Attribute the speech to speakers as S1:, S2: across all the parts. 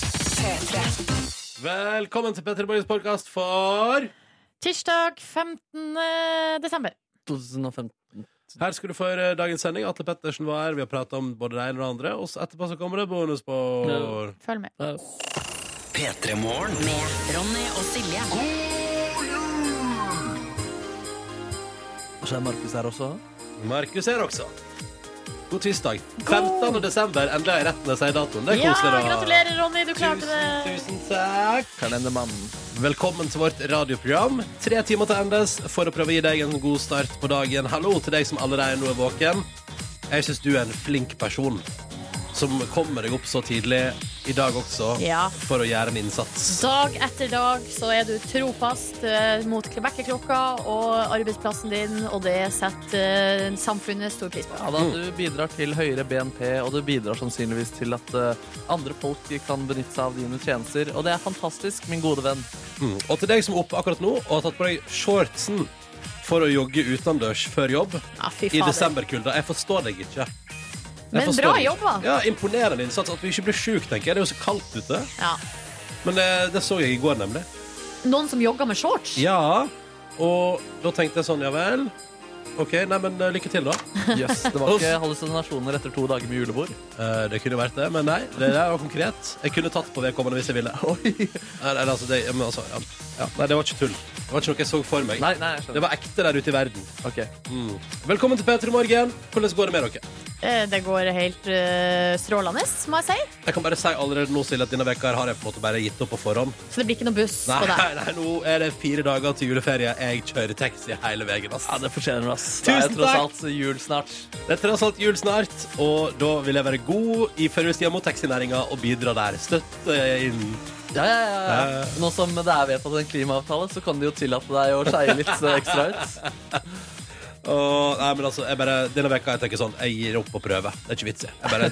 S1: P3.
S2: Velkommen til Petter Borgens podkast for
S3: Tirsdag 15. desember.
S4: 2015.
S2: Her skal du få høre dagens sending. Atle Pettersen var her. Vi har prata om både det ene og det andre. Og så etterpå så kommer det bonusspor.
S3: Følg med.
S4: Ja.
S1: Med Ronny og Silje.
S4: Og så er Markus her også.
S2: Markus her også. God tirsdag. 15. desember. Endelig har jeg rett når jeg sier datoen. Det er
S3: Ja,
S2: koselig. da.
S3: gratulerer, Ronny. Du klarte
S2: Tusen,
S3: det.
S2: tusen takk.
S4: Kalendermannen.
S2: Velkommen til vårt radioprogram. Tre timer til endes for å prøve å gi deg en god start på dagen. Hallo til deg som allerede nå er våken. Jeg syns du er en flink person som kommer deg opp så tidlig i dag også
S3: Ja.
S2: for å gjøre en innsats.
S3: Dag etter dag så er du trofast eh, mot vekkerklokka og arbeidsplassen din, og det setter eh, samfunnet stor pris på.
S4: Ja, da, du bidrar til høyere BNP, og du bidrar sannsynligvis til at eh, andre folk kan benytte seg av dine tjenester. Og det er fantastisk, min gode venn.
S2: Mm. Og til deg som er oppe akkurat nå og har tatt på deg shortsen for å jogge utendørs før jobb
S3: Ja, fy
S2: i
S3: fader.
S2: desemberkulda. Jeg forstår deg ikke. Jeg
S3: Men
S2: forstår
S3: bra
S2: deg ikke.
S3: jobb, da.
S2: Ja, Imponerende innsats. At du ikke blir sjuk, tenker jeg. Det er jo så kaldt ute.
S3: Ja.
S2: Men det, det så jeg i går, nemlig.
S3: Noen som jogger med shorts?
S2: Ja, og da tenkte jeg sånn, ja vel. OK, nei, men eh, lykke til, da.
S4: Yes, det var ikke hallusinasjoner etter to dager med julebord.
S2: Eh, det kunne vært det, men nei. Det der var konkret. Jeg kunne tatt på vedkommende hvis jeg ville. Nei, nei, altså, det, men altså, ja. Ja, nei, det var ikke tull. Det var ikke noe jeg så for meg.
S4: Nei, nei, jeg
S2: Det
S4: skjønner.
S2: var ekte der ute i verden.
S4: Ok.
S2: Mm. Velkommen til P3 Morgen. Hvordan går det med dere?
S3: Eh, Det går helt eh, strålende, må jeg si.
S2: Jeg kan bare si allerede nå, Silje, at denne veka her har jeg på en måte bare gitt opp på forhånd.
S3: Så det blir ikke noe buss
S2: Nei,
S3: på deg.
S2: nei, nå er det fire dager til juleferie. Jeg kjører taxi hele veien, ass.
S4: Ja, det fortjener du, ass.
S2: Tusen
S4: det er tross
S2: takk.
S4: alt jul snart.
S2: Det er tross alt jul snart, og da vil jeg være god i førjulstida mot taxinæringa og bidra der. Støtte inn.
S4: Ja, ja, ja, ja. Nå som det er vedtatt en klimaavtale, så kan de jo tillate deg å skeie litt eh, ekstra ut.
S2: Og, nei, men altså, jeg bare, denne veka jeg tenker sånn, jeg gir opp å prøve. Det er ikke vits i. Jeg bare,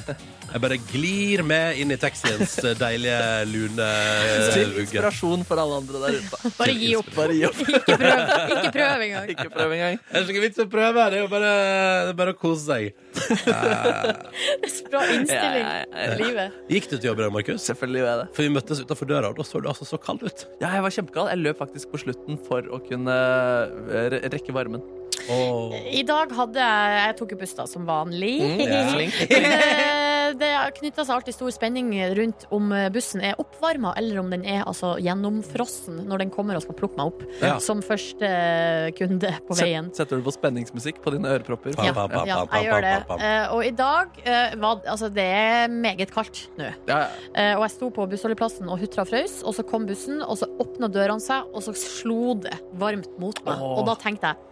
S2: jeg bare glir med inn i taxiens eh, deilige, lune eh,
S4: Til
S2: ugge.
S4: inspirasjon for alle andre der ute.
S3: Bare gi opp.
S4: Bare gi opp.
S3: Ikke prøv, ikke prøv engang.
S4: Ikke prøv engang.
S2: Det er ikke vits i å prøve, det er jo bare, det er bare å kose seg.
S3: Bra innstilling
S4: Ja, ja, ja, ja.
S3: til livet.
S2: Gikk du til jobb i dag, Markus?
S4: Selvfølgelig gjør jeg det.
S2: For vi møttes utenfor døra, og da så du altså så kald ut.
S4: Ja, jeg var kjempekald. Jeg løp faktisk på slutten for å kunne eh, re rekke varmen.
S2: Åh.
S3: I dag hadde jeg Jeg tok jo buss, da, som vanlig.
S2: ja.
S4: Mm, Flink.
S3: Men, eh, Det knytter seg alltid stor spenning rundt om eh, bussen er oppvarma, eller om den er altså, gjennomfrossen når den kommer og skal plukke meg opp
S2: Ja.
S3: som første eh, kunde på veien.
S4: Set- Setter du på spenningsmusikk på dine ørepropper?
S2: Pam, pam, pam,
S3: Ja,
S2: pam, pam,
S3: jeg gjør det.
S2: pam, pam.
S3: Eh, Og i dag eh, var Altså, det er meget kaldt nå.
S4: Ja,
S3: Eh, Og jeg sto på bussholdeplassen og hutra og frøs, og så kom bussen, og så åpna dørene seg, og så slo det varmt mot meg.
S4: Åh.
S3: Og da tenkte jeg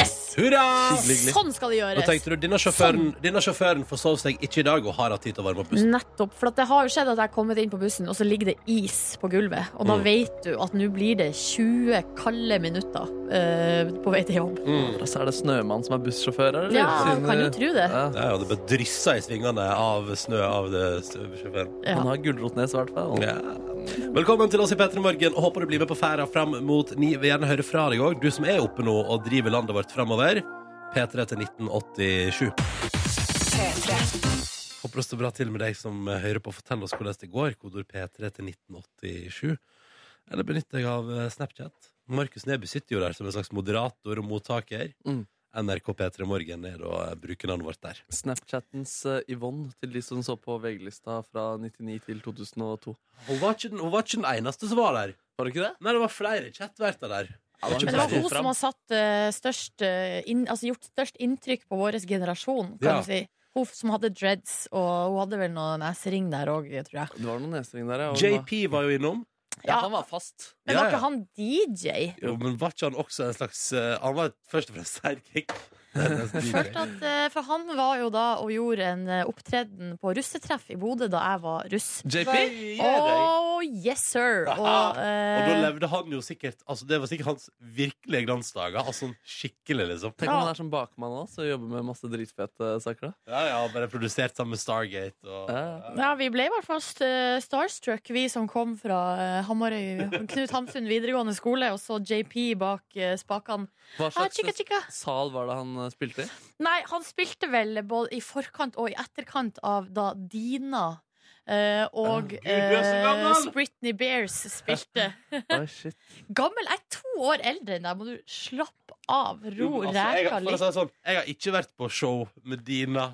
S3: yes!
S2: Hurra!
S4: Hyggelig.
S3: Sånn skal det
S2: Da
S3: gjøres!
S2: tenkte du, denne sjåføren, denne sjåføren forsov seg ikke i dag og har hatt tid til å varme opp bussen.
S3: Nettopp. For at det har jo skjedd at jeg har kommet inn på bussen, og så ligger det is på gulvet. Og da
S2: Mm.
S3: vet du at nå blir det 20 kalde minutter eh, på vei til jobb.
S2: Mm.
S4: Og så er det Snømann som er bussjåfør, eller? eh,
S3: Ja, man kan jo tro det.
S4: Ja.
S2: Ja, og det ble dryssa i svingene av snø av det sjåføren.
S3: Ja.
S4: Han har gulrotnes, i hvert fall.
S2: Ja. Velkommen til oss i P3 Morgen. Håper du blir med på ferda fram mot ni. Vil gjerne høre fra deg òg, du som er oppe nå og driver landet vårt framover. P3 til 1987. Håper det står bra til med deg som hører på. Fortell oss hvordan det går. Kodord P3 til 1987. Eller benytt deg av eh, Snapchat. Markus Neby sitter jo der som en slags moderator og mottaker.
S4: Mm.
S2: NRK P3 Morgen er da eh, brukernavnet vårt der.
S4: Snapchattens eh, Yvonne til de som så på VG-lista fra 99 til 2002.
S2: Hun var ikke den, hun var ikke den eneste som var der.
S4: Var det ikke det?
S2: Nei, det var flere chatverter der.
S4: det var
S3: Men det var hun som har satt, eh, størst, eh, inn, altså gjort størst inntrykk på vår generasjon, kan
S2: Ja.
S3: du si. Hun som hadde dreads, og hun hadde vel noe nesering der òg, tror jeg.
S4: Det var noen nesering der, ja. og hun var-
S2: JP var jo innom.
S4: Ja,
S3: Ja.
S4: han var fast.
S3: Men
S2: Ja,
S3: var
S2: ja.
S3: ikke han DJ?
S2: Jo, men var ikke han også en slags eh, Han var først og fremst sidekick.
S3: Følte at, eh, for han var jo da og gjorde en eh, opptreden på russetreff i Bodø da jeg var russ.
S4: JP?
S3: Oh yes, sir! Og, eh,
S2: Og da levde han jo sikkert altså Det var sikkert hans virkelige glansdager. Altså sånn skikkelig, liksom.
S4: Tenk om han er som bakmann også, og jobber med masse dritfete eh, saker. da.
S2: Ja, ja, Bare produsert sammen med Stargate og
S4: Ja.
S3: ja, vi ble i hvert fall st- starstruck, vi som kom fra eh, Hamarøy Knut Hamsun videregående skole, og så JP bak eh, spakene.
S4: Hva
S3: Ah,
S4: slags
S3: chika, chika.
S4: sal var det han eh, spilte i?
S3: Nei, han spilte vel både i forkant og i etterkant av da Dina Eh, og
S2: Gud, du er så gammel!
S3: eh, Britney Bears spilte.
S4: Oi, shit.
S3: Gammel? Jeg er to år eldre enn deg. Må du slappe av?
S2: Jo,
S3: Ro
S2: men altså, jeg,
S3: ræka
S2: for å
S3: litt.
S2: si det sånn, jeg har ikke vært på show med Dina.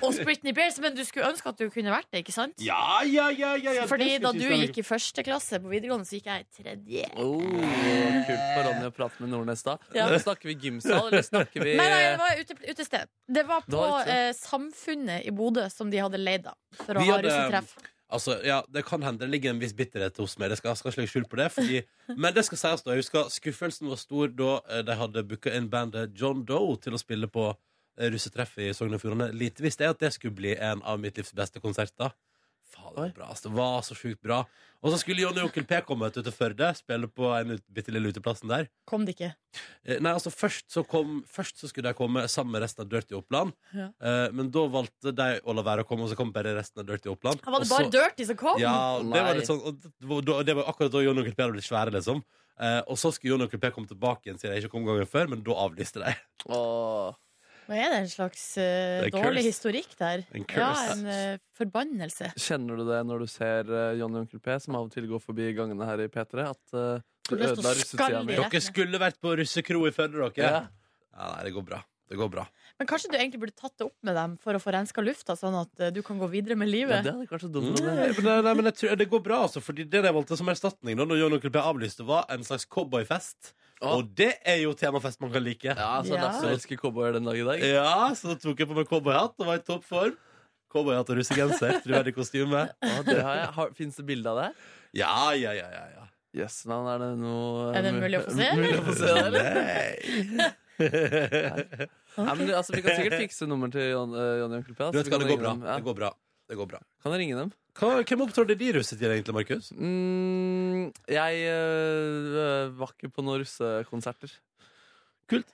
S3: Og Britney Bears, men du skulle ønske at du kunne vært det, ikke sant?
S2: Ja, ja, ja, ja, ja
S3: Fordi da du gikk i første klasse på videregående, så gikk jeg i tredje.
S4: Oh, kult for Ronny å prate med Nordnes da.
S3: Ja.
S4: Snakker vi gymsal, eller snakker vi
S3: Nei, nei, det var ute, utested. Det var
S4: Det
S3: på
S4: var ute.
S3: eh, Samfunnet i Bodø som de hadde leid av for å
S2: Vi
S3: ha
S2: hadde-
S3: russetreff.
S2: Altså, ja, Det kan hende det ligger en viss bitterhet hos meg. Det skal, skal ikke legge skjul på det fordi, Men det skal sies da, jeg husker skuffelsen var stor da eh, de hadde booka inn bandet John Doe til å spille på eh, russetreff i Sogn og Fjordane. Lite visste jeg at det skulle bli en av mitt livs beste konserter. Faen, det var bra, altså. Det var så sjukt bra. Og så skulle Johnny og Onkel P komme ut til Førde, spille på en ut- bitte lille uteplassen der.
S3: Kom det ikke?
S2: Eh, Nei, altså først så, kom, først så skulle de komme sammen med resten av Dirty Oppland.
S3: Ja.
S2: Eh, men da valgte de å la være å komme, og så kom bare resten av Dirty Oppland.
S3: Var det
S2: Og
S3: bare
S2: så-
S3: Dirty som kom?
S2: Ja, det var
S4: Nei.
S2: litt sånn og det var- da- Det var akkurat da Jon og Onkel P hadde blitt svære, liksom. Eh, og så skulle Jon og Onkel P komme tilbake igjen, siden de ikke kom gangen før, men da avlyste de.
S4: Åh.
S3: Men er det en slags eh,
S2: Det er
S3: dårlig
S2: curse.
S3: historikk der?
S2: En
S3: ja,
S2: curse.
S3: en eh, forbannelse.
S4: Kjenner du det når du ser eh, Johnny og Onkel P, som av og til går forbi gangene her i P3, at
S3: Har
S4: eh, du
S3: lyst til å
S4: ødela russetida
S3: skalle
S4: mi?
S3: i
S2: Dere skulle vært på russekro i Førde, dere.
S4: Ja.
S2: Ja. nei, det går bra. Det går bra.
S3: Men kanskje du egentlig burde tatt det opp med dem for å få renska lufta, sånn at eh, du kan gå videre med
S4: Ja,
S3: livet?
S4: det hadde ikke vært så dumt. Ronny.
S2: Nei, men, nei, nei, men jeg tror, det går bra, altså. Fordi det de valgte som erstatning da når Jon og Onkel P avlyste, var en slags cowboyfest.
S4: Åh.
S2: Og det er jo temafest man kan like.
S4: Ja, altså, så
S3: Ja.
S4: Lasse elsker cowboyer den dag i dag.
S2: Ja, så da tok jeg på meg cowboyhatt og var i toppform. Cowboyhatt og russegenser, troverdig kostyme.
S4: Åh, det har jeg. Har, finnes det bilde av det?
S2: Ja, ja, ja, ja, ja.
S4: Yes, nei, er det noe
S3: Er det mulig å få se,
S4: Mulig å få se, eller?
S2: Nei.
S4: Nei, men, altså, vi kan sikkert fikse nummer til Jon, eh, Johnny og Onkel P. altså,
S2: Du vet
S4: vi
S2: hva,
S4: kan
S2: det går
S4: ringe
S2: bra.
S4: dem.
S2: Det går bra. Det går bra.
S4: Ja. Kan jeg ringe dem?
S2: Hva, hvem opptrådte de russetida egentlig, Markus?
S4: Mm, jeg eh, var ikke på noen russekonserter.
S2: Kult.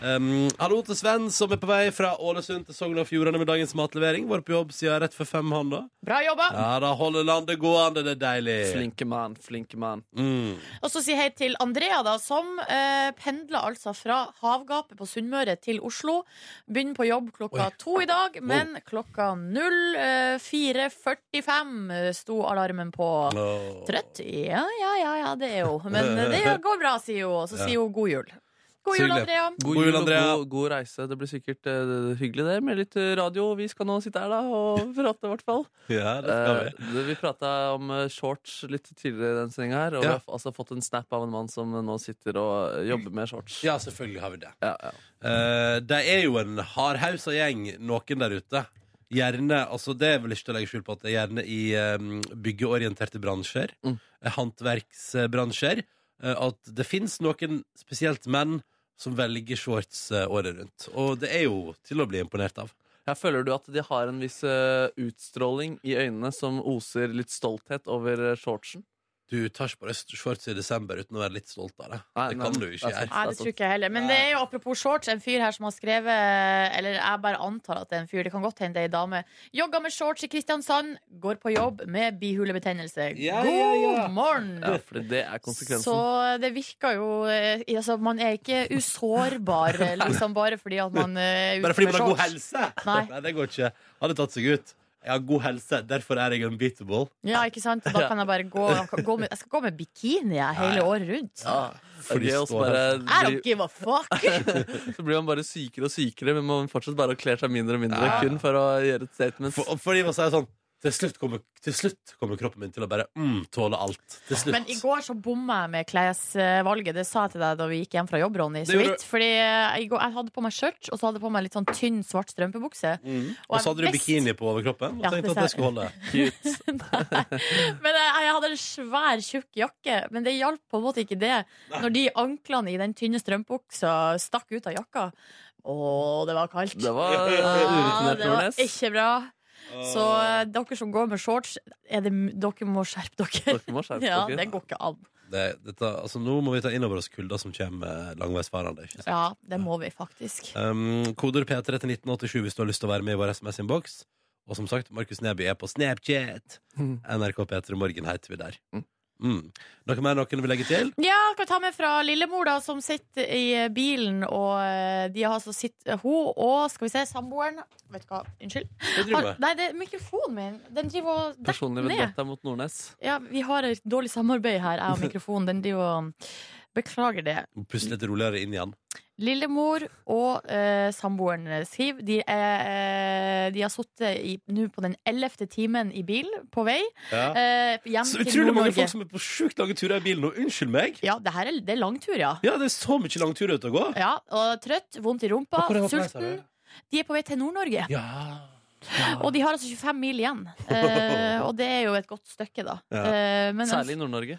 S2: Um, hallo til Sven, som er på vei fra Ålesund til Sogn og Fjordane med dagens matlevering. Var på jobb siden rett før fem, han da.
S3: Bra jobba!
S2: Ja, da holder landet gående, det er deilig.
S4: Flinke mann, flinke mann.
S2: Mm.
S3: Og så si hei til Andrea, da, som eh, pendler altså fra havgapet på Sunnmøre til Oslo. Begynner på jobb klokka
S2: Oi.
S3: to i dag, men klokka 04.45 eh, sto alarmen på.
S2: Åh.
S3: Trøtt? Ja, ja, ja, ja, det er hun. Men eh, det går bra, sier hun. Og så
S2: Ja.
S3: sier hun god jul. God
S2: Så
S3: jul,
S2: hyggelig.
S3: Andrea.
S4: God,
S2: God jul,
S4: jul og
S2: Andrea.
S4: god, god reise. Det blir sikkert eh, hyggelig det, med litt eh, radio. Vi skal nå sitte her da og prate, i hvert fall.
S2: Ja, det skal
S4: Eh,
S2: vi.
S4: det- vi prata om eh, shorts litt tidligere i den sendinga her, og vi
S2: Ja.
S4: har f- altså fått en snap av en mann som nå sitter og eh, jobber med shorts.
S2: Ja, selvfølgelig har vi det.
S4: Ja, ja.
S2: Eh, det er jo en hardhausa gjeng, noen der ute. Gjerne, altså Det er vel ikke til å legge skjul på at det er gjerne i eh, byggeorienterte bransjer.
S4: Mm.
S2: eh, Håndverksbransjer. eh, at det fins noen, spesielt menn, som velger shorts eh, året rundt. Og det er jo til å bli imponert av.
S4: Her føler du at de har en viss eh, utstråling i øynene som oser litt stolthet over eh, shortsen?
S2: Du tar ikke på deg shorts i desember uten å være litt stolt av det.
S4: Nei,
S2: det
S4: nei, Altså,
S2: kan du ikke
S4: det er sant.
S2: gjøre.
S3: Nei, det tror ikke jeg heller. Men det er jo apropos shorts, en fyr her som har skrevet Eller jeg bare antar at det er en fyr, det kan godt hende det er ei dame. Jogga med shorts i Kristiansand, går på jobb med bihulebetennelse.
S2: Ja,
S3: God
S2: ja, ja.
S3: morgen!
S4: Ja, for det er konsekvensen.
S3: Så det virker jo eh, altså, Man er ikke usårbar eh, liksom, bare fordi at man eh, er ute
S2: Bare fordi
S3: med
S2: man har god
S3: shorts.
S2: helse!
S3: Nei.
S2: det går ikke. Hadde tatt seg ut. Jeg har god helse, derfor er jeg unbeatable.
S3: Ja, ikke sant? Da kan jeg bare gå, gå med, Jeg skal gå med bikini jeg, hele året rundt.
S4: Ja, det er
S2: Fordi
S4: gøy, og så
S2: står
S4: bare
S3: I don't
S4: blir-
S3: give a fuck!
S4: Så blir man bare sykere og sykere, men man fortsetter bare å kle seg mindre og mindre
S2: Ja.
S4: kun for å gjøre et statement.
S2: For, fordi man sier sånn til slutt, kommer, til slutt kommer kroppen min til å bare mm, tåle alt. Til slutt.
S3: Men i går så bomma jeg med klesvalget. Det sa jeg til deg da vi gikk hjem fra jobb, Ronny. Så
S2: Det gjorde
S3: vidt. Fordi eh, i går, jeg hadde på meg skjørt, og så hadde jeg på meg litt sånn tynn, svart strømpebukse.
S2: Og så hadde du bikini på overkroppen og
S3: Ja,
S2: tenkte
S3: det
S2: at det
S3: ser-
S2: skulle holde.
S4: Cute.
S3: Men jeg, eh, jeg hadde en svær, tjukk jakke, men det hjalp på en måte ikke det. Når de anklene i den tynne strømpebuksa stakk ut av jakka. Å, det var kaldt.
S4: Det var eh,
S3: Ah,
S4: urutinert,
S3: det var
S4: Nordnes.
S3: ikke bra. Så eh, dere som går med shorts, er det, m- dere må skjerpe dere.
S4: Dere må skjerpe
S3: Ja,
S4: dere.
S3: det går ikke an.
S2: Det, dette, altså, nå må vi ta inn over oss kulda som kommer eh, langveisfarende. Ikke? sant?
S3: Ja, det må vi faktisk.
S2: Um, koder P3 til 1987 hvis du har lyst til å være med i vår SMS-innboks. Og som sagt, Markus Neby er på Snapchat. NRK P3 Morgen heter vi der. Mm. Noe mer noen vil legge til?
S3: Ja, kan ta med fra lillemor, da, som sitter i bilen, og eh, de har altså sitt Hun og skal vi se, samboeren Vet du hva, unnskyld.
S2: Hva driver du
S3: Har,
S2: med?
S3: nei, det er mikrofonen min. Den driver og
S4: Personlig
S3: detter ned.
S4: vendetta mot Nordnes.
S3: Ja, vi har et dårlig samarbeid her, jeg og mikrofonen. Den driver og mm, Beklager det.
S2: Puste litt roligere inn igjen.
S3: Lillemor og eh, samboeren skriver De, er, eh, de har sittet i- nå på den ellevte timen i bil på vei
S2: Ja.
S3: eh, hjem
S2: Så
S3: til
S2: utrolig mange
S3: Nord-Norge.
S2: folk som er på sjukt lange turer i bilen nå. Unnskyld meg.
S3: Ja, det her er, det er langtur, ja.
S2: Ja, det er så mye lang tur ute å gå.
S3: ja. Og trøtt, vondt i rumpa,
S2: Hvor er det på vei, sa
S3: sulten.
S2: du?
S3: De er på vei til Nord-Norge.
S2: Ja.
S3: Og de har altså 25 mil igjen. Eh, og det er jo et godt stykke, da.
S2: Ja.
S3: Eh, men
S4: Særlig i Nord-Norge.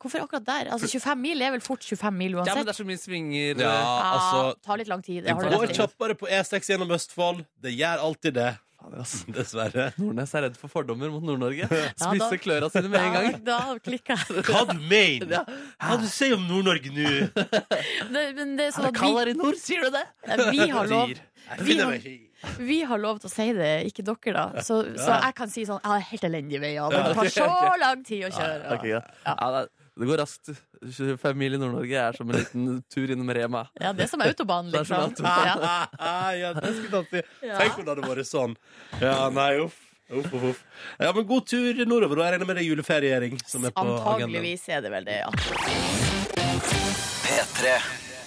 S3: hvorfor akkurat der? Altså 25 mil er vel fort 25 mil
S4: Ja, men
S3: uansett.
S4: det er så mye svinger.
S2: ja,
S4: eh,
S3: Ja,
S2: altså
S3: tar litt lang tid.
S2: Det
S3: har du
S2: går
S3: rett i.
S2: kjappere på E6 gjennom Østfold. Det gjør alltid det.
S4: fader, ass.
S2: Dessverre.
S4: Nordnes er redd for fordommer mot Nord-Norge.
S3: da-
S4: Spisser kløra sine med en gang.
S3: Ja, da klikka jeg.
S2: Hva du mener?
S4: Ja.
S2: Hva du sier om Nord-Norge nå?
S3: Det- Men det er sånn
S4: Er det
S3: at
S4: kald
S3: vi,
S4: her i nord? Sier du det?
S3: vi, har lov,
S4: Dyr.
S2: Jeg finner meg ikke i.
S3: vi har lov til å si det, ikke dere, da. Så, så jeg kan si sånn Jeg har helt elendige veier.
S2: Ja,
S3: Det tar
S2: ok,
S3: så lang tid å kjøre.
S4: Ok, greit. Ja, det er- det går raskt. 25 mil i Nord-Norge er som en liten tur innom Rema.
S3: Ja, det er som autobahn,
S4: Det er som
S3: liksom.
S4: autobahn.
S3: Ja.
S2: Ah, ja, det skulle tatt i.
S3: Ja.
S2: Tenk om det hadde vært sånn. Ja, nei, uff. Uff, uff, uff. Ja, men god tur nordover. og Jeg regner med det er juleferiering som er på agendaen.
S3: Antageligvis er det vel det, ja.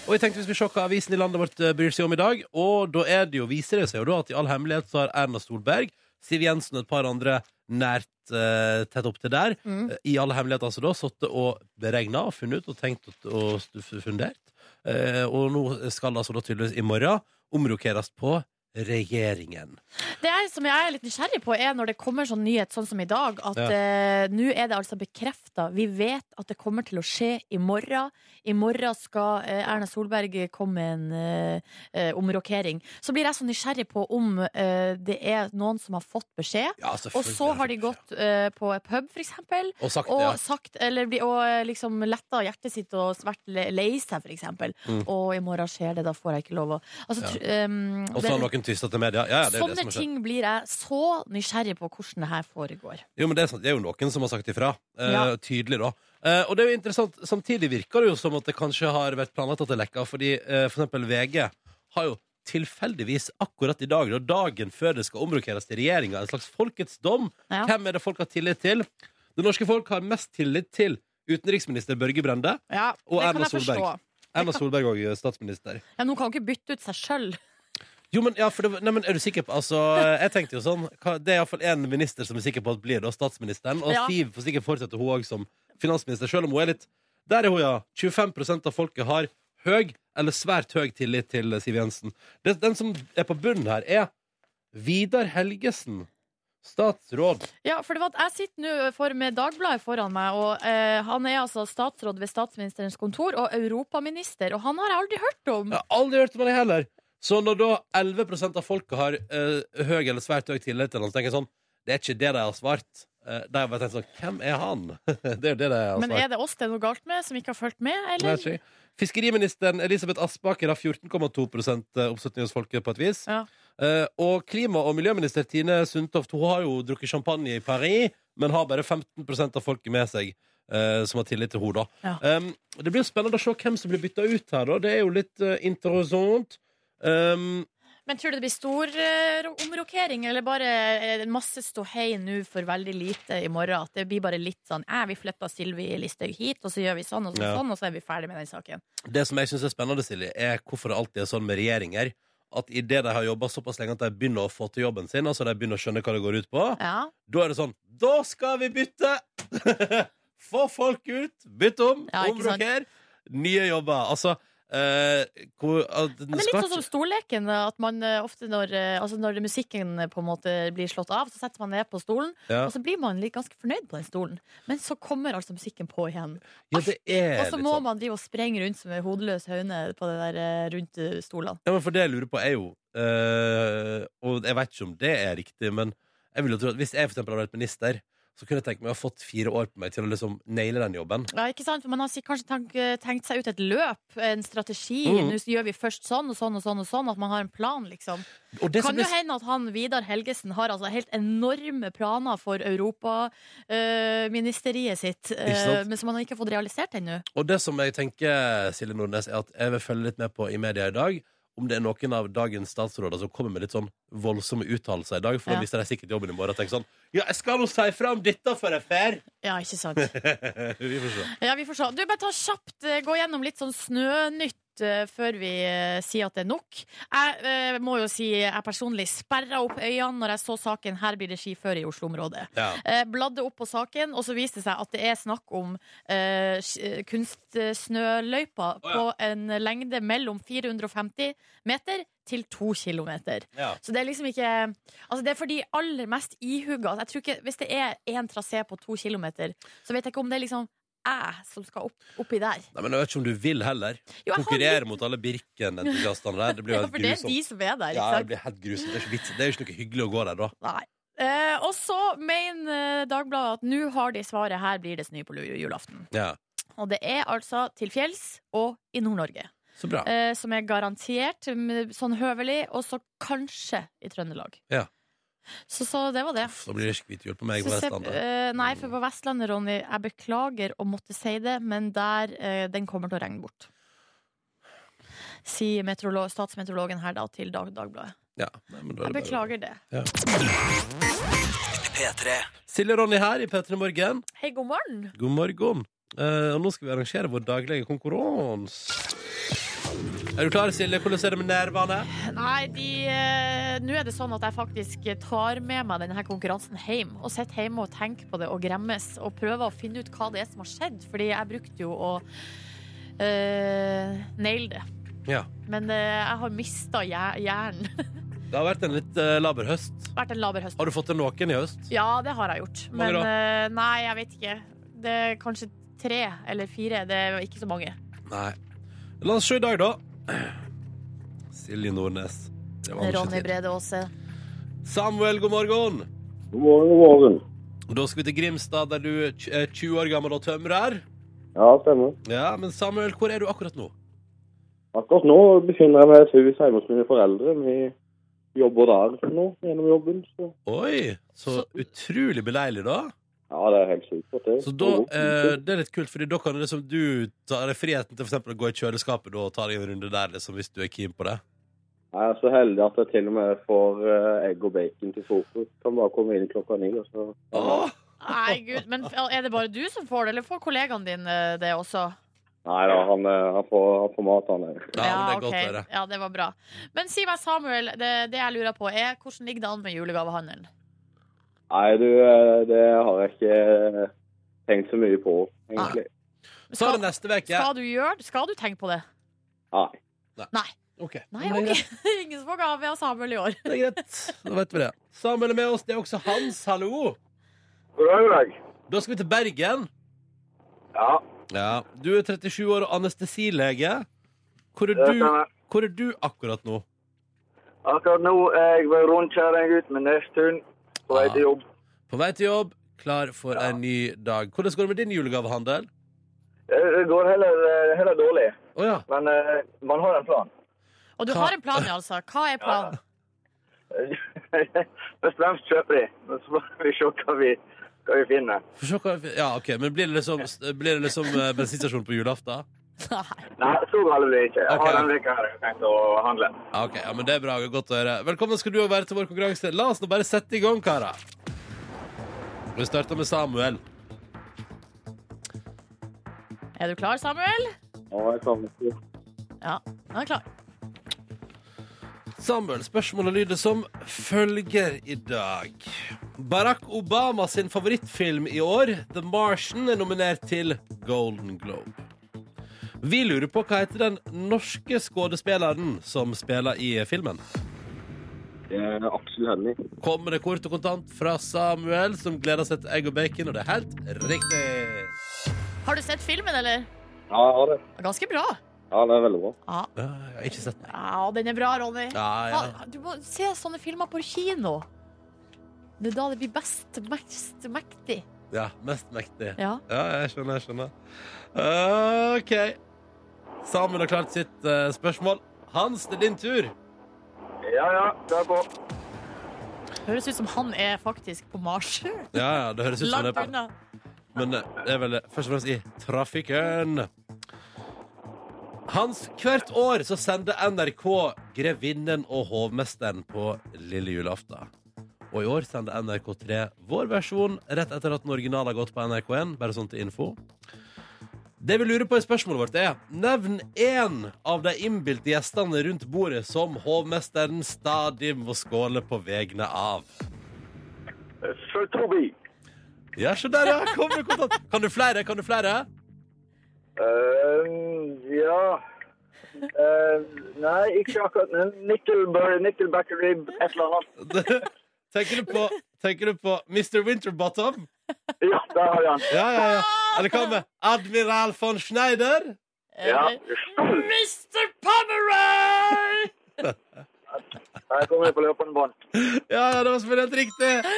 S2: Og jeg tenkte vi skulle se hva avisen i landet vårt eh, bryr seg om i dag. Og da er det jo, viser det seg jo da at i all hemmelighet så har Erna Solberg, Siv Jensen og et par andre nært eh, tett opp til der,
S3: Mm.
S2: eh, i all hemmelighet altså da, sittet og beregna og funnet ut og tenkt og, og stu- fundert. Eh, og nå skal det altså da tydeligvis i morgen omrokeres på regjeringen.
S3: Det er, som jeg er litt nysgjerrig på, er når det kommer sånn nyhet sånn som i dag, at
S2: Ja.
S3: eh, nå er det altså bekrefta. Vi vet at det kommer til å skje i morgen. I morgen skal eh, Erna Solberg komme med en eh, eh, omrokering. Så blir jeg så nysgjerrig på om eh, det er noen som har fått beskjed.
S2: Ja,
S3: Og så har de gått eh, på pub, for eksempel,
S2: Og sagt
S3: og
S2: det, ja.
S3: sagt Eller bli- og eh, liksom letta hjertet sitt og vært le- lei seg, for eksempel.
S2: Mm.
S3: Og i morgen skjer det, da får jeg ikke lov å altså,
S2: Ja.
S3: tr- ehm,
S2: Og så
S3: det-
S2: har noen tysta til media. Ja, ja, det er det
S3: Sånne
S2: som har skjedd.
S3: ting blir jeg så nysgjerrig på hvordan det her foregår.
S2: Jo, men det er, sant. det er jo noen som har sagt ifra. Eh,
S3: Ja.
S2: Tydelig, da. Eh, og det er jo interessant. Samtidig virker det jo som at det kanskje har vært planlagt at det lekker, fordi eh, for eksempel VG har jo tilfeldigvis akkurat i dag, da dagen før det skal omrokeres til regjeringa, en slags folkets dom.
S3: Ja.
S2: Hvem er det folk har tillit til? Det norske folk har mest tillit til utenriksminister Børge Brende.
S3: Ja,
S2: Og
S3: det kan
S2: Erna
S3: jeg forstå.
S2: Solberg. Erna Solberg òg statsminister.
S3: Ja, nå kan hun ikke bytte ut seg sjøl.
S2: Jo, men, ja, for det, var- nei, men er du sikker på Altså, jeg tenkte jo sånn hva- Det er iallfall én minister som er sikker på at blir da statsministeren. Og
S3: Ja.
S2: Siv får sikkert fortsette hun òg som finansminister, selv om hun er litt Der er hun, ja. 25 av folket har høy eller svært høy tillit til Siv Jensen. Det, den som er på bunnen her, er Vidar Helgesen. Statsråd.
S3: Ja, for det var at jeg sitter nå for, med Dagbladet foran meg, og eh, han er altså statsråd ved statsministerens kontor og europaminister, og han har jeg aldri hørt om.
S2: Jeg har aldri hørt om det heller. Så når da 11 av folket har eh, høy eller svært høy tillit til han, så tenker jeg sånn Det er ikke det de har svart. Eh, de har bare tenkt sånn Hvem er han? det er jo det de har svart.
S3: Men er det oss det er noe galt med, som ikke har fulgt med,
S2: altså. Nei,
S3: eller?
S2: jeg vet ikke. Fiskeriministeren Elisabeth Aspaker har 14,2 eh, oppslutning hos folket på et vis.
S3: Ja.
S2: Eh, og klima- og miljøminister Tine Sundtoft hun har jo drukket champagne i Paris, men har bare 15 av folket med seg eh, som har tillit til henne. da.
S3: Ja.
S2: Um, det blir jo spennende å se hvem som blir bytta ut her. da. Det er jo litt eh, interessant. Um,
S3: Men tror du det blir stor eh, ro- omrokering, eller bare eh, masse ståhei nå for veldig lite i morgen? At det blir bare litt sånn eh, vi flytter Sylvi Listhaug hit, og så gjør vi sånn og sånn,
S2: Ja.
S3: sånn, og så er vi ferdig med den saken.
S2: Det som jeg synes er spennende, Silje, er hvorfor det alltid er sånn med regjeringer at idet de har jobba såpass lenge at de begynner å få til jobben sin, altså de begynner å skjønne hva det går ut på,
S3: Ja.
S2: da er det sånn Da skal vi bytte! Få folk ut! Bytte om!
S3: Ja, ikke sant?
S2: Omrokker! Nye jobber. Altså eh, hvor, at,
S3: Ja, det er
S2: skal
S3: litt sånn som
S2: ikke-
S3: stolleken. At man eh, ofte når, eh, altså når musikken eh, på en måte blir slått av, så setter man ned på stolen,
S2: ja.
S3: og så blir man litt ganske fornøyd på den stolen. Men så kommer altså musikken på igjen.
S2: ja, det er
S3: Og så
S2: litt
S3: altså, må
S2: sånn.
S3: man drive og sprenge rundt som en hodeløs høne på det der eh, rundt eh, stolene.
S2: Ja, men for det jeg lurer på, er jo eh, Og jeg vet ikke om det er riktig, men jeg vil jo tro at hvis jeg for eksempel hadde vært minister, så kunne jeg tenkt meg å ha fått fire år på meg til å liksom naile den jobben.
S3: Ja, ikke sant? Man har sikk- kanskje tenkt, tenkt seg ut et løp, en strategi.
S2: Mm.
S3: Nå gjør vi først sånn og sånn og sånn, og sånn at man har en plan, liksom.
S2: Og det
S3: kan
S2: som
S3: jo
S2: er
S3: hende at han Vidar Helgesen har altså helt enorme planer for europaministeriet sitt, eh,
S2: Ikke sant?
S3: men som han ikke har fått realisert ennå.
S2: Og det som jeg tenker, Silje Nordnes, er at jeg vil følge litt med på i media i dag om det er noen av dagens statsråder som kommer med litt sånn voldsomme uttalelser i dag. For
S3: Ja.
S2: da mister de sikkert jobben i morgen og tenker sånn Ja, jeg skal nå si fra om dette for jeg fer!
S3: Ja, ikke sant?
S2: Vi får se.
S3: Ja, vi får se. Du, bare ta kjapt, eh, gå gjennom litt sånn snønytt eh, før vi eh, sier at det er nok. Jeg eh, må jo si jeg personlig sperra opp øynene når jeg så saken 'Her blir det skiføre i Oslo-området'.
S2: Ja.
S3: Eh, bladde opp på saken, og så viste det seg at det er snakk om eh, sk- eh, kunstsnøløyper
S2: Å, ja.
S3: på en lengde mellom 450 meter til 2 kilometer.
S2: Ja.
S3: Så det er liksom ikke Altså, det er for de aller mest ihuga. Jeg tror ikke, hvis det er én trasé på to kilometer, så vet jeg ikke om det er liksom jeg som skal opp, oppi der.
S2: Nei, men jeg vet ikke om du vil heller.
S3: Jo, jeg
S2: Konkurrere
S3: har litt-
S2: mot alle Birken-entusiastene der. Det blir jo
S3: Ja,
S2: helt
S3: for det er
S2: grusomt.
S3: de som er
S2: Ja,
S3: der, ikke
S2: det
S3: sant?
S2: blir helt grusomt. Det er ikke vits. Det er jo ikke noe hyggelig å gå der da.
S3: Nei. Eh, og så mener eh, Dagbladet at nå har de svaret. Her blir det snø på lu- julaften.
S2: Ja.
S3: Og det er altså til fjells og i Nord-Norge.
S2: Så bra.
S3: eh, som er garantert m- sånn høvelig, og så kanskje i Trøndelag.
S2: Ja.
S3: Så, så det var det.
S2: Så blir det ikke hvit jul på meg på
S3: Så se-
S2: Vestlandet.
S3: eh, nei, for på Vestlandet, Ronny, jeg beklager å måtte si det, men der eh, den kommer til å regne bort. Sier meteorolo- statsmeteorologen her da til Dag Dagbladet.
S2: Ja. Nei, men da er
S3: Jeg
S2: det bare-
S3: beklager det.
S2: Silje og Ronny her i P3 Morgen.
S3: Hei, god morgen!
S2: God morgen. Eh, og nå skal vi arrangere vår daglige konkurranse. Er du klar, Silje? Hvordan er det med nervene?
S3: Nei, de eh, Nå er det sånn at jeg faktisk tar med meg denne konkurransen hjem. Og sitter hjemme og tenker på det og gremmes og prøver å finne ut hva det er som har skjedd. Fordi jeg brukte jo å eh, naile det.
S2: Ja.
S3: Men eh, jeg har mista hjernen.
S2: Det har vært en litt eh, laber høst.
S3: Vært en laber høst.
S2: Har du fått til noen i høst?
S3: Ja, det har jeg gjort.
S2: Hvor mange
S3: Men
S2: da?
S3: eh, nei, jeg vet ikke. Det er kanskje tre eller fire. Det er ikke så mange.
S2: Nei. La oss se i dag, da. Silje Nordnes. Det var ikke
S3: Ronny
S2: tid.
S3: Brede Aase.
S2: Samuel, god morgen.
S1: God morgen, god morgen.
S2: Da skal vi til Grimstad, der du er tj- er 20 år gammel og tømrer.
S1: Ja, stemmer.
S2: Ja, men Samuel, hvor er du akkurat nå?
S1: Akkurat nå befinner jeg meg i et hus hjemme hos mine foreldre. Vi jobber der nå gjennom jobben. Så.
S2: Oi, så,
S3: Så-
S2: utrolig beleilig, da.
S1: Ja, det er helt supert. Det.
S2: Så da, eh, det er litt kult, fordi da kan du liksom du ta deg friheten til for eksempel å gå i kjøleskapet da, og ta deg en runde der, liksom, hvis du er keen på det.
S1: Jeg er så heldig at jeg til og med får eh, egg og bacon til frokost. Kan bare komme inn klokka ni. og Så.
S2: Åh!
S3: Nei, gud. Men er det bare du som får det, eller får kollegaene dine det også?
S1: Nei da, han, eh, han, får, han får mat, han eh. der.
S2: Ja, men det er godt å
S3: ok.
S2: høre.
S3: Ja, det var bra. Men si meg, Samuel, det, det jeg lurer på er hvordan ligger det an med julegavehandelen?
S1: Nei, du, eh, det har jeg ikke eh, tenkt så mye på, egentlig.
S2: Så er
S3: Skal,
S2: det neste veke.
S3: skal du gjøre det? Skal du tenke på det?
S1: Nei.
S2: Ok,
S3: Nei,
S2: men det er
S3: ok.
S2: greit,
S3: Ingen som får gave av Samuel i år.
S2: Det er greit. Da vet vi det. Samuel er med oss. Det er også Hans. Hallo!
S1: God dag, god dag.
S2: Da skal vi til Bergen.
S1: Ja,
S2: Ja. Du er 37 år og anestesilege. Hvor er du, hvor er du akkurat nå?
S1: Akkurat nå er jeg ved rundkjøring ut med nesthund
S2: på vei til
S1: jobb.
S2: På vei til jobb, klar for en ny dag. Hvordan går det med din julegavehandel?
S1: Eh, Det går heller, dårlig,
S2: Å ja.
S1: men eh, man har en plan.
S3: Og du
S2: Hva-
S3: har en plan, ja, altså. Hva er planen?
S1: Først og fremst kjøper de, men så får vi se hva vi, finner.
S2: Få se hva Ja, OK. Men blir det liksom, blir det liksom eh, bensinstasjon på julaften?
S3: Nei.
S1: Nei, så gale blir det ikke.
S2: Jeg har Ok. denne
S1: veka her tenkt å handle.
S2: Ja, ok, ja, men Det er bra. Godt å høre. Velkommen skal du og være til vår konkurranse. La oss nå bare sette i gang, karer. Vi starter med Samuel.
S3: Er du klar, Samuel?
S1: Ja, jeg kan ikke.
S3: Ja, han er klar.
S2: Samuel, Spørsmålet lyder som følger i dag. Barack Obama sin favorittfilm i år, The Martian, er nominert til Golden Globe. Vi lurer på hva heter den norske skuespilleren som spiller i filmen.
S1: Det er Aksel Hennie.
S2: kommer det kort og kontant fra Samuel, som gleder seg til egg og bacon, og det er helt riktig.
S3: Har du sett filmen, eller?
S1: Ja, jeg har det.
S3: Ganske bra.
S1: Ja, det er veldig bra.
S3: Ja,
S2: Ja, Ah, jeg har ikke sett den.
S3: ja den er bra, Ronny.
S2: Ja, ja.
S3: Faen, Du må se sånne filmer på kino. Det er da det blir best, mest mektig.
S2: Ja, mest mektig.
S3: Ja.
S2: Ja, jeg skjønner, jeg skjønner. Eh, OK. Samuel har klart sitt eh, spørsmål. Hans, det er din tur.
S5: Ja, ja, det er på.
S3: Høres ut som han er faktisk på Mars.
S2: Ja, ja, det høres ut som det
S3: Langt
S2: er
S3: unna.
S2: Men det er vel først og fremst i trafikken. Hans, hvert år så sender NRK Grevinnen og hovmesteren på lille julaften. Og i år sender NRK3 vår versjon rett etter at den originale har gått på NRK1. Bare sånn til info. Det vi lurer på i spørsmålet vårt, er Nevn én av de innbilte gjestene rundt bordet som hovmesteren stadig må skåle på vegne av.
S5: Sir Toby.
S2: Ja, se der, ja! Kom med kontant. Kan du flere? Kan du flere?
S1: Ehm,
S5: Eh, ja. Eh, nei, ikke akkurat. men Nickelberry, Nickelback rib, et eller annet.
S2: Tenker du på, tenker du på Mr. Winterbottom?
S5: Ja, der har vi han.
S2: Ja, ja, ja. Eller hva med Admiral von Schneider?
S5: Ja.
S3: Eller- Mr. Pomeroy!
S5: Der kommer vi på løpende bånd.
S2: Ja, ja, det var selvfølgelig helt riktig.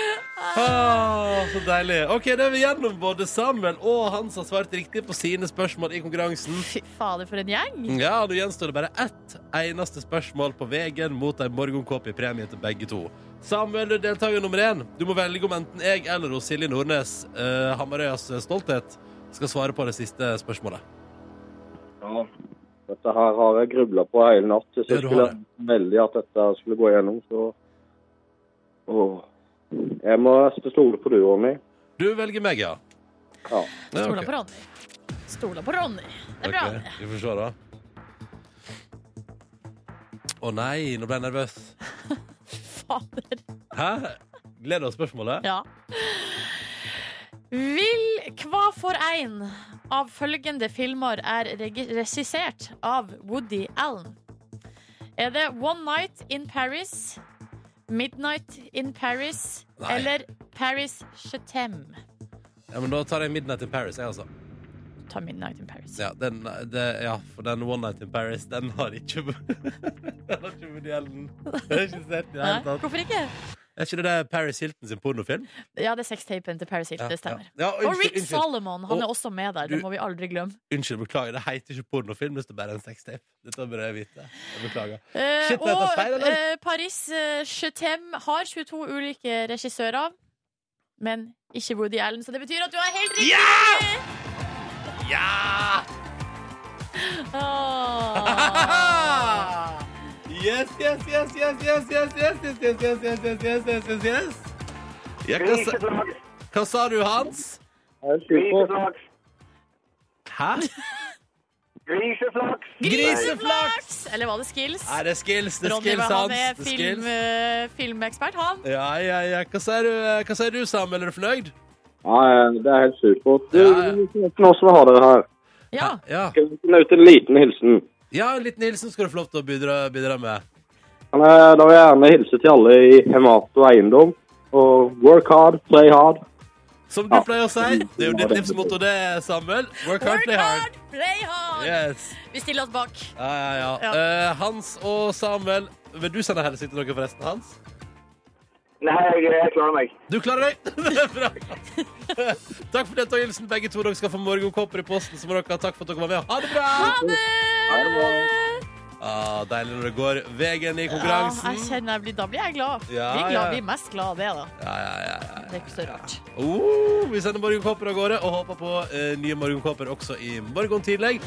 S2: Ah, så deilig. OK, da er vi gjennom både Samuel og Hans har svart riktig på sine spørsmål i konkurransen.
S3: Fy fader, for en gjeng.
S2: Ja, Nå gjenstår det bare ett eneste spørsmål på veien mot ei morgenkåpe i premie til begge to. Samuel, du er deltaker nummer én. Du må velge om enten jeg eller hos Silje Nordnes, eh, Hamarøyas stolthet, skal svare på det siste spørsmålet.
S1: Ja. Dette her har jeg grubla på hele natt. Jeg
S2: Ja,
S1: synes
S2: du
S1: skulle
S2: har det.
S1: veldig at dette skulle gå gjennom, så Åh. Jeg må stole på duoen min.
S2: Du velger meg, ja.
S1: Ja.
S2: Ja,
S3: Stoler
S2: ok.
S3: på Ronny. Stoler på Ronny. Det er bra.
S2: Ok, Vi får se, da. Å nei, nå ble jeg nervøs.
S3: Fader.
S2: Hæ? Gleder oss spørsmålet?
S3: Ja. Vil hva for en av følgende filmer er regi- regissert av Woody Allen? Er det One Night in Paris, Midnight in Paris
S2: Nei.
S3: eller Paris Chetem?
S2: Ja, men Da tar jeg Midnight in Paris. Jeg, altså.
S3: Ta Midnight in Paris.
S2: ja, den, det, ja, for den One Night in Paris, den har ikke Den har ikke Woody Allen regissert i det
S3: Nei,
S2: hele tatt.
S3: hvorfor ikke?
S2: Er ikke det der Paris Hilton sin pornofilm?
S3: Ja, det er sextapen til Paris Hill,
S2: Ja,
S3: det stemmer.
S2: ja. Ja,
S3: Og Rick
S2: unnskyld, unnskyld,
S3: Solomon, han
S2: Og-
S3: er også med der, det
S2: du-
S3: må vi aldri glemme.
S2: unnskyld, beklager. Det heter ikke pornofilm, det står bare en sextape. Dette bør jeg vite. Jeg beklager.
S3: Eh,
S2: Shit, var
S3: og
S2: dette feil, eller?
S3: eh, Paris eh, Chetem har 22 ulike regissører, men ikke Woody Allen, så det betyr at du har helt riktig!
S2: Ja!
S3: Åh.
S2: Yes, yes, yes, yes, yes, yes, yes, yes, yes, yes, yes, yes, yes, yes, yes, yes. Ja, hva, sa,
S5: Hvilket lag?
S2: hva sa du, Hans?
S5: Hvilket lag?
S2: Hæ?
S5: Griseflaks!
S2: Griseflaks!
S3: Eller var det Skills?
S2: Nei, det er skills, det er
S3: Ronny
S2: skills,
S3: var han
S2: Hans.
S3: er
S2: Det er
S3: film,
S2: skills.
S3: eh, filmekspert, han.
S2: Ja, ja, ja. Hva sier du, hva sier du Samuel? Er du fornøyd?
S1: ja, det er helt supert. Du,
S2: Ja, ja.
S1: Hvordan har dere her?
S3: Ja.
S2: Ja.
S1: Skal vi finne ut en liten hilsen?
S2: ja, en liten hilsen skal du få lov til å bidra, bidra med.
S1: Men, eh, Da vil jeg gjerne hilse til alle i Hemato Eiendom. Og work hard, play hard.
S2: Som du
S1: Ja.
S2: pleier å si. Det er jo ditt livsmotto, det, Samuel. Work hard, play hard.
S3: play hard!
S2: Yes.
S3: Vi stiller oss bak.
S2: Ja, ja, ja. Eh, Hans og Samuel, vil du sende helsing til noen forresten, Hans?
S5: Nei, jeg, jeg klarer meg.
S2: Du klarer deg! Det er bra. Takk for deltakelsen, begge to. Dere skal få morgenkåper i posten. Så må dere ha takk for at dere var med. Ha det bra!
S1: Ha det bra.
S2: Ah, deilig når det går veien i
S3: Ja, jeg
S2: konkurransen.
S3: kjenner jeg blir, da blir jeg glad.
S2: Ja,
S3: blir glad,
S2: ja.
S3: blir mest glad av det, da.
S2: Ja, ja, ja, ja.
S3: Det er ikke så rart.
S2: Oh, vi sender morgenkåper av gårde og håper på eh, nye morgenkåper også i morgen tidlig.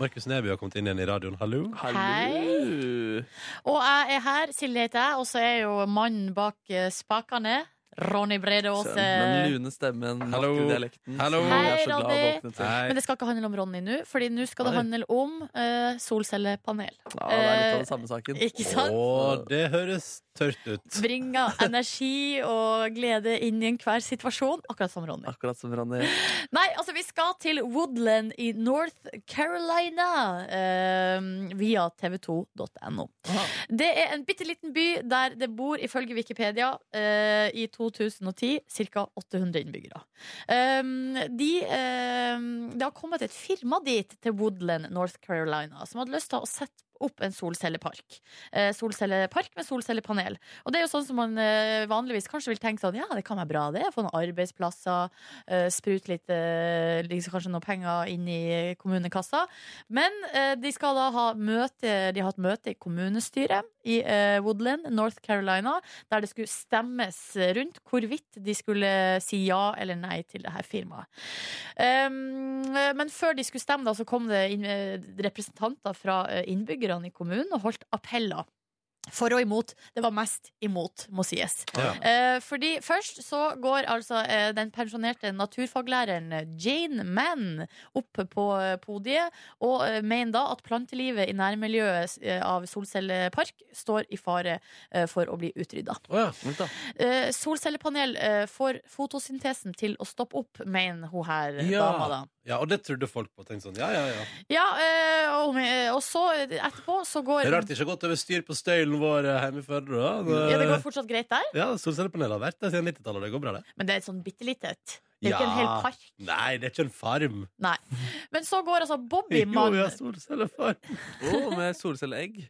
S2: Markus Neby har kommet inn igjen i radioen. Hallo.
S4: Hallo.
S3: Og jeg er her, Silje heter jeg, og så er jo mannen bak eh, spakene Ronny Brede Aase.
S4: Den lune stemmen,
S2: Hallo.
S4: vakre dialekten.
S2: Hallo.
S4: som jeg er så
S3: Hei,
S4: glad å
S3: Ronny.
S4: våkne til.
S2: Nei.
S3: Men det skal ikke handle om Ronny nå, Fordi nå skal det
S4: Nei.
S3: handle om eh, solcellepanel.
S4: Ja, det er litt av den samme saken.
S3: Eh, Ikke sant?
S2: Å, det høres tørt ut.
S3: Bringer energi og glede inn i enhver situasjon, akkurat som Ronny.
S4: Akkurat som Ronny.
S3: Nei, altså, vi skal til Woodland i North Carolina eh, via tv2.no. Det er en bitte liten by der det bor, ifølge Wikipedia, eh, i 2010 ca. 800 innbyggere. Um, de, ehm, eh, det har kommet et firma dit, til Woodland, North Carolina, som hadde lyst til å sette opp en solcellepark. Eh, solcellepark med solcellepanel. Og det er jo sånn som man eh, vanligvis kanskje vil tenke sånn, ja, det kan være bra det, få noen arbeidsplasser, eh, sprute litt, eh, liksom kanskje noen penger inn i kommunekassa. Men eh, de skal da ha møte, de har hatt møte i kommunestyret i eh, Woodland, North Carolina, der det skulle stemmes rundt hvorvidt de skulle si ja eller nei til det her firmaet. Um, men før de skulle stemme, da, så kom det inn, eh, representanter fra eh, innbyggerne i kommunen og holdt appeller. For og imot. Det var mest imot, må sies.
S2: Ja.
S3: Eh, fordi først så går altså eh, den pensjonerte naturfaglæreren Jane Mann opp på eh, podiet og eh, mener da at plantelivet i nærmiljøet eh, av solcellepark står i fare eh, for å bli utrydda.
S2: Å ja.
S4: Vent da.
S3: Eh, solcellepanel eh, får fotosyntesen til å stoppe opp, mener hun her eh,
S2: Ja.
S3: dama, da.
S2: ja, og det trodde folk på. Tenkte sånn, ja, ja, ja.
S3: Ja, eh, og, eh, og så eh, etterpå så
S2: Det
S3: går
S2: er rart eh, det ikke har gått over styr på støylen vår eh, hjemme i Førde. da.
S3: ja, det går fortsatt greit der,
S2: Ja, solcellepanelet har vært der siden 90-tallet. Det går bra, det.
S3: men det er et sånn bitte lite et. Det er
S2: Ja.
S3: ikke en hel park.
S2: Nei, det er ikke en farm.
S3: Nei. Men så går altså Bobby
S2: Jo,
S3: Mann
S2: vi har solcellefarm.
S4: Å, med solcelleegg.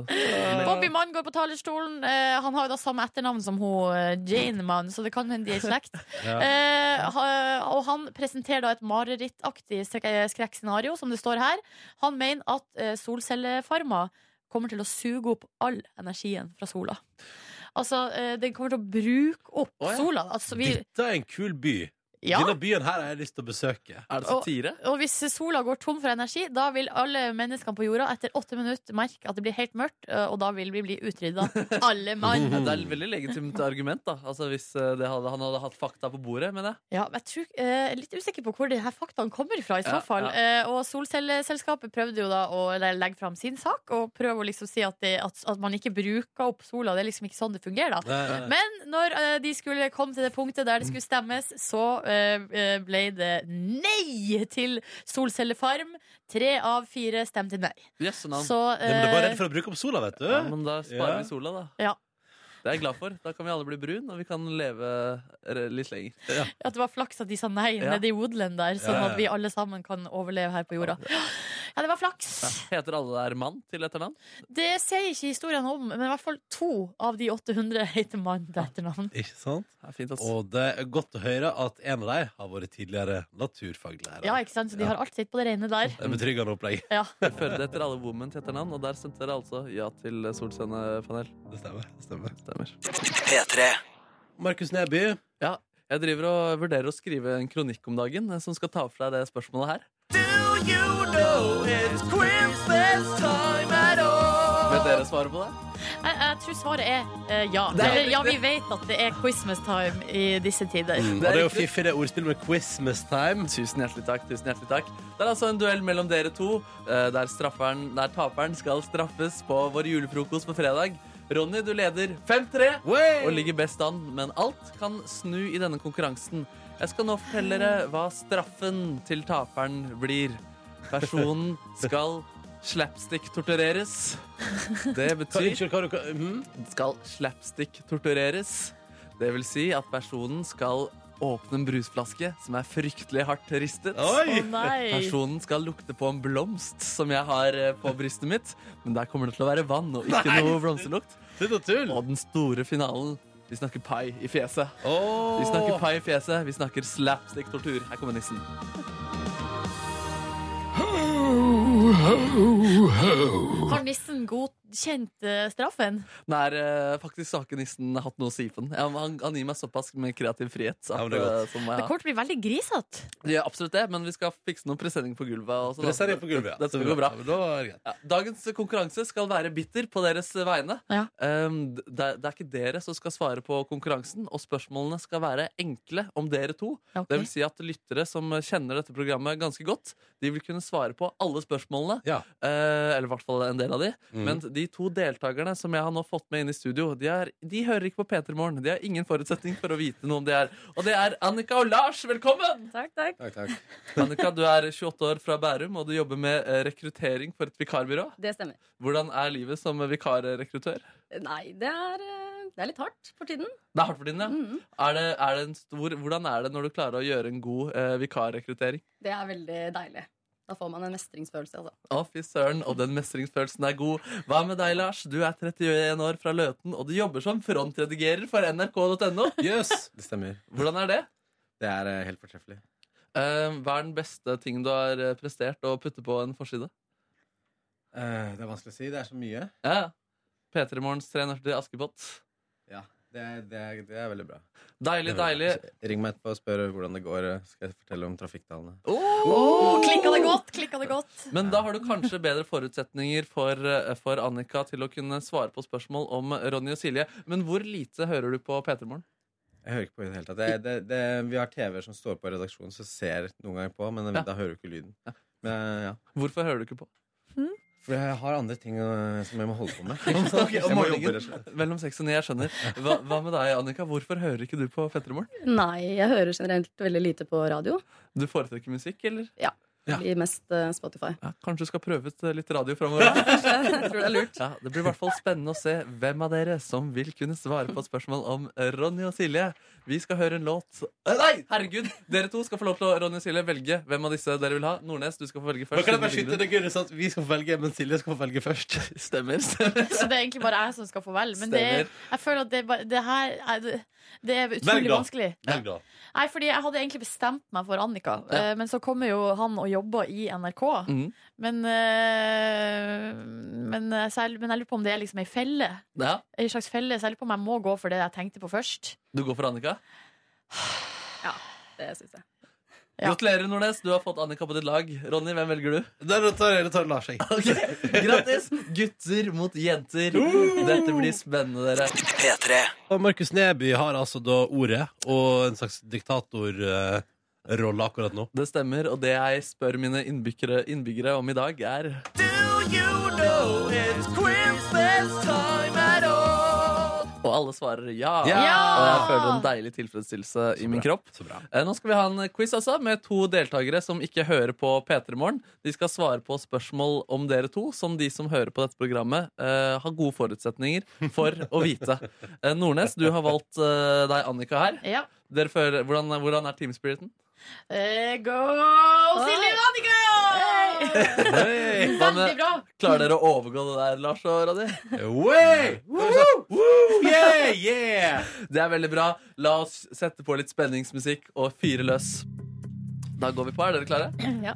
S4: Og-
S3: Eh,
S4: eh,
S3: Bobby Mann går på talerstolen. Eh, han har jo da samme etternavn som hun eh, Jane Mann, så det kan hende de er i slekt.
S2: Ja.
S3: Eh, ha- og han presenterer da et marerittaktig sek- eh, skrekkscenario, som det står her. Han mener at eh, solcellefarmer kommer til å suge opp all energien fra sola. Altså, eh, den kommer til å bruke opp
S4: Å, ja.
S3: sola. Altså, vi,
S2: Dette er en kul by.
S3: ja.
S2: Denne byen her har jeg lyst til å besøke. Eh,
S4: Er det satire?
S3: Og hvis sola går tom for energi, da vil alle menneskene på jorda etter åtte minutter merke at det blir helt mørkt, eh, og da vil vi bli utrydda. Alle mann.
S4: Ja, det er et veldig legitimt argument, da. Altså, hvis eh, det hadde, han hadde hatt fakta på bordet, mener jeg.
S3: Ja, men jeg tror, eh, jeg er litt usikker på hvor de her faktaene kommer fra. i så
S4: Ja,
S3: fall
S4: ja.
S3: eh, Og Solcelleselskapet prøvde jo da å le- legge fram sin sak og prøve å liksom si at, det, at, at man ikke bruker opp sola. Det er liksom ikke sånn det fungerer. da
S2: Nei, nei.
S3: Men når eh, de skulle komme til det punktet der det skulle stemmes, så eh, eh, ble det nei til solcellefarm. Tre av fire stemte nei.
S4: Jøsse navn.
S3: Så
S2: Nei, men det var
S3: eh,
S2: redd for å bruke opp sola, vet du.
S4: Ja, men da sparer
S2: Ja.
S4: vi sola, da.
S3: Ja.
S4: Det er jeg glad for. Da kan vi alle bli brun, og vi kan leve eh, litt lenger.
S3: At det var flaks at de sa nei
S4: Ja.
S3: nede i Woodland der, sånn
S2: Ja, ja.
S3: at vi alle sammen kan overleve her på jorda. Ja, det var flaks.
S4: Heter alle der mann til etternavn?
S3: Det sier ikke historien om, men i hvert fall to av de 800 heter mann til etternavn.
S2: Ikke sant?
S4: Det er fint, ass.
S2: Og det er godt å høre at en av dem har vært tidligere naturfaglærer.
S3: Ja, ikke sant? Så de har alt sitt på det rene der.
S2: Det er betryggende opplegg.
S3: Ja.
S4: Førde heter alle women til etternavn, og der stemte dere altså ja til solcellepanel.
S2: Det stemmer. det stemmer.
S4: Stemmer.
S2: Markus Neby,
S4: Jeg driver og vurderer å skrive en kronikk om dagen eh, som skal ta for deg det spørsmålet her. Vet dere svaret på det?
S3: Jeg, jeg tror svaret er eh, ja.
S4: Det er
S3: Eller ja, vi
S4: riktig.
S3: vet at det er Christmas time i disse tider.
S2: og det er jo
S4: riktig.
S2: fiffig det ordspillet med Christmas time.
S4: Tusen hjertelig takk. tusen hjertelig takk Det er altså en duell mellom dere to, eh, der, strafferen, der taperen skal straffes på vår julefrokost på fredag. Ronny, du leder 5-3 og ligger best an, men alt kan snu i denne konkurransen. Jeg skal nå fortelle dere hva straffen til taperen blir. Personen skal slapstick-tortureres. Det
S2: Hva,
S4: betyr
S2: unnskyld, hva du mm?
S4: skal slapstick tortureres. Det vil si at personen skal åpne en brusflaske som er fryktelig hardt ristet.
S3: Å
S2: Oi!
S3: nei!
S4: Personen skal lukte på en blomst som jeg har eh, på brystet mitt, men der kommer det til å være vann og ikke
S2: Nei!
S4: noe blomsterlukt.
S2: Slutt å tulle!
S4: Og den store finalen. Vi snakker pai i fjeset.
S2: Åh.
S4: Vi snakker pai i fjeset, vi snakker slapstick-tortur. Her kommer nissen.
S3: Har nissen godkjent eh, straffen?
S4: Nei, eh, faktisk så har ikke nissen hatt noe å si på den. Ja, men Han, han gir meg såpass med kreativ frihet. At,
S2: Ja, men det er
S4: eh,
S2: godt.
S4: så må jeg
S3: Det
S4: ha.
S3: kommer til å bli veldig grisete.
S4: Ja, absolutt det, men vi skal fikse noen presenning på gulvet. Også, da.
S2: Presser deg på gulvet. ja.
S4: Dette skal gå bra.
S2: Ja, men da er det greit.
S4: Ja, dagens konkurranse skal være bitter på deres vegne.
S3: Ja.
S4: Um, d- det, er- det er ikke dere som skal svare på konkurransen, og spørsmålene skal være enkle om dere to.
S3: Ok.
S4: Det vil si at lyttere som kjenner dette programmet ganske godt, de vil kunne svare på alle spørsmålene.
S2: Ja.
S4: eh, eller i hvert fall en del av de.
S2: Mm.
S4: Men de to deltakerne som jeg har nå fått med inn i studio, de, er, de hører ikke på P3 Morgen. De har ingen forutsetning for å vite noe om det her. Og det er Annika og Lars, velkommen!
S3: Takk, takk.
S2: Takk, takk.
S4: Annika, du er 28 år fra Bærum, og du jobber med eh, rekruttering for et vikarbyrå.
S6: Det stemmer.
S4: Hvordan er livet som vikarrekruttør?
S6: Nei, det er, eh, det er litt hardt for tiden.
S4: Det er hardt for din, ja. Er det, er det en stor, hvordan er det når du klarer å gjøre en god eh, vikarrekruttering?
S6: Det er veldig deilig. Da får man en mestringsfølelse, altså.
S4: Å, fy søren, og den mestringsfølelsen er god. Hva med deg, Lars? Du er 31 år fra Løten, og du jobber som frontredigerer for nrk.no.
S7: Jøss! Det stemmer.
S4: Hvordan er det?
S7: Det er eh, helt fortreffelig.
S4: Eh, hva er den beste ting du har eh, prestert å putte på en forside?
S7: Eh, det er vanskelig å si. Det er så mye.
S4: Ja. P3 Morgens 340 Askepott.
S7: Ja, det er, det er, det er veldig bra.
S4: Deilig,
S7: Det er veldig
S4: deilig.
S7: bra. Så Ring meg etterpå og spør hvordan det går. eh, Skal jeg fortelle om trafikktallene.
S3: Oh, klikka det godt! Klikka det godt.
S4: Men da har du kanskje bedre forutsetninger for, eh, for Annika til å kunne svare på spørsmål om Ronny og Silje. Men hvor lite hører du på P3 Morgen?
S7: Jeg hører ikke på i det hele tatt. Det, det, det, vi har TV-er som står på i redaksjonen, så ser noen ganger på, men
S4: Ja.
S7: da hører du ikke lyden. Men eh, ja.
S4: Hvorfor hører du ikke på?
S7: For jeg har andre ting eh, som jeg må holde på med.
S4: Ok, om
S7: Jeg må jobbe,
S4: morgenen
S7: rett og slett.
S4: Mellom seks og ni, jeg skjønner. Hva, hva med deg, Annika? Hvorfor hører ikke du på P3 Morgen?
S6: Nei, jeg hører generelt veldig lite på radio.
S4: Du foretrekker musikk, eller?
S7: Ja.
S6: Blir mest eh, Spotify.
S4: Ja, kanskje du skal prøve ut eh, litt radio framover?
S6: Jeg tror det er lurt.
S4: Ja, det blir i hvert fall spennende å se hvem av dere som vil kunne svare på spørsmål om Ronny og Silje. Vi skal høre en låt Eh, Nei, herregud! Dere to skal få lov til å Ronny og Silje, velge hvem av disse dere vil ha. Nordnes, du skal få velge
S2: Nå
S4: først.
S2: kan jeg bare
S4: siden du
S2: skyte
S4: ligger
S2: det gøyere sånn at vi skal få velge, men Silje skal få velge først.
S4: rundt. Stemmer. stemmer.
S3: Så det er egentlig bare jeg som skal få velge. Men det,
S4: Stemmer.
S3: jeg føler at det, er bare- det her er, det- det er
S2: Velg
S3: utrolig
S2: da.
S3: vanskelig.
S2: Velg da.
S3: Nei, fordi jeg hadde egentlig bestemt meg for Annika,
S4: Ja.
S3: eh, men så kommer jo han og jobber i NRK.
S4: Mhm.
S3: Men, eh, men, eh, så jeg, men jeg lurer på om det er liksom ei felle.
S4: Ja,
S3: Ei slags felle, så jeg lurer på om jeg må gå for det jeg tenkte på først.
S4: du går for Annika.
S6: Det syns jeg.
S3: Ja.
S4: Gratulerer, Nordnes. Du har fått Annika på ditt lag. Ronny, hvem velger du?
S2: Da da tar, da tar Lars, jeg.
S4: Ok, Grattis! Gutter mot jenter. Dette blir spennende, dere.
S2: Og Markus Neby har altså da ordet og en slags diktatorrolle akkurat nå.
S4: Det stemmer, og det jeg spør mine innbyggere, innbyggere om i dag, er Og alle svarer ja.
S2: Ja!
S4: Og jeg føler en deilig tilfredsstillelse i min kropp.
S2: Så bra.
S4: Eh, Nå skal vi ha en quiz altså, med to deltakere som ikke hører på P3 Morgen. De skal svare på spørsmål om dere to, som de som hører på dette programmet, eh, har gode forutsetninger for å vite. Eh, Nordnes, du har valgt eh, deg Annika her.
S3: Ja.
S4: Dere føler, hvordan, hvordan er teamspiriten?
S3: Eh, go Silje og Annika!
S4: Hva
S3: Veldig
S4: med,
S3: bra.
S4: klarer dere å overgå det der, Lars og Radi?
S2: Way! Woo! Woo! Yeah! Yeah!
S4: Det er veldig bra. La oss sette på litt spenningsmusikk og fyre løs. Da går vi på. Er dere klare?
S3: Ja.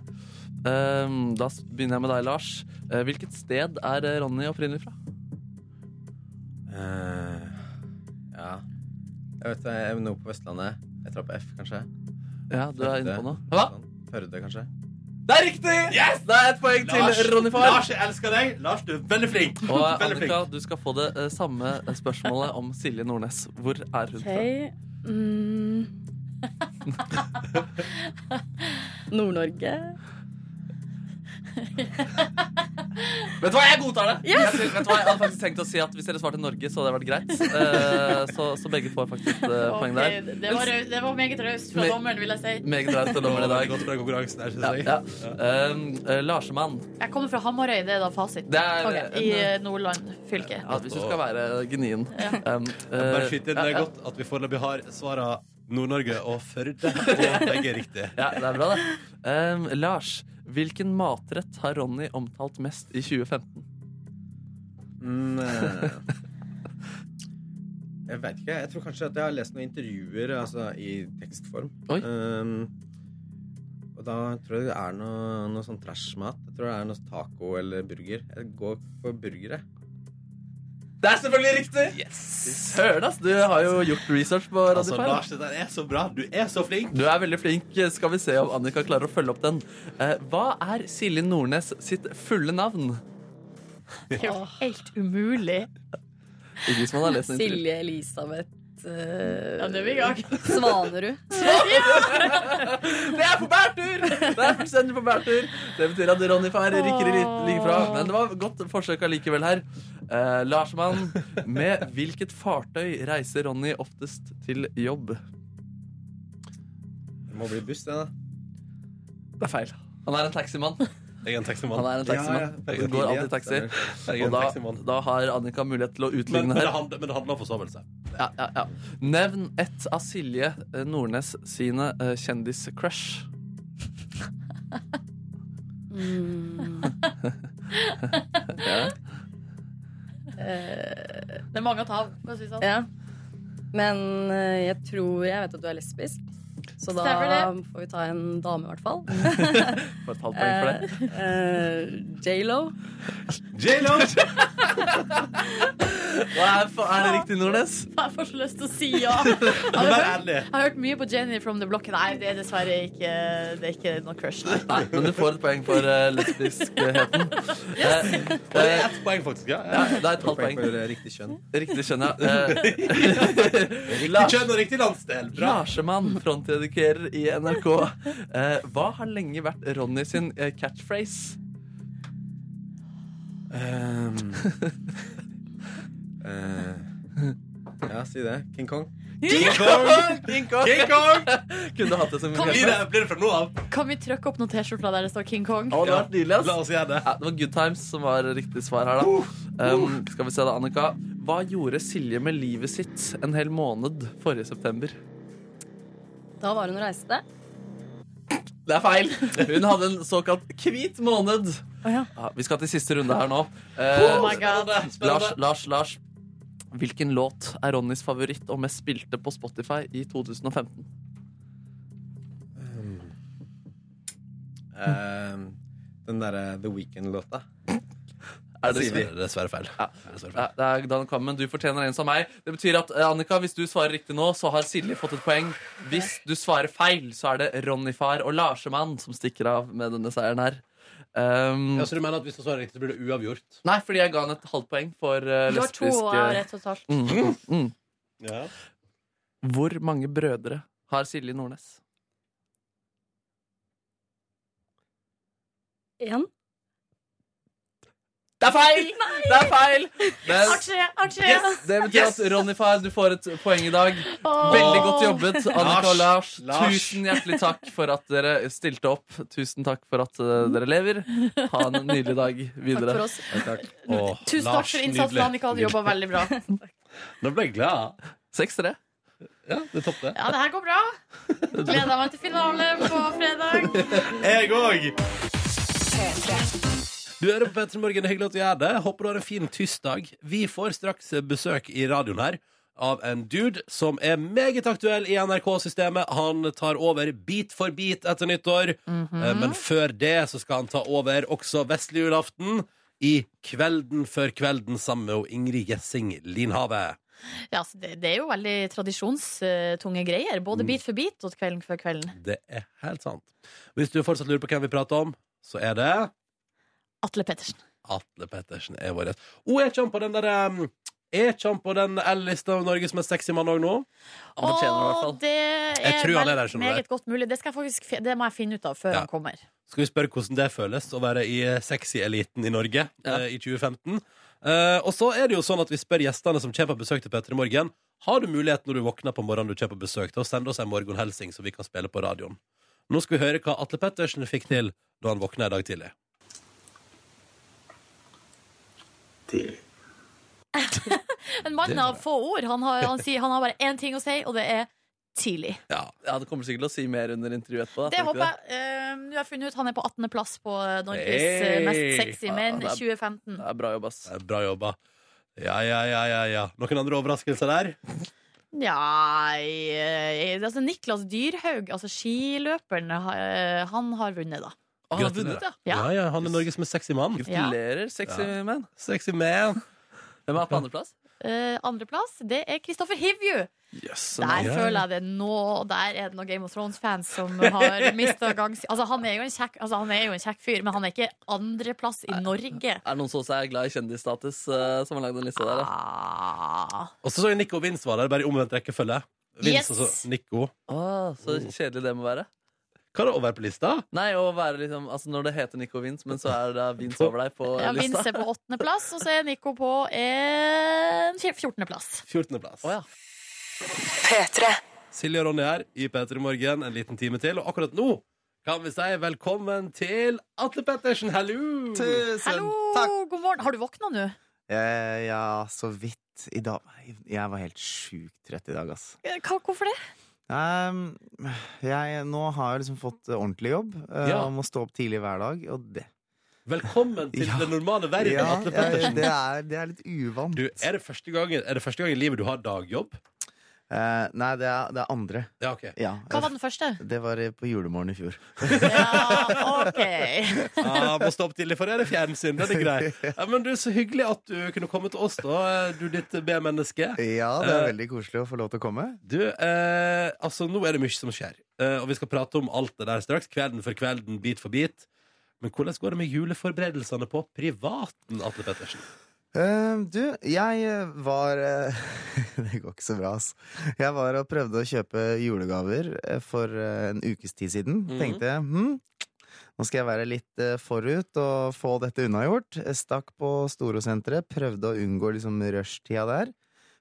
S4: Ehm, da s- begynner jeg med deg, Lars. Eh, hvilket sted er eh, Ronny opprinnelig fra?
S7: Eh, ja. Jeg vet det, jeg er noe på Vestlandet. Jeg tror på F, kanskje.
S4: Ja, du er inne på noe. Hva?
S7: Hva? Førde, kanskje.
S4: Det er riktig! Det er et poeng til Ronny far.
S2: Lars, jeg elsker deg. Lars, du er veldig flink.
S4: Og eh,
S2: Veldig flink.
S4: Annika, du skal få det eh, samme spørsmålet om Silje Nordnes. Hvor er hun
S6: Ok mm. Nord-Norge.
S4: fra? Vet du hva, jeg godtar det! Jeg, vet du hva, jeg hadde faktisk tenkt å si at Hvis dere svarte Norge, så hadde det vært greit. Eh, så, så begge får faktisk eh, poeng der.
S3: Ok, Det var, rau- det var meget raust fra
S4: Men-
S3: dommeren, vil jeg si.
S4: Meget raust av dommeren i dag.
S2: Godt fra konkurransen her,
S4: Ja,
S2: synes jeg.
S4: ja. Um, eh, Larsemann.
S3: Jeg kommer fra Hamarøy, det er da fasit.
S4: Det er
S3: Ok, I eh, Nordland fylke.
S4: Ja, hvis du skal være gnien. Um, eh,
S2: Bare skyt inn det er godt at vi foreløpig har svara Nord-Norge og Førde. Og begge er riktig.
S4: ja, det er bra, det. Um, Lars, hvilken matrett har Ronny omtalt mest i 2015?
S7: Mm, eh, jeg veit ikke. Jeg tror kanskje at jeg har lest noen intervjuer altså, i tekstform.
S4: Oi.
S7: Ehm, og da tror jeg det er noe, noe sånn trashmat. Jeg tror det er noe taco eller burger. Jeg går for burger, jeg.
S4: Det er selvfølgelig riktig! Yes. Søren, ass. Du har jo gjort research på
S2: Altså,
S4: Radify.
S2: Lars, det der er så bra. Du er så flink.
S4: du er veldig flink. Skal vi se om Annika klarer å følge opp den. Eh, hva er Silje Nordnes sitt fulle navn?
S3: Det er jo helt umulig.
S4: Ingen som har lest den intervju-
S6: Silje Elisabeth eh,
S3: Ja, nå er vi i gang.
S6: Svanerud.
S4: Det er på bærtur! Det er fullstendig på bærtur. Det betyr at Ronny far rykker i litt like fra. Men det var et godt forsøk allikevel her. Eh, Larsmann, med hvilket fartøy reiser Ronny oftest til jobb?
S7: Det må bli buss, det, da.
S4: Det er feil. Han er en taximann.
S2: Jeg er en
S4: Han
S2: taximann.
S4: er en taximann.
S7: veldig
S4: Går
S7: tidlig, ja.
S4: alltid taxi.
S7: Stemmer.
S2: Jeg er
S4: Og
S2: en
S4: da,
S2: taximann.
S4: da har Annika mulighet til å
S2: Men,
S4: utligne
S2: men, det
S4: her.
S2: handler, men det handler om forsovelse.
S4: Ja, ja, ja. Nevn ett av Silje eh, Nordnes sine eh, kjendiscrush.
S6: Mm.
S4: Ja.
S6: Eh,
S3: Det er mange å ta av. for å si det sånn.
S6: ja. Men eh, jeg tror jeg vet at du er lesbisk. Så da
S3: Stemmer
S6: får vi ta en dame, i hvert fall.
S4: Får et halvt poeng for det.
S6: Eh, eh, J.Lo.
S2: J.Lo!
S4: Hva er, fa- er det riktig, Nordnes?
S3: Jeg får så lyst til å si ja. Har du
S2: Vær
S3: hørt?
S2: ærlig.
S3: Jeg har hørt mye på Jenny from the Block. Nei, det er dessverre ikke, det er ikke noe crush. Nei.
S4: Nei, men du får et poeng for eh, lesbiskheten. Eh,
S2: Det er
S4: eh,
S2: ett poeng, faktisk. Ja.
S4: ja,
S2: ja.
S4: det er et halvt poeng.
S7: for eh, riktig kjønn.
S4: Riktig skjønner jeg. Eh,
S2: Riktig
S4: Lars,
S2: kjønn og riktig landsdel. Bra.
S4: Larsemann, frontedikerer i NRK. Eh, hva har lenge vært Ronny sin eh, catchphrase?
S7: Ehm. Eh, ja, si det. King Kong.
S2: King Kong!
S4: King Kong!
S2: Ah! King Kong!
S4: Kunne hatt det som
S3: Kom
S2: Blir
S4: catchphrase.
S2: det, blir det fra nå av?
S3: Kan vi trykke opp noen T-skjorter der det står King Kong?
S4: Å, det hadde vært nydelig, ass.
S2: La oss gjøre det.
S4: Ja, det var Good Times som var riktig svar her, da.
S2: Uh,
S4: Um, skal vi se da, Annika. Hva gjorde Silje med livet sitt en hel måned forrige september?
S6: Da var hun og reiste.
S4: Det er feil! Hun hadde en såkalt hvit måned.
S3: Å ja.
S4: vi skal til siste runde her nå.
S3: Oh
S4: Eh,
S3: my god.
S4: Lars, Lars, Lars. Hvilken låt er Ronnys favoritt og mest spilte på Spotify i 2015?
S7: Ehm, den derre The Weekend-låta.
S4: Er det
S2: Dessverre, dessverre feil. Dessverre feil.
S4: Ja, det er Dan Kvammen, du fortjener en som meg. Det betyr at eh, Annika, hvis du svarer riktig nå, så har Silje fått et poeng. Hvis du svarer feil, så er det Ronny-far og Larsemann som stikker av med denne seieren her. Um,
S2: Ja, så du mener at hvis du svarer riktig, så blir det uavgjort?
S4: nei, fordi jeg ga han et halvt poeng for uh,
S3: Du har to
S4: lesbisk
S3: og jeg har ett totalt.
S4: mm, mm.
S2: Ja.
S4: Hvor mange brødre har Silje Nordnes?
S6: Én.
S4: Det er feil! Det er feil! Men,
S3: Aksje! Aksje!
S4: det betyr at Ronny-far, du får et poeng i dag.
S3: Åh.
S4: Veldig godt jobbet, Annika og Lars.
S2: Lars.
S4: Tusen hjertelig takk for at dere stilte opp. Tusen takk for at eh, dere lever. Ha en nydelig dag
S6: Takk for
S4: videre.
S6: oss.
S7: Ja, takk.
S2: Åh,
S3: Tusen takk
S2: Lars,
S3: for innsatsen,
S2: nydelig.
S3: Annika. Du jobba veldig bra.
S2: Nå ble jeg glad.
S4: 6-3.
S2: Ja, det topp det.
S3: Ja, det her går bra. Gleder meg til finale på fredag.
S2: Jeg òg! Du hører på Petter Morgen, hyggelig at du gjør det. Håper du har en fin tirsdag. Vi får straks besøk i radioen her av en dude som er meget aktuell i NRK-systemet. Han tar over bit for bit etter nyttår, Eh, men før det så skal han ta over også vestlig julaften i Kvelden før kvelden sammen med Ingrid Gjessing Linhave.
S3: Ja, så det, det er jo veldig tradisjonstunge greier. Både
S4: Mm.
S3: bit for bit og kvelden før kvelden.
S2: Det er helt sant. Hvis du fortsatt lurer på hvem vi prater om, så er det
S3: Atle Pettersen.
S2: Atle Pettersen er vår gjest. Å, er ikke han på den der um, Er ikke han på den L-lista av Norges mest sexy mann òg nå?
S4: Han fortjener det i
S3: Åh,
S4: hvert fall.
S3: det
S2: Jeg
S3: er
S2: tror han er der,
S3: vel
S2: skjønner du.
S3: meget godt mulig. Det, skal jeg faktisk, fi- det må jeg finne ut av før
S2: Ja.
S3: han kommer.
S2: Skal vi spørre hvordan det føles å være i eh, sexy-eliten i Norge
S4: Ja.
S2: eh, i 2015? Eh, og så er det jo sånn at vi spør gjestene som kommer på besøk til Petter i morgen, har du mulighet når du våkner på morgenen du kommer på besøk, til å sende oss en morgenhelsing som vi kan spille på radioen? Nå skal vi høre hva Atle Pettersen fikk til da han våkna i dag tidlig.
S3: En mann av få ord. Han har, han sier, han har bare én ting å si, og det er tidlig.
S2: Ja,
S4: Ja, Du kommer sikkert til å si mer under intervjuet etterpå. da,
S3: Det
S4: tror du
S3: håper
S4: ikke
S3: jeg. Eh, Nå har jeg funnet ut han er på 18. plass på Norges eh,
S2: Hey!
S3: mest sexy menn
S4: Ja, det er-
S3: 2015.
S4: Det er bra jobb, ass.
S2: det er Eh, bra jobba. Ja, ja, ja, ja, ja. Noen andre overraskelser der?
S3: Nja eh, altså Niklas Dyrhaug, altså skiløperen, ha- eh, han har vunnet, da.
S4: Å, han har vunnet, ja.
S2: Ja,
S3: Ja.
S2: ja, han er Norges mest sexy mann.
S4: Gratulerer, sexy
S2: Ja.
S4: man.
S2: Sexy man.
S4: Hvem er på andreplass?
S3: Eh, Andreplass, det er Kristoffer Hivju.
S4: Jøss.
S3: Der
S2: Ja.
S3: føler jeg det nå Der er det noen Game of Thrones-fans som har mista gangs... Altså, han er jo en kjekk altså, Han er jo en kjekk fyr, men han er ikke andreplass i Norge.
S4: Er det noen som også er glad i kjendisstatus, eh, som har lagd den lista der? da?
S3: Ah.
S2: Og så så jeg Nico og Vince var der, bare i omvendt rekkefølge. Vince
S3: Yes.
S2: og så Nico.
S4: Å, så kjedelig det må være.
S2: Hva er det å være på lista?
S4: Nei, å være liksom, altså Når det heter Nico Vince, men så er det da Vince over deg på
S3: Ja,
S4: eh, lista.
S3: Vince er på åttendeplass, og så er Nico på en fj- fjortendeplass.
S2: 14. plass.
S4: Å, ja.
S2: Silje og Ronny her i P3 Morgen en liten time til, og akkurat nå kan vi si velkommen til Atle Pettersen. Hallo!
S8: Tusen
S3: Hallo,
S8: takk!
S3: god morgen. Har du våkna nå?
S8: Eh, ja, så vidt. I dag Jeg var helt sjukt trett i dag, ass.
S3: Hva, hvorfor det?
S9: Ehm, jeg, nå har jeg liksom fått eh, ordentlig jobb eh,
S2: Ja.
S9: og må stå opp tidlig hver dag, og det
S2: Velkommen til
S9: Ja.
S2: den normale verden,
S9: ja,
S2: Atle
S9: jeg,
S2: Pettersen.
S9: det, er, det er litt uvant.
S2: Du, eh. er, det første gangen, er det første gang i livet du har dagjobb?
S9: Eh, nei, det er, det er andre.
S2: Ja, ok.
S9: Ja,
S3: Hva var den første?
S9: det var eh, på julemorgen i fjor.
S3: Ja, ok.
S2: Ah, må stå opp tidlig for å gjøre fjernsyn. Den er grei. Ja, men du, Så hyggelig at du kunne komme til oss, da, du ditt B-menneske.
S9: Ja, det er
S2: Eh.
S9: veldig koselig å få lov til å komme.
S2: Du, eh, altså nå er det mye som skjer eh, Og vi skal prate om alt det der straks Kvelden for kvelden, bit for bit Men hvordan går det med juleforberedelsene på privaten, Atle Pettersen?
S9: Eh, du, jeg eh, var eh, Det går ikke så bra, ass. Jeg var og prøvde å kjøpe julegaver eh, for eh, en ukes tid siden.
S2: Mhm.
S9: Tenkte jeg hm, nå skal jeg være litt eh, forut og få dette unnagjort. Jeg Stakk på Storosenteret, prøvde å unngå liksom rushtida der.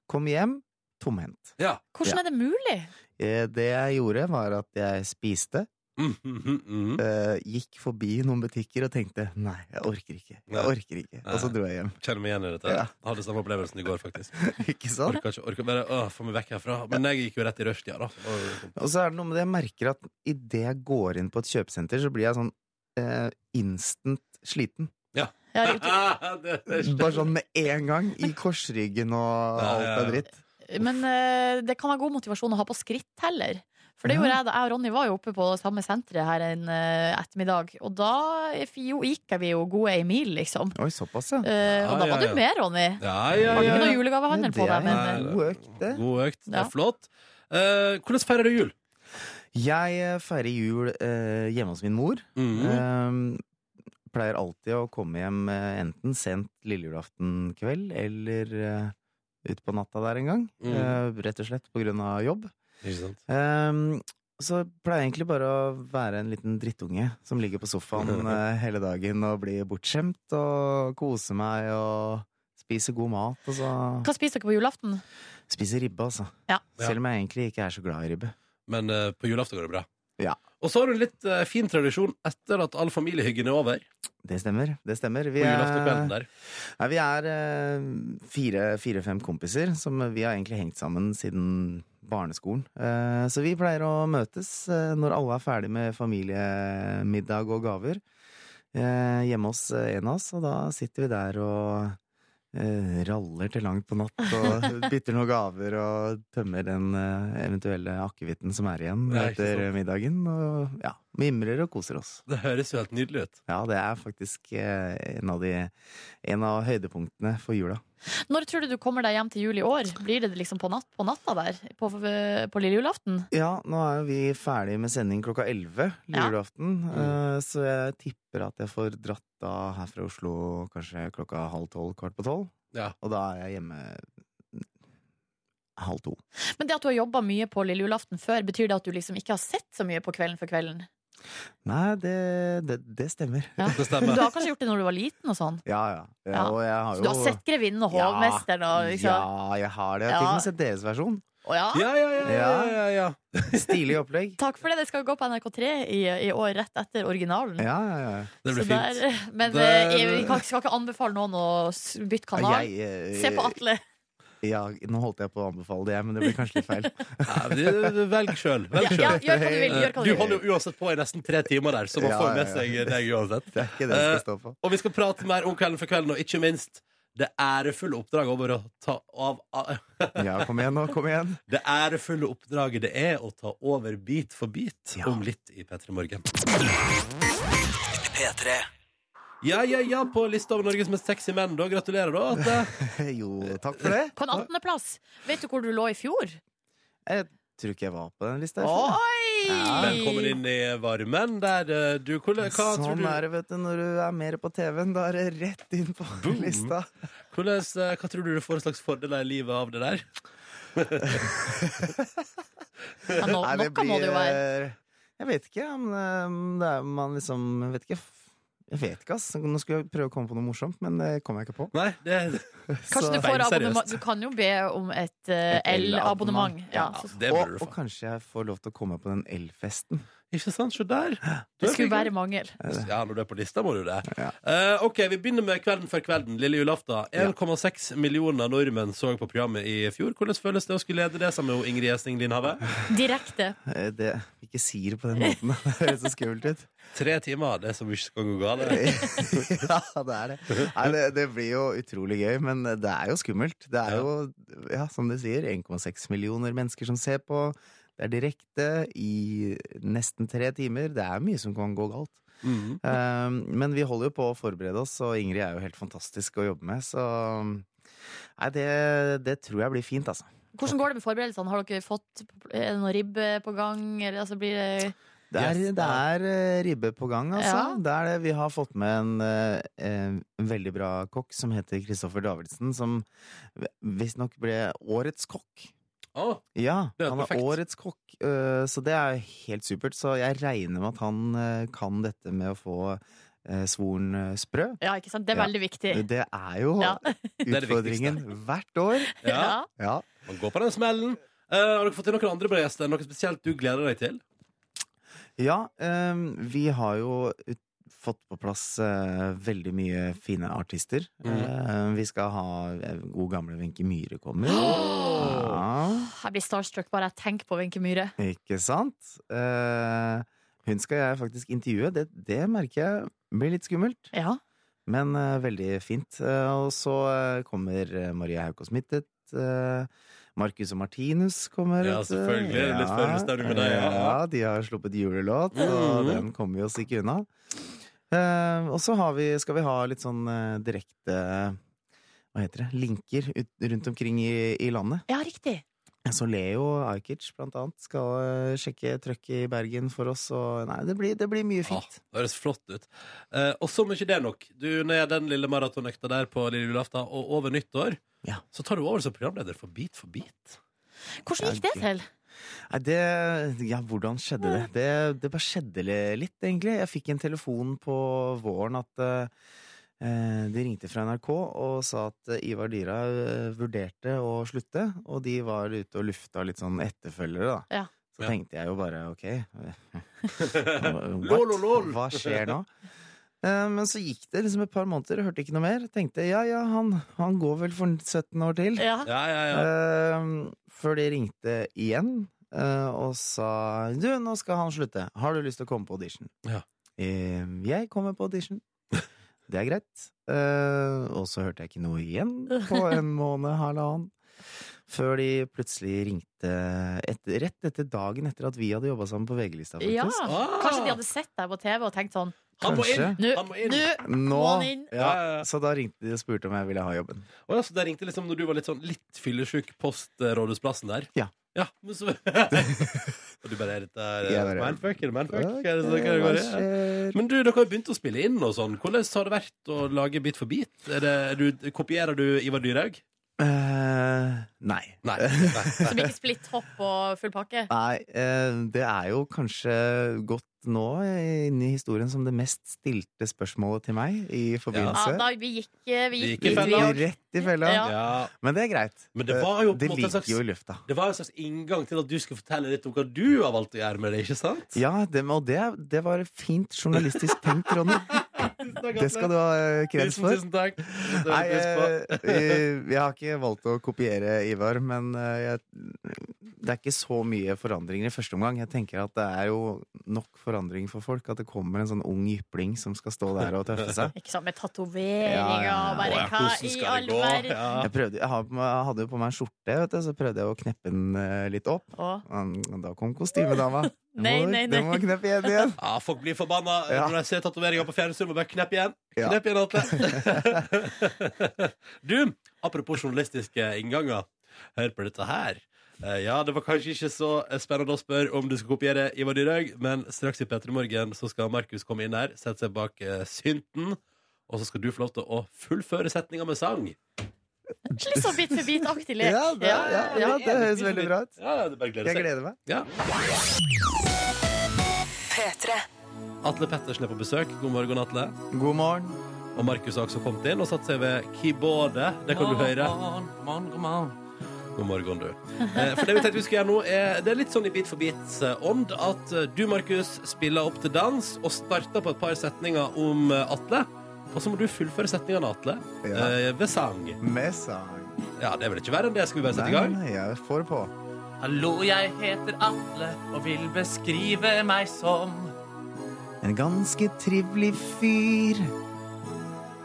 S9: Kom hjem tomhendt.
S2: Ja
S3: Hvordan er det mulig?
S9: Eh, Det jeg gjorde, var at jeg spiste,
S2: mm, mm, mm, mm.
S9: eh, gikk forbi noen butikker og tenkte nei, jeg orker ikke.
S2: Nei.
S9: Jeg orker ikke. Og så dro jeg hjem.
S2: Kjenner meg igjen i dette
S9: Ja.
S2: Jeg Hadde samme opplevelsen i går faktisk
S9: ikke sant?
S2: Orker ikke, orker bare, åh, få meg vekk herfra Men jeg gikk jo rett i røstida da Og-
S9: Og så er det noe med det jeg merker at idet jeg går inn på et kjøpesenter, så blir jeg sånn eh, instant sliten.
S3: Ja,
S2: det, det,
S9: Bare sånn med en gang. I korsryggen og
S2: Ja,
S9: alt
S2: ja, ja.
S9: er dritt.
S3: Men eh, det kan være god motivasjon å ha på skritt heller. For det
S9: Ja.
S3: gjorde jeg da jeg og Ronny var jo oppe på samme senteret her en eh, ettermiddag. Og da f- jo, gikk vi jo gode ei mil, liksom.
S9: Oi, såpass, ja.
S3: Eh,
S2: Ja,
S3: og da
S2: ja,
S3: var
S2: ja.
S3: du med, Ronny.
S2: Ja, ja,
S3: Var det
S2: ja,
S3: ikke
S2: ja.
S3: noe julegavehandel på
S9: Det er
S3: deg, men
S9: jo-
S3: eh,
S9: God økt, det.
S2: God økt, det
S3: Ja.
S2: er flott Eh, Hvordan feirer du jul?
S9: Jeg eh, feirer jul eh, hjemme hos min mor.
S2: Mm.
S9: Eh, pleier alltid å komme hjem eh, enten sent lillejulaften kveld eller eh, utpå natta der en gang.
S2: Mm.
S9: Eh, rett og slett på grunn av jobb.
S2: Ikke sant?
S9: Ehm, så pleier jeg egentlig bare å være en liten drittunge som ligger på sofaen eh, hele dagen og blir bortskjemt og koser meg og spiser god mat. Og så
S3: hva spiser dere på julaften?
S9: spiser ribbe, altså.
S3: Ja.
S9: Selv om jeg egentlig ikke er så glad i ribbe.
S2: Men eh, på julaften går det bra
S9: Ja.
S2: Og så har du en litt eh, fin tradisjon Etter at all familiehyggen er over
S9: Det stemmer. det stemmer. Vi
S2: På
S9: er,
S2: julaftenkvelden der
S9: nei, vi er eh, fire-fem kompiser som vi har egentlig hengt sammen siden barneskolen. Eh, så vi pleier å møtes eh, når alle er ferdig med familiemiddag og gaver. eh, hjemme hos eh, en av oss, og da sitter vi der og eh, raller til langt på natt og bytter noen gaver og tømmer den eh, eventuelle akevitten som er igjen
S2: Nei, ikke
S9: etter
S2: sant.
S9: middagen. Og ja, mimrer og koser oss.
S2: Det høres jo helt nydelig ut.
S9: Ja, det er faktisk eh, en av, de, en av høydepunktene for jula.
S3: Når tror du du kommer deg hjem til jul i år? Blir det liksom på, natt, på natta der? På, eh, på lille julaften?
S9: Ja, nå er jo vi ferdig med sending klokka 11
S3: Ja. Mm.
S9: julaften, eh, så jeg tipper at jeg får dratt da her fra Oslo kanskje klokka halv tolv, kvart på tolv.
S2: Ja.
S9: Og da er jeg hjemme halv to.
S3: Men det at du har jobba mye på lille julaften før, betyr det at du liksom ikke har sett så mye på Kvelden for kvelden?
S9: Nei, det, det, det stemmer.
S3: Ja.
S2: Det
S3: Men
S2: stemmer.
S3: du har kanskje gjort det når du var liten og sånn?
S9: Ja, ja. ja.
S3: Ja.
S9: Og jeg har
S3: Så
S9: jo
S3: du har sett Grevinnen og
S9: Ja.
S3: Hovmesteren og liksom?
S9: Ja, jeg har det. Jeg har
S3: Ja.
S9: til og med sett deres versjon.
S3: Å ja?
S2: Ja, ja, ja, ja, ja, ja.
S9: Stilig opplegg.
S3: Takk for det. Det skal jo gå på NRK3 i, i år, rett etter originalen.
S9: Ja, ja, ja.
S2: Det blir
S3: Så
S2: fint.
S3: der- men
S2: Der-
S3: eh, jeg, vi kan, skal ikke anbefale noen å s- bytte kanal.
S9: Ja, jeg, eh,
S3: Se på Atle.
S9: Ja, nå holdt jeg på å anbefale det, men det blir kanskje litt feil.
S2: Ja, men det- Velg sjøl. Velg
S3: Ja,
S2: sjøl. Eh,
S3: ja, gjør hva du vil. Gjør hva du
S2: Du
S3: vil.
S2: holder jo uansett på i nesten tre timer der, så man
S9: Ja,
S2: får med
S9: ja,
S2: seg
S9: ja.
S2: deg uansett.
S9: Det er ikke det jeg skal stå på.
S2: Og vi skal prate mer om Kvelden for kvelden, og ikke minst det ærefulle oppdraget over å ta av
S9: Ja, kom igjen nå, kom igjen.
S2: Det ærefulle oppdraget det er å ta over bit for bit
S9: Ja.
S2: om litt i P3 Morgen. Ja, ja, ja, på lista over Norges mest sexy menn, da. Gratulerer, da. Atle.
S9: Eh, Jo, takk for det.
S3: På en 18.-plass. Vet du hvor du lå i fjor?
S9: Jeg tror ikke jeg var på den lista.
S3: Oi!
S2: Velkommen inn i varmen der eh, du hvordan, Hva tror
S9: Sånn
S2: du
S9: er det, vet du, når du er mer på TV-en. Da er det rett inn på
S2: Boom.
S9: lista.
S2: hvordan, eh, Hva tror du du får slags fordeler i livet av det der?
S3: Ja, nå,
S9: Nei, eh,
S3: noe må det jo være.
S9: Jeg vet ikke, men eh, det er man liksom Jeg vet ikke. Jeg vet ikke, ass. Nå skulle jeg prøve å komme på noe morsomt, men det kom jeg ikke på.
S2: Nei, det,
S3: Kanskje du
S2: Feil,
S3: får abonnement.
S2: seriøst.
S3: Du kan jo be om et eh,
S9: Et
S3: L-abonnement.
S9: L-abonnement.
S3: Ja,
S2: ja,
S3: så
S2: det
S9: og,
S2: burde du
S9: og
S2: få.
S9: kanskje jeg får lov til å komme på den elfesten.
S2: Ikke sant? Se der. Du
S3: Det
S2: er
S3: skulle
S2: flink.
S3: bare mangel.
S2: Ja, når du er på lista, må du det.
S9: Ja.
S2: Eh, ok, Vi begynner med Kvelden før kvelden, lille julaften. 1,6 millioner nordmenn så på programmet i fjor. Hvordan føles det å skulle lede det sammen med Ingrid Gjessing Lindhave?
S3: Direkte.
S9: Eh, Det, ikke si det på den måten. Det høres så skummelt ut.
S2: Tre timer, det er så mye som kan gå galt.
S9: ja, det er det. Nei, det. Det blir jo utrolig gøy, men det er jo skummelt. Det er jo, ja, som du sier, 1,6 millioner mennesker som ser på. Det er direkte i nesten tre timer. Det er mye som kan gå galt.
S2: Mhm.
S9: Eh, men vi holder jo på å forberede oss, og Ingrid er jo helt fantastisk å jobbe med, så Nei, det, det tror jeg blir fint, altså.
S3: Hvordan går det med forberedelsene? Har dere fått er det noe ribbe på gang? Eller, altså, blir det...
S9: Det er,
S2: Yes,
S9: det er eh, ribbe på gang, altså.
S3: Ja.
S9: Det er det. Vi har fått med en, eh, en veldig bra kokk som heter Kristoffer Davidsen, som visstnok ble årets kokk.
S2: Å,
S9: Ja,
S2: Det er
S9: han er
S2: perfekt.
S9: årets kokk, eh, så det er helt supert. Så jeg regner med at han eh, kan dette med å få eh, svoren eh, sprø.
S3: Ja, ikke sant? Det er
S9: Ja.
S3: veldig viktig.
S9: Det er jo
S3: Ja.
S2: er det
S9: utfordringen hvert år.
S2: ja.
S3: Ja.
S9: Ja.
S2: Man går på den smellen. Eh, har dere fått til noen andre bra gjester? Noe spesielt du gleder deg til?
S9: Ja, ehm, vi har jo ut- fått på plass eh, veldig mye fine artister. Eh, vi skal ha eh, god gamle Wenche Myhre kommer. Ja,
S3: Jeg blir starstruck bare jeg tenker på Wenche Myhre.
S9: ikke sant? Eh, hun skal jeg faktisk intervjue. Det, det merker jeg blir litt skummelt,
S3: Ja.
S9: men eh, veldig fint. Eh, og så eh, kommer eh, Maria Haukaas Mittet. eh, Marcus og Martinus kommer.
S2: Ja,
S9: vet du.
S2: selvfølgelig. Det er litt forhåndsstemning med deg, ja.
S9: Ja, de har sluppet julelåt, og
S2: Mhm.
S9: den kommer vi oss ikke unna. Eh, og så har vi, skal vi ha litt sånn eh, direkte Hva heter det? Linker ut, rundt omkring i, i landet.
S3: ja, riktig.
S9: Så Leo Ajkic, blant annet, skal eh, sjekke trøkket i Bergen for oss. Og nei, det blir, det blir mye fint.
S2: Ah, det høres flott ut. Eh, og som ikke det er nok, du ned den lille maratonøkta der på lille julaften og over nyttår,
S9: Ja.
S2: så tar du over som programleder for Beat for beat.
S3: Hvordan gikk det til?
S9: Nei, det Ja, hvordan skjedde det? Det, det bare skjedde li- litt, egentlig. Jeg fikk en telefon på våren at eh, de ringte fra NRK og sa at eh, Ivar Dyra eh, vurderte å slutte, og de var ute og lufta litt sånn etterfølgere, da.
S3: Ja.
S9: Så
S2: Ja.
S9: tenkte jeg jo bare ok,
S2: Lol, lol, lol.
S9: what? hva skjer nå? Eh, Men så gikk det liksom et par måneder, hørte ikke noe mer. Tenkte ja ja, han, han går vel for 17 år til.
S3: Ja.
S2: Ja, ja, ja.
S9: Ehm, før de ringte igjen eh, og sa Du, nå skal han slutte. Har du lyst til å komme på audition?
S2: Ja.
S9: Ehm, jeg kommer på audition. Det er greit. Eh, og så hørte jeg ikke noe igjen på en måned, halvannen. Før de plutselig ringte et, rett etter dagen etter at vi hadde jobba sammen på VG-lista.
S3: ja.
S9: faktisk.
S2: Ah!
S3: Kanskje de hadde sett deg på TV og tenkt sånn
S2: Han må inn!
S9: Kanskje.
S3: Nå,
S2: Han må inn.
S3: nå
S9: Nå,
S3: må han inn!
S9: ja,
S2: Ja, ja, ja.
S9: så da ringte de og spurte om jeg ville ha jobben.
S2: Å ja, så det ringte liksom når du var litt sånn litt fyllesyk post eh, Rådhusplassen der?
S9: Ja.
S2: Ja, men så Og du bare er dette er
S9: Jeg bare-
S2: manfuck? Er det manfuck? Hva er det, hva
S9: Hva
S2: er det, hva er det?
S9: skjer?
S2: Men du, dere har jo begynt å spille inn og sånn. Hvordan har det vært å lage Bit for bit? Er det, er du, kopierer du Ivar Dyrhaug?
S9: Eh, nei.
S2: Nei. nei, nei.
S3: Som ikke splitt hopp og full pakke.
S9: Nei, eh, det er jo kanskje gått nå eh, inn i historien som det mest stilte spørsmålet til meg i
S3: Ja,
S9: forbindelse.
S3: da, vi gikk eh, Vi
S2: Vi gikk
S3: gikk,
S2: i
S3: dit, vi
S2: fella.
S3: også.
S9: Rett i fella.
S3: Ja.
S2: Ja.
S9: Men det er greit.
S2: Men det var jo på en
S9: Eh, det
S2: måte en
S9: ligger
S2: slags-
S9: jo i lufta.
S2: Det var en slags inngang til at du skulle fortelle litt om hva du har valgt å gjøre med det, ikke sant?
S9: Ja, det, og det, det var fint journalistisk tenkt, Ronny. Det skal du ha eh, kreds
S2: Tusen,
S9: for.
S2: tusen takk. Det setter
S9: Nei,
S2: vi pris på.
S9: eh, eh, jeg har ikke valgt å kopiere Ivar, men eh, jeg, det er ikke så mye forandringer i første omgang. Jeg tenker at det er jo nok forandring for folk. At det kommer en sånn ung jypling som skal stå der og tøffe seg.
S3: Ikke sant, med
S9: Ja, ja,
S3: tatoveringer
S9: ja.
S3: og bare
S2: Åja,
S3: hva
S2: hvordan
S3: i
S2: skal det
S3: all
S2: gå?
S3: verden?
S2: Ja.
S9: Jeg, prøvde, jeg har på meg- jeg hadde jo på meg en skjorte, vet du, så prøvde jeg å kneppe den eh, litt opp.
S3: Å,
S9: Men Da kom kostymedama. Du
S3: Nei,
S9: må-
S3: nei,
S9: Du
S3: nei.
S9: må kneppe igjen igjen.
S2: Ja, folk blir forbanna
S9: Ja.
S2: når de ser tatoveringa på fjernsyn. må Bare knepp igjen!
S9: Ja.
S2: Knepp igjen, Atle! du, apropos journalistiske innganger. Hør på dette her. Eh, Ja, det var kanskje ikke så spennende å spørre om du skal kopiere Ivar Dyrhaug, men straks i P3 Morgen så skal Markus komme inn her, sette seg bak eh, synten, og så skal du få lov til å fullføre setninga med sang.
S3: Litt sånn bit for bit-aktig lek.
S9: Ja, det, ja, ja, det høres veldig bra ut.
S2: Ja, det er bare å glede
S9: Jeg
S2: seg.
S9: gleder meg.
S2: Ja. Atle Pettersen er på besøk. God morgen, Atle.
S9: God morgen.
S2: Og Markus har også kommet inn og satt seg ved keyboardet. Det kan du høre.
S4: Come on, come on, come on.
S2: God morgen, du. Eh, For det vi tenkte vi skulle gjøre nå, er, det er litt sånn i Bit for bit-ånd at eh, du, Markus, spiller opp til dans og starter på et par setninger om eh, Atle. Og så må du fullføre setningene, Atle,
S10: Ja.
S2: eh, ved sang.
S10: Med sang.
S2: Ja, det er vel ikke verre enn det. Skal vi bare sette i
S10: Nei,
S2: gang?
S10: nei, jeg får på.
S4: Hallo, jeg heter Atle og vil beskrive meg som
S9: En ganske trivelig fyr.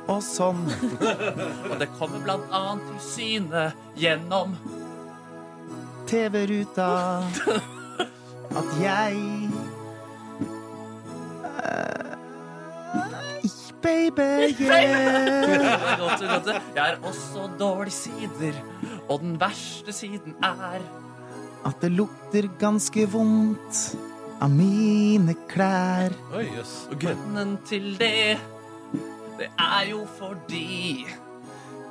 S9: Og sånn.
S4: Og det kommer blant annet til syne gjennom
S9: TV-ruta at jeg eh, Baby, yeah.
S4: Godt, godt. Jeg har også dårlige sider, og den verste siden er
S9: At det lukter ganske vondt av mine klær.
S2: Oi, jøss.
S4: Og grunnen til det, det er jo fordi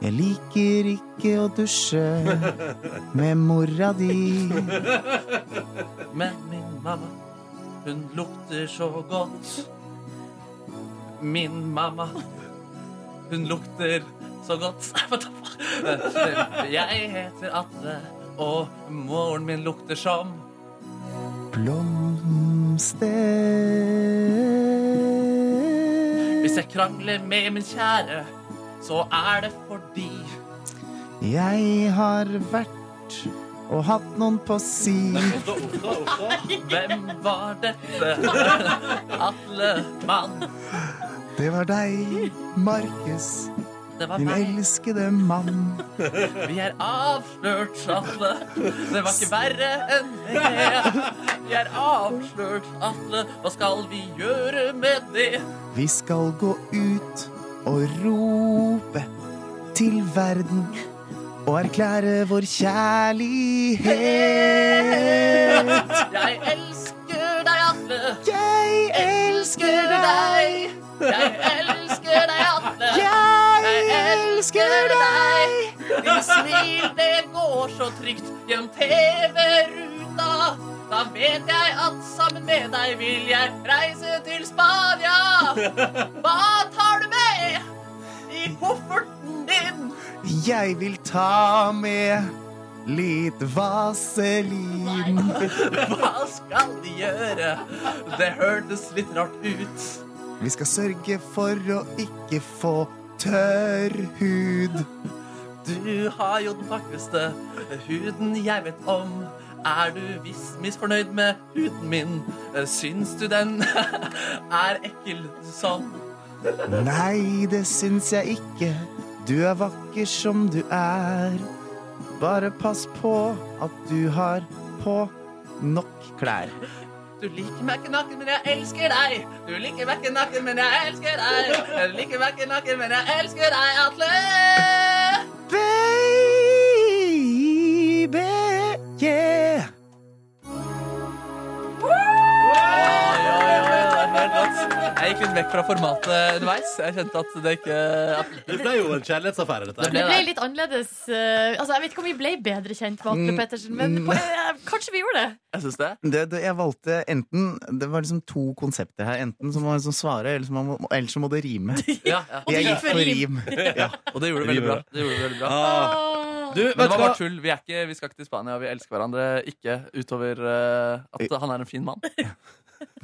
S9: Jeg liker ikke å dusje med mora di.
S4: Men min mamma, hun lukter så godt. Min mamma, hun lukter så godt. Hva da faen? Jeg heter Atle, og moren min lukter som
S9: Blomster.
S4: Hvis jeg krangler med min kjære, så er det fordi
S9: Jeg har vært og hatt noen på si.
S4: Hvem var dette? Atle Mann.
S9: Det var deg, Markus,
S4: Det var
S9: min
S4: meg.
S9: elskede mann.
S4: Vi er avslørt, Atle. Det var ikke verre enn det. Vi er avslørt, Atle. Hva skal vi gjøre med det?
S9: Vi skal gå ut og rope til verden og erklære vår kjærlighet.
S4: Jeg elsker deg, Atle.
S9: Jeg elsker deg,
S4: Jeg elsker deg, Atle.
S9: jeg elsker deg.
S4: Ditt smil, det går så trygt gjennom TV-ruta. Da vet jeg at sammen med deg vil jeg reise til Spania. Hva tar du med i kofferten din?
S9: Jeg vil ta med litt vaselin.
S4: Hva skal de gjøre? Det hørtes litt rart ut.
S9: Vi skal sørge for å ikke få tørr hud.
S4: Du har jo den vakreste huden jeg vet om. Er du visst misfornøyd med huden min? Syns du den er ekkel sånn?
S9: Nei, det syns jeg ikke. Du er vakker som du er. Bare pass på at du har på nok klær.
S4: Du liker meg ikke naken, men jeg elsker deg. Du liker meg ikke naken, men jeg elsker deg. Jeg liker meg ikke naken, men jeg elsker deg, Atle.
S9: Baby, yeah.
S4: Jeg gikk litt vekk fra formatet underveis. Jeg kjente at det ikke
S2: Det ble jo en kjærlighetsaffære, dette. her.
S4: ble
S3: Det ble litt annerledes. eh, altså, jeg vet ikke om vi ble bedre kjent med Atle Pettersen, men på, eh, kanskje vi gjorde det.
S4: Jeg syns det.
S9: Det, det, jeg valgte enten Det var liksom to konsepter her. Enten så må man liksom svare, eller så må, eller så må det rime.
S4: Ja, ja.
S9: Jeg gikk for rim. Ja.
S4: Og det gjorde det veldig bra. Det gjorde det veldig bra.
S2: Ah.
S3: Åh.
S2: Du, vet
S4: Men det
S2: du
S4: var
S2: hva?
S4: bare tull. Vi, er ikke, vi skal ikke til Spania. Vi elsker hverandre ikke utover eh, at han er en fin mann.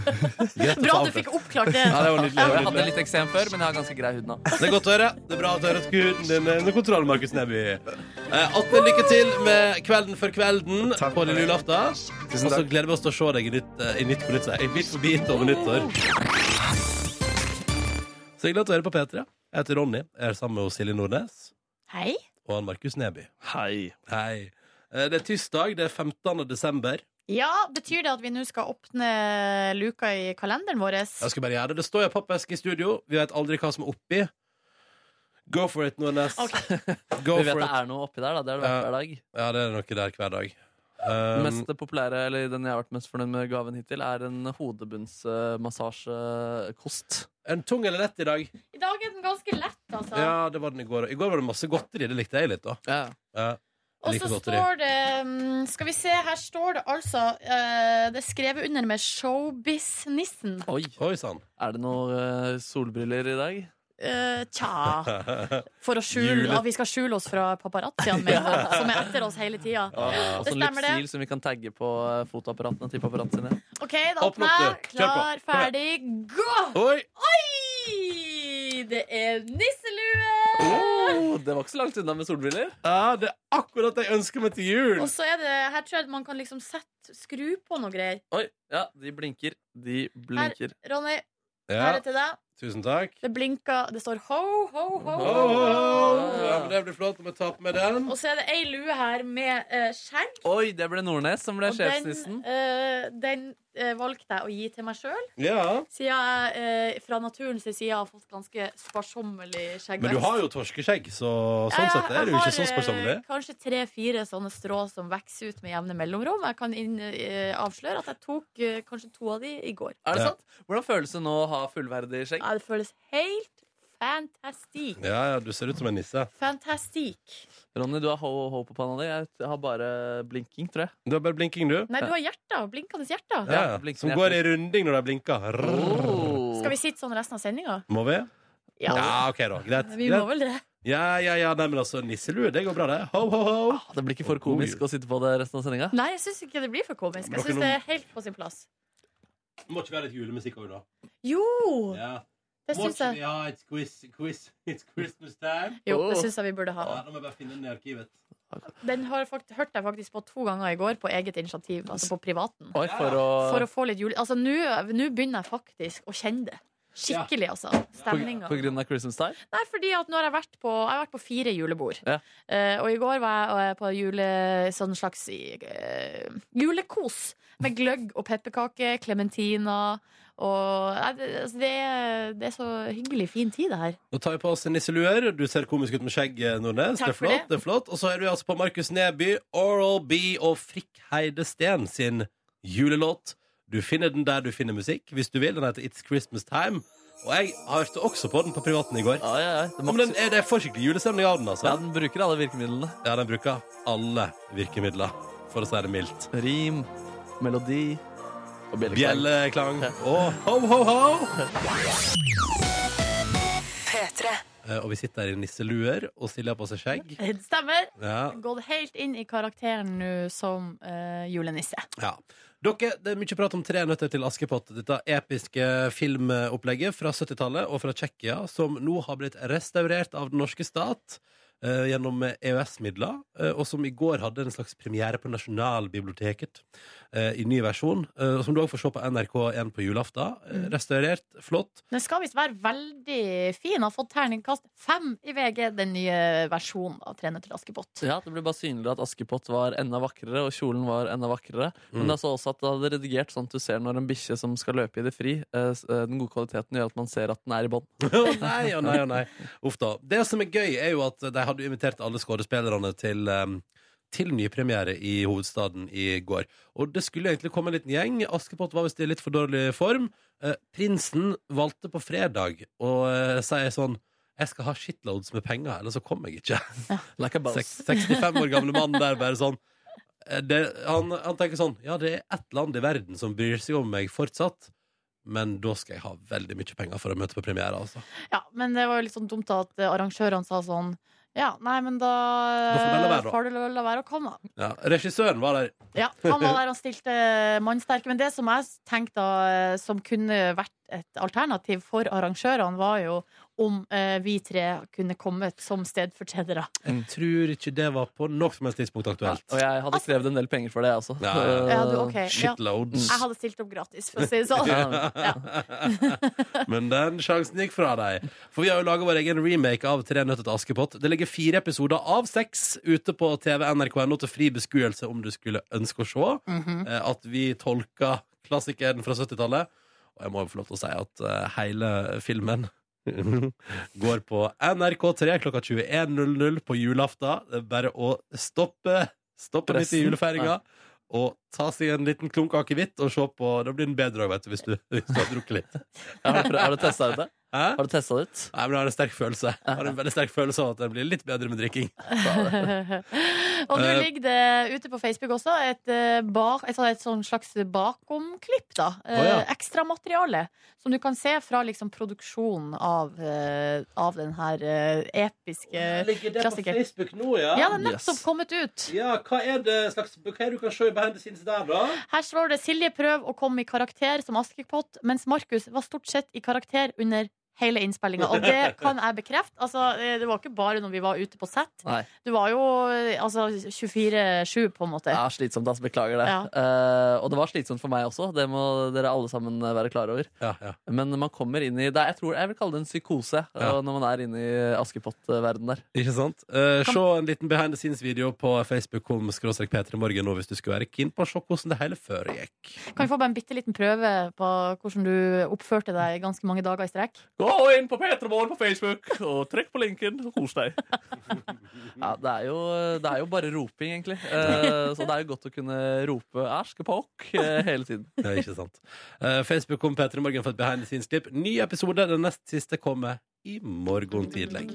S3: Bra at du fikk oppklart det.
S2: Ja, det var nydelig. det var
S4: Jeg hadde
S2: nydelig.
S4: litt eksem før, men jeg har ganske grei hud nå.
S2: Det er godt å høre. Det er bra at du har hatt huden din under kontroll, Markus Neby. Eh, Atle, lykke til med Kvelden før kvelden
S10: Takk.
S2: på lille julaften.
S10: Tusen
S2: Og så
S10: takk.
S2: gleder vi oss til å se deg i Nytt, eh, i nytt på nytt. sier jeg. I Bit for bit over nyttår. Så hyggelig at du hører på P3. Jeg heter Ronny. Jeg er sammen med Silje Nordnes
S3: Hei.
S2: og han Markus Neby.
S4: Hei.
S2: Hei. Eh, Det er tirsdag. Det er 15. desember.
S3: Ja, Betyr det at vi nå skal åpne luka i kalenderen vår?
S2: Jeg skal bare gjøre det. Det står en pappeske i studio. Vi vet aldri hva som er oppi. Go for it, Nordnes.
S3: Ok.
S2: Go
S4: Vi vet
S2: for
S4: det
S2: it.
S4: er noe oppi der. da, Det har det vært
S2: Ja.
S4: hver dag.
S2: Ja, det er noe der hver dag.
S4: Den
S2: Um,
S4: mest populære, eller Den jeg har vært mest fornøyd med gaven hittil, er en hodebunnsmassasjekost.
S2: En tung eller lett i dag?
S3: I dag er den ganske lett, altså.
S2: Ja, det var den i går. I går var det masse godteri. Det likte jeg litt, da.
S4: Ja.
S2: Ja.
S3: Og
S2: Jeg
S3: så
S2: liker godteri.
S3: står det mm, Skal vi se, her står det altså eh, Det er skrevet under med Showbiz-nissen.
S4: Oi.
S2: Oi sann.
S4: Er det noen eh, solbriller i dag?
S3: Eh, tja For å skjule
S4: Jule-
S3: at vi skal skjule oss fra paparazziaen min, som er etter oss hele tida.
S4: Og
S3: Det
S4: sånn
S3: stemmer, det.
S4: lypsil som vi kan tagge på eh, fotoapparatene til paparazziene.
S3: OK, da
S2: Opp
S3: åpner jeg.
S2: mot det. Kjør på.
S3: Klar,
S2: Kom
S3: ferdig, gå!
S2: Oi!
S3: Oi! Det er nisselue!
S4: Oh, det var ikke så langt unna med solbriller.
S2: Ja, det er akkurat det jeg ønsker meg til jul!
S3: Og så er det Her tror jeg at man kan liksom sette Skru på noe greier.
S4: Oi, ja, de blinker. De blinker.
S3: Ronny,
S2: Ja,
S3: her er til deg.
S2: tusen takk.
S3: Det blinker Det står ho, ho, ho.
S2: Ho, ho. Ja, men det blir flott om jeg tar på meg den.
S3: Og så er det ei lue her med eh, skjegg.
S4: Oi, det ble Nordnes som
S3: Og
S4: ble
S3: den,
S4: sjefsnissen.
S3: eh, den eh, valgte jeg å gi til meg sjøl,
S2: Ja.
S3: siden jeg eh, fra naturens side har fått ganske sparsommelig skjeggvekst.
S2: Men du har jo torskeskjegg, så
S3: Ja,
S2: sånn
S3: ja,
S2: sett er
S3: jeg
S2: du ikke
S3: har,
S2: så sparsommelig.
S3: eh, Kanskje tre-fire sånne strå som vokser ut med jevne mellomrom. Jeg kan inn, eh, avsløre at jeg tok eh, kanskje to av de i går.
S4: Er det
S2: Ja.
S4: sant? Hvordan føles det nå å ha fullverdig skjegg?
S3: Ja, det føles helt fantastisk.
S2: Ja, ja, du ser ut som en nisse.
S3: Fantastisk.
S4: Ronny, du har ho-ho på panna di. Jeg har bare blinking, tror jeg.
S2: Du har bare blinking, du.
S3: Nei, du har hjerter. Blinkende hjerter.
S2: Ja,
S4: Ja,
S2: som går i runding når de blinker. Rrrr.
S3: Skal vi sitte sånn resten av sendinga?
S2: Må vi?
S3: Ja.
S2: Oh. Ja, OK, da. Greit.
S3: Vi må
S2: greit.
S3: vel det.
S2: Ja, ja, ja. Nei, men altså, nisselue, det går bra, det. Ho, ho, ho.
S4: Ah, Det blir ikke for komisk å sitte på det resten av sendinga.
S3: Nei, jeg syns ikke det blir for komisk. Jeg syns det er helt på sin plass.
S2: Må ikke være litt julemusikk òg, da.
S3: Jo!
S2: Ja.
S3: Det syns jeg,
S2: Ja, it's, quiz, quiz, it's Christmas time.
S3: jo, det syns jeg vi burde ha.
S2: da må jeg bare finne den i arkivet.
S3: Den har fakt hørte jeg faktisk på to ganger i går, på eget initiativ. Altså på privaten.
S4: Oi, for å,
S3: For å få litt jule... Altså, nå nå begynner jeg faktisk å kjenne det. Skikkelig, altså. Stemninga.
S4: på grunn av Christmas time?
S3: Nei, fordi at nå har jeg vært på, jeg har vært på fire julebord.
S4: Ja.
S3: Eh, og i går var jeg eh, på jule, sånn slags eh, julekos med gløgg og pepperkake, klementiner og nei, det, altså, det, er- det er så hyggelig fin tid, det her.
S2: Nå tar vi på oss nisseluer. Du ser komisk ut med skjegg, eh, Nordnes.
S3: Takk
S2: Det er
S3: for
S2: flott.
S3: det.
S2: det er flott Og så er vi altså på Markus Neby, Oral B og Frikk Heide Steen sin julelåt. Du finner den der du finner musikk, hvis du vil. Den heter It's Christmas Time. Og jeg hørte også på den på privaten i går.
S4: Ja, ja, ja. Det
S2: Ja, men den er, det er for skikkelig julestemning av den,
S4: ja,
S2: altså.
S4: den bruker alle virkemidlene.
S2: Ja, den bruker alle virkemidler, for å si det mildt.
S4: Rim, melodi og bjelleklang.
S2: Bjelleklang og ho, ho, ho! Eh, Og vi sitter her i nisseluer og stiller på seg skjegg.
S3: Det stemmer.
S2: Ja,
S3: Gått helt inn i karakteren nå som eh, julenisse.
S2: ja. Dere, det er mye prat om Tre nøtter til Askepott. Dette episke filmopplegget fra 70-tallet og fra Tsjekkia, som nå har blitt restaurert av den norske stat eh, gjennom EØS-midler, eh, og som i går hadde en slags premiere på Nasjonalbiblioteket eh, i ny versjon, eh, og som du òg får se på NRK1 på julaften. Eh, restaurert, flott.
S3: Den skal visst være veldig fin. Har fått terningkast fem i VG, den nye versjonen av 'Tre nøtter til Askepott'.
S4: Ja, Det ble bare synlig at Askepott var enda vakrere, og kjolen var enda vakrere.
S2: Mm.
S4: Men det er så også at det hadde redigert sånn at du ser når en bikkje som skal løpe i det fri, eh, s- eh, den gode kvaliteten gjør at man ser at den er i bånd.
S2: Å nei, å nei, å nei. Uff da. Det som er gøy, er jo at de hadde invitert alle skuespillerne til um, til nypremiere i hovedstaden i går. Og det skulle egentlig komme en liten gjeng. Askepott var visst i litt for dårlig form. Eh, prinsen valgte på fredag å eh, si sånn Jeg skal ha shitloads med penger, eller så kommer jeg ikke.
S4: Like a
S2: Seks- 65 år gamle mann der bare sånn eh, det, han, han tenker sånn Ja, det er ett land i verden som bryr seg om meg fortsatt, men da skal jeg ha veldig mye penger for å møte på premiere, altså.
S3: Ja, men det var jo litt sånn dumt da at eh, arrangørene sa sånn Ja, nei, men da
S2: Da får du la være, da.
S3: får du la være å komme, da.
S2: Ja, regissøren var der.
S3: Ja, han var der, han stilte eh, mannsterke. Men det som jeg tenkte da, eh, som kunne vært et alternativ for arrangørene, var jo om eh, vi tre kunne kommet som stedfortredere.
S2: Jeg tror ikke det var på noe som helst tidspunkt aktuelt.
S4: Og jeg hadde skrevet en del penger for det, altså.
S2: Ja, ja,
S3: Ja, du, ok. Ja.
S2: Shitloads.
S3: Jeg hadde stilt opp gratis, for å si det sånn. Ja.
S2: Men den sjansen gikk fra deg. For vi har jo laga vår egen remake av Tre nøtter til Askepott. Det ligger fire episoder av seks ute på TV NRK.no til fri beskuelse om du skulle ønske å se.
S4: Mm.
S2: eh, At vi tolka klassikeren fra 70-tallet. Og jeg må jo få lov til å si at eh, hele filmen går på NRK3 klokka 21.00 på julaften. Det er bare å stoppe, stoppe litt i
S4: Pressen.
S2: julefeiringa. Og ta seg en liten klunk akevitt og se på. Da blir den bedre òg, hvis du, hvis du har drukket litt.
S4: Ja, Har du, prøvd- har du testa ut det?
S2: Hæ?
S4: Har du testa det ut?
S2: Nei, men jeg har en sterk følelse Jeg har en veldig sterk følelse av at det blir litt bedre med drikking.
S3: og nå
S2: Eh.
S3: ligger det ute på Facebook også et, eh, bak, et, sånt- et sånn slags bakomklipp. da
S2: Å, ja.
S3: eh, Ekstramateriale som du kan se fra liksom, produksjonen av, eh, av den her eh, episke
S2: Ligger
S3: det på Klassiker.
S2: Facebook nå, ja?
S3: Ja, den er nettopp
S4: Yes.
S3: kommet ut.
S2: Ja, hva er det slags Hva er det du kan se i behind the scenes der, da?
S3: Her står det 'Silje prøv å komme i karakter som Askepott', mens Markus var stort sett i karakter under hele innspillinga. Og det kan jeg bekrefte. Altså, eh, det var ikke bare når vi var ute på sett.
S4: Nei.
S3: Du var jo eh, altså, 24-7, på en måte.
S4: Ja, slitsomt, ass. Beklager det.
S3: Ja.
S4: Eh, og det var slitsomt for meg også. Det må dere alle sammen eh, være klar over.
S2: Ja, ja.
S4: Men man kommer inn i det, er- Jeg tror jeg vil kalle det en psykose
S2: Ja.
S4: eh, når man er inne i Askepott-verden der.
S2: Ikke sant? Eh, se en liten behind the scenes-video på facebook.com skråstrek P3morgen nå hvis du skulle være keen på å se hvordan det hele før gikk.
S3: Kan vi få bare en bitte liten prøve på hvordan du oppførte deg i ganske mange dager i strekk?
S4: Gå inn på P3morgen på Facebook og trykk på linken og kos deg. ja, det er, jo, det er jo bare roping, egentlig. Eh, så det er jo godt å kunne rope 'Askepokk' eh, hele tiden.
S2: Ja, ikke sant? Eh, Facebook kom Petra i Morgen for et behind the scenes-klipp. Ny episode, den nest siste, kommer i morgen tidlig.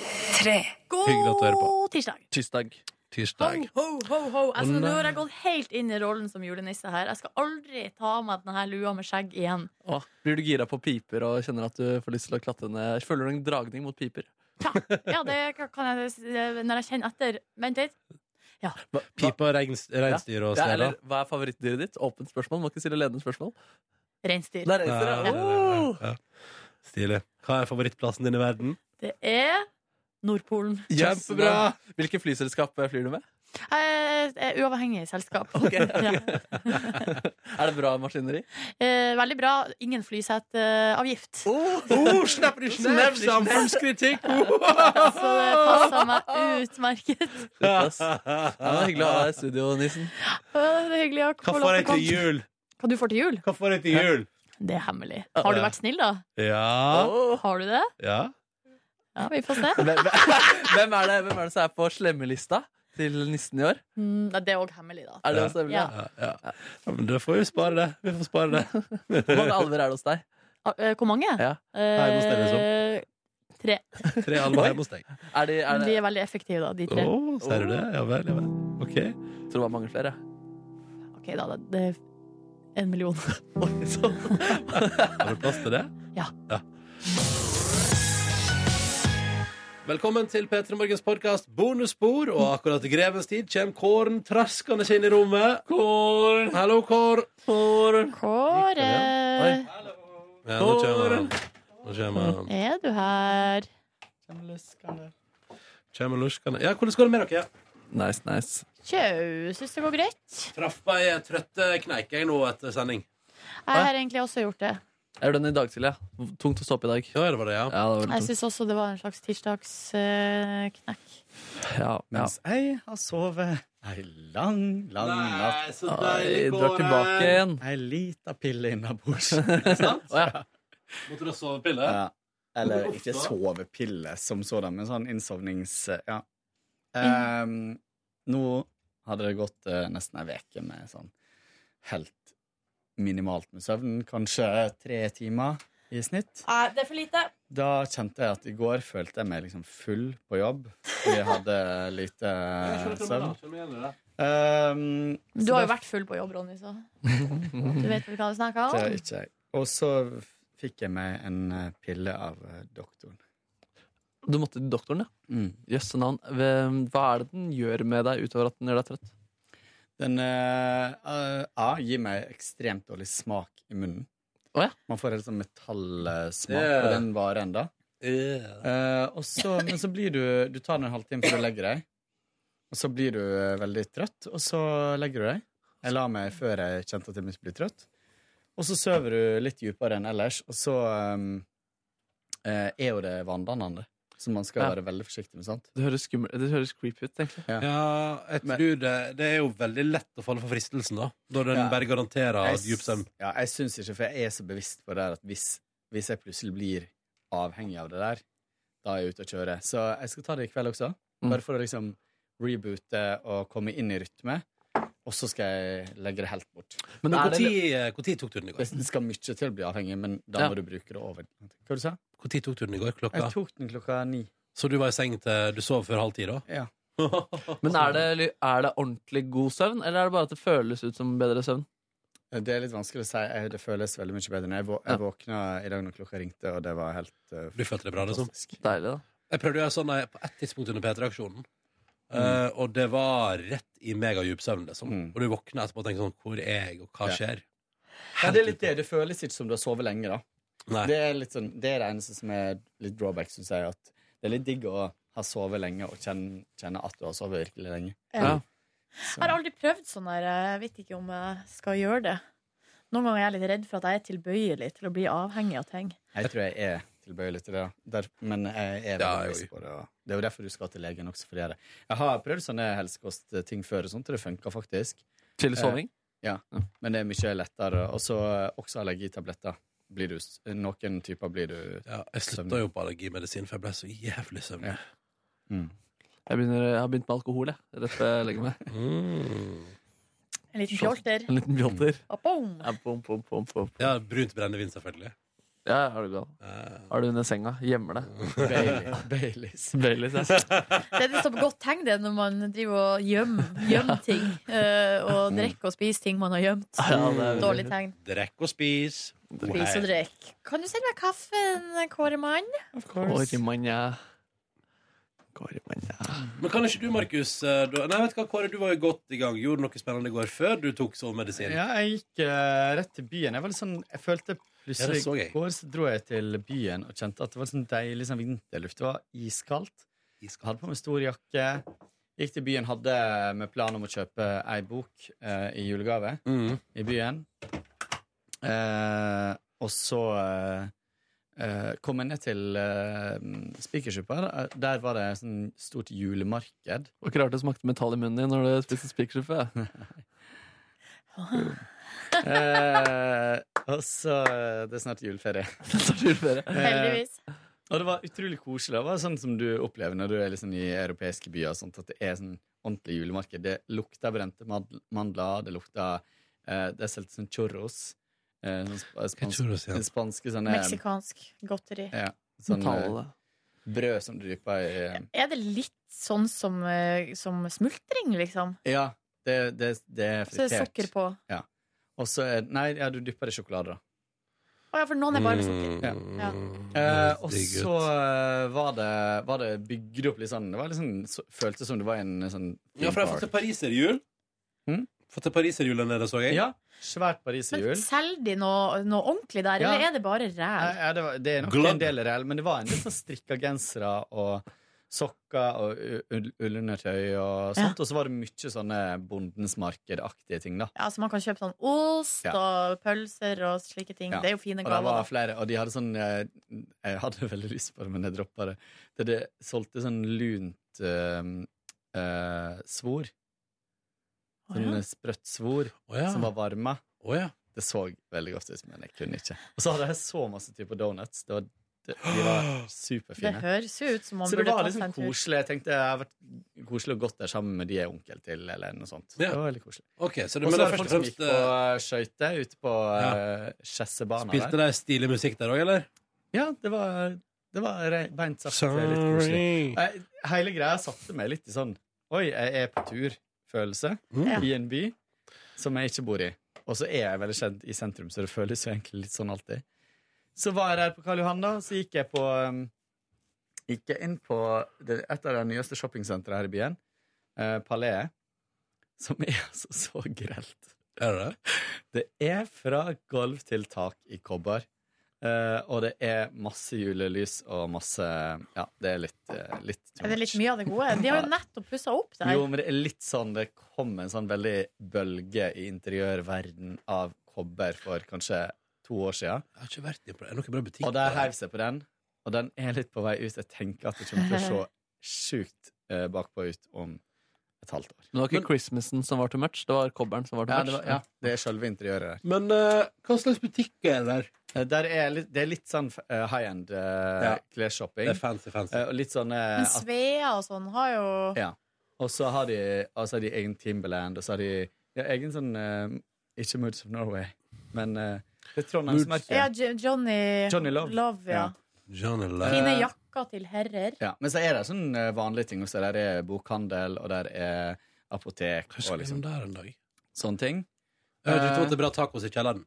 S2: Hyggelig at du hører på.
S3: God tirsdag!
S4: Tirsdag.
S2: Tirsdag.
S3: Ho, ho, ho. Jeg skal,
S2: Å, nei.
S3: nå har jeg gått helt inn i rollen som julenisse her. Jeg skal aldri ta av meg denne lua med skjegg igjen.
S4: Åh, blir du gira på piper og kjenner at du får lyst til å klatre ned? Føler du en dragning mot piper?
S3: Ja, det kan jeg s- eh, Når jeg kjenner etter Vent litt.
S4: Hva, hva,
S2: Pipe og reins- reinsdyr og
S4: ja,
S2: snela.
S4: eller, hva er favorittdyret ditt? Åpent spørsmål. Må ikke stille ledende spørsmål.
S3: Reinsdyr.
S4: Der,
S2: Ja,
S4: sånn, ja.
S2: ja, ja, ja. Stilig. Hva er favorittplassen din i verden?
S3: Det er Nordpolen.
S2: Kjempebra!
S4: Hvilke flyselskap eh, flyr du med?
S3: Jeg er uavhengig selskap. Ja.
S4: Er det bra maskineri?
S3: Eh, Veldig bra. Ingen flyseteavgift.
S2: Oh, snapper du snap, samfunnskritikk!
S3: Så det passer meg utmerket.
S4: Ja, det er hyggelig å ha deg i studio, Nissen.
S3: Å, Det er hyggelig å få
S2: Hva
S3: lov
S2: får jeg
S3: til å
S2: til
S3: komme.
S2: jul?
S3: Hva du får til jul?
S2: Hva får jeg til jul?
S3: Det er hemmelig. Har du vært snill, da?
S2: Ja,
S3: Har du det?
S2: ja.
S3: Ja, vi får se.
S4: Hvem, hvem, er det, hvem er det som er på slemmelista til nissen i år?
S3: Mm, nei, det er òg hemmelig, da.
S4: Er det også hemmelig?
S3: Ja.
S2: ja, ja. ja men da får vi spare det. Vi får spare det.
S4: Hvor mange alver er det hos deg?
S3: Ah, eh, Hvor mange?
S4: Ja.
S2: Nei, nå stiller
S3: Eh, tre.
S2: Tre alver hjemme hos deg.
S4: Er de, er
S3: De
S4: det,
S3: er veldig effektive, da, de
S2: Å,
S3: tre.
S2: ser du det? Ja vel, ja vel. OK.
S4: jeg tror det var mange flere. ja.
S3: Ok, da. det- Det er en million.
S4: Oi, så-
S2: Har du plass til det?
S3: Ja.
S2: Velkommen til P3 Morgens podkast Bonusspor. Og akkurat i grevens tid kommer Kåren traskende inn i rommet. Kåren! Hallo, Kår. Kåren.
S3: Kåre,
S2: Ja, nå kommer han. Nå kommer han.
S3: er du her?
S2: Kommer luskende. Ja, hvordan går det med dere?
S4: Nice, nice.
S3: Tjau, syns det går greit?
S2: Traff meg i trøtte kneik jeg nå etter sending.
S3: Jeg har egentlig også gjort det.
S4: Jeg gjorde den i dag tidlig. ja. Tungt å stå opp i dag.
S2: Ja, det var det, ja.
S4: Ja, det var
S3: Jeg
S4: veldig tungt.
S3: syns også det var en slags tirsdagsknekk.
S4: Ja, ja.
S9: Mens jeg har sovet ei lang, lang natt.
S2: Nei, så
S4: Oi,
S2: deilig,
S4: drar tilbake
S2: Kåren.
S4: igjen.
S9: Ei lita pille innabords.
S4: Å, ja.
S2: Måtte du ha sovepille?
S9: Ja. Eller ikke sovepille som sådan, men sånn innsovnings... Ja. Ehm, nå hadde det gått eh, nesten ei uke med sånn helt minimalt med søvn. Kanskje tre timer i snitt.
S3: Det er for lite.
S9: Da kjente jeg at i går følte jeg meg liksom full på jobb. Jeg hadde lite søvn. Ehm,
S3: Du har jo vært full på jobb, Ronny, så du vet vel hva du snakker
S9: det er
S3: om?
S9: ikke jeg. Og så fikk jeg meg en eh, pille av eh, doktoren.
S4: Du måtte til doktoren, ja?
S9: Mm.
S4: Jøsse navn. Hvem- Hva er det den gjør med deg, utover at den gjør deg trøtt?
S9: Den eh, eh, A gir meg ekstremt dårlig smak i munnen.
S4: Å ja.
S9: Man får helt sånn metallsmak,
S2: Yeah.
S9: og den varer ennå.
S2: Ja.
S9: men så blir du Du tar den en halvtime før du legger deg, og så blir du eh, veldig trøtt, og så legger du deg. Jeg la meg før jeg kjente at jeg begynte å bli trøtt. Og så sover du litt dypere enn ellers, og så eh, eh, er jo det vanndannende, som man skal
S4: Ja.
S9: være veldig forsiktig med, sant?
S4: Det høres, skummel- det høres creepy ut, egentlig.
S2: Ja, jeg tror det Det er jo veldig lett å falle for fristelsen, da. Når den
S9: Ja.
S2: bare garanterer
S9: s-
S2: dyp søvn.
S9: Ja, jeg syns ikke, for jeg er så bevisst på det her at hvis, hvis jeg plutselig blir avhengig av det der, da er jeg ute å kjøre. Så jeg skal ta det i kveld også,
S4: Mm.
S9: bare for å liksom reboote og komme inn i rytme. og så skal jeg legge det helt bort.
S2: Men
S9: Er
S2: når
S9: det-
S2: tok turen i går?
S9: Det det skal mye til å bli avhengig, men da
S2: Ja.
S9: må du bruke det over. Hva du sa
S2: Når tok turen i går? Klokka?
S9: Jeg tok den klokka ni.
S2: Så du var i seng til Du sov før halv ti, da?
S9: Ja.
S4: Men er det, er det ordentlig god søvn, eller er det bare at det føles ut som bedre søvn?
S9: Det er litt vanskelig å si. Jeg- Det føles veldig mye bedre. Når jeg, vå jeg våkna i dag når klokka ringte, og det var helt eh,
S2: Du følte det bra, liksom?
S9: fantastisk.
S4: Deilig, da.
S2: Jeg prøvde å gjøre sånn eh, på ett tidspunkt under P3-aksjonen. Eh, og det var rett i megadjup søvn, liksom.
S9: Mm.
S2: Og du våkner etterpå og tenker sånn Hvor er jeg, og hva
S9: Ja.
S2: skjer?
S9: Ja, det er litt det. Det føles ikke som du har sovet lenge, da.
S2: Nei.
S9: Det er, litt sånn, det er det eneste som er litt drawback, syns jeg. At det er litt digg å ha sovet lenge og kjenne, kjenne at du har sovet virkelig lenge.
S4: Ja.
S3: Jeg har aldri prøvd sånn her. Jeg vet ikke om jeg skal gjøre det. Noen ganger er jeg litt redd for at jeg er tilbøyelig til å bli avhengig av ting.
S9: Jeg tror jeg er tilbøyelig til det, da. Der, men jeg er
S2: Ja,
S9: veldig
S2: jo,
S9: bevisst
S2: jo.
S9: på det. og Det er jo derfor du skal til legen også. Fordi jeg, jeg har prøvd sånne helsekostting før, og sånt, og det funka faktisk.
S4: Til soving?
S9: Men det er mye lettere. Og så eh, også allergitabletter. Blir du, s- noen typer blir du
S2: Ja, jeg slutta jo på allergimedisin, for jeg ble så jævlig søvnig.
S9: Ja. mm.
S4: Jeg, begynner, jeg har begynt med alkohol, jeg. Rett før jeg legger meg.
S2: Mm.
S3: En liten fjolter.
S4: En liten bjolter.
S3: Og boom!
S4: Ja, bom, bom, bom, bom.
S2: Ja, brunt brennevin, selvfølgelig.
S4: ja, er du gal.
S2: Eh,
S4: Har du under senga? Gjemmer det.
S9: Bailey- Baileys.
S4: Baileys, ja.
S3: Det er et så godt tegn det når man driver og gjemmer gjemmer ting. eh, Og drikker og spiser ting man har gjemt.
S4: Ja, det er veldig
S3: Dårlig
S4: fint.
S3: tegn.
S2: Drekk og spis. God
S3: Spis og
S2: hei.
S3: drikk. Kan du sende meg kaffen, Kåre Mann?
S4: Kåremann, ja. Kåremann, ja.
S2: Men kan ikke du, Markus eh, du- Nei, vet du hva, Kåre, du var jo godt i gang. Gjorde noe spennende i går før du tok sovemedisin.
S9: Ja, jeg gikk eh, rett til byen. Jeg var litt sånn, jeg følte
S2: Ja,
S9: plutselig
S2: det så
S9: i
S2: jeg.
S9: går så dro jeg til byen og kjente at det var sånn deilig sånn vinterluft. Det var iskaldt. Jeg hadde på meg stor jakke. Gikk til byen, hadde med plan om å kjøpe ei bok eh, i julegave
S2: Mm.
S9: i byen. Eh, og så eh, eh, kom jeg ned til eh, Spikersuppa. Der- Der var det sånn stort julemarked.
S4: Var ikke rart det smakte metall i munnen din når du spiste spikersuppe.
S9: Eh, og så Det er snart juleferie. Eh,
S3: Heldigvis.
S9: Og det var utrolig koselig. Det var sånn som du opplever når du er liksom i europeiske byer. og Sånt, at det er sånn ordentlig julemarked. Det lukter brente mandl- mandler, det lukter eh, Det er solgt sånn chorros. Eh, sånn sp
S2: Hva
S9: spansk,
S2: tror du, sier han?
S9: spanske sånne, eh,
S3: Meksikansk godteri.
S9: Ja, sånn eh,
S4: Metallet.
S9: brød som du dypper i eh,
S3: Er det litt sånn som, eh, som smultring, liksom?
S9: Ja, det, det, det er
S3: Så er det
S9: fritert.
S3: sukker på.
S9: Og så er Nei, ja, du dypper det i sjokolade, da.
S3: Å ja, for noen er bare liksom med sukker.
S9: Ja.
S2: Mm.
S9: Eh, og
S2: Digg ut.
S9: så eh, var det, var det bygd opp litt sånn Det var litt sånn, så, føltes som det var en sånn
S2: Ja, for jeg har fått til pariserhjul.
S9: Mm.
S2: Fått til pariserhjul der nede, så jeg.
S9: Ja, svært pariserhjul.
S3: Men selger de noe, noe ordentlig der,
S9: Ja.
S3: eller er det bare ræl?
S9: Nei, ja, det, var, det er nok
S2: Glad.
S9: en del reell, men det var en del sånn strikka gensere og sokker og u- ull- ullundertøy og sånt. Og så var det mye sånne Bondens marked-aktige ting, da.
S3: Ja, så man kan kjøpe sånn ost
S9: Ja.
S3: og pølser og slike ting.
S9: Ja.
S3: Det er jo fine
S9: Og det
S3: gaver.
S9: var
S3: da.
S9: flere, og de hadde sånn eh, Jeg hadde veldig lyst på det, men jeg droppa det. Det de solgte sånn lunt eh, eh, svor.
S3: Å,
S9: Sånn
S3: ja.
S9: sprøtt svor
S2: Å ja.
S9: som var varma.
S2: Å ja.
S9: Det så veldig godt ut, men jeg kunne ikke. Og så hadde jeg så masse typer donuts. Det var, det, de var
S3: Det
S9: superfine.
S3: høres jo ut som man
S9: Så det
S3: burde tatt
S9: var
S3: seg
S9: liksom
S3: en tur.
S9: koselig. Jeg tenkte jeg har vært koselig og godt der sammen med de jeg er onkel til, eller noe sånt.
S2: Ja.
S9: Det var veldig koselig.
S2: OK, så det,
S9: Og
S2: men
S9: så
S2: det
S9: var
S2: er
S9: det
S2: først og
S9: folk som gikk
S2: fremst
S9: på
S2: eh,
S9: skøyter ute på
S2: Ja.
S9: eh, Skjessebanen
S2: Spilte
S9: der.
S2: de stilig musikk der òg, eller?
S9: Ja, det var, det var re- beint sagt eh, litt koselig. Jeg, hele greia satte meg litt i sånn Oi, jeg er på tur-følelse
S2: Mm.
S9: i en by som jeg ikke bor i. Og så er jeg veldig kjent i sentrum, så det føles jo egentlig litt sånn alltid. Så var jeg der på Karl Johan, da, så gikk jeg på um, Gikk jeg inn på det, et av de nyeste shoppingsentrene her i byen, eh, Palais, som er altså så grelt.
S2: Er det det?
S9: Det er fra gulv til tak i kobber. Eh, og det er masse julelys og masse Ja, det er litt, eh, litt too
S3: Er det litt
S9: much.
S3: mye av det gode? De har jo nettopp pussa opp det
S9: Jo,
S3: her.
S9: men det er litt sånn Det kom en sånn veldig bølge i interiørverden av kobber for kanskje to år siden.
S2: Jeg har ikke vært i på det. Er det noen bra butikk?
S9: Og der
S2: der?
S9: heiv seg på den. Og den er litt på vei ut. Jeg tenker at det kommer til å se sjukt eh, bakpå ut om et halvt år.
S4: Men det var ikke
S2: Men-
S4: Christmasen som var too much, det var kobberen som var too
S9: Ja,
S4: much.
S9: det, var, ja, det er selve interiøret der.
S2: Men eh, hva slags butikk er det der?
S9: Eh, Der er litt, det er litt sånn eh, high end eh,
S2: Ja.
S9: klesshopping.
S2: Det er fancy, fancy.
S9: Eh, og litt sånn eh,
S3: Men
S9: at,
S3: Svea og sånn har jo
S9: Ja. Og så har de, og så har de egen Timberland, og så har de Ja, egen sånn eh, Ikke Moods of Norway, men eh, det er Trondheims merke.
S3: Ja, Jo- Johnny,
S9: Johnny Love. Eh.
S3: ja.
S2: Johnny Love.
S3: Fine jakker til herrer.
S9: Ja, men så er det sånn eh, vanlige ting også. Der er bokhandel, og der er apotek
S2: Kanskje
S9: og
S2: vi
S9: liksom
S2: liksom der en dag. Eh,
S9: sånne ting.
S2: Jeg hørte rykte om at det er bra tacos i kjelleren.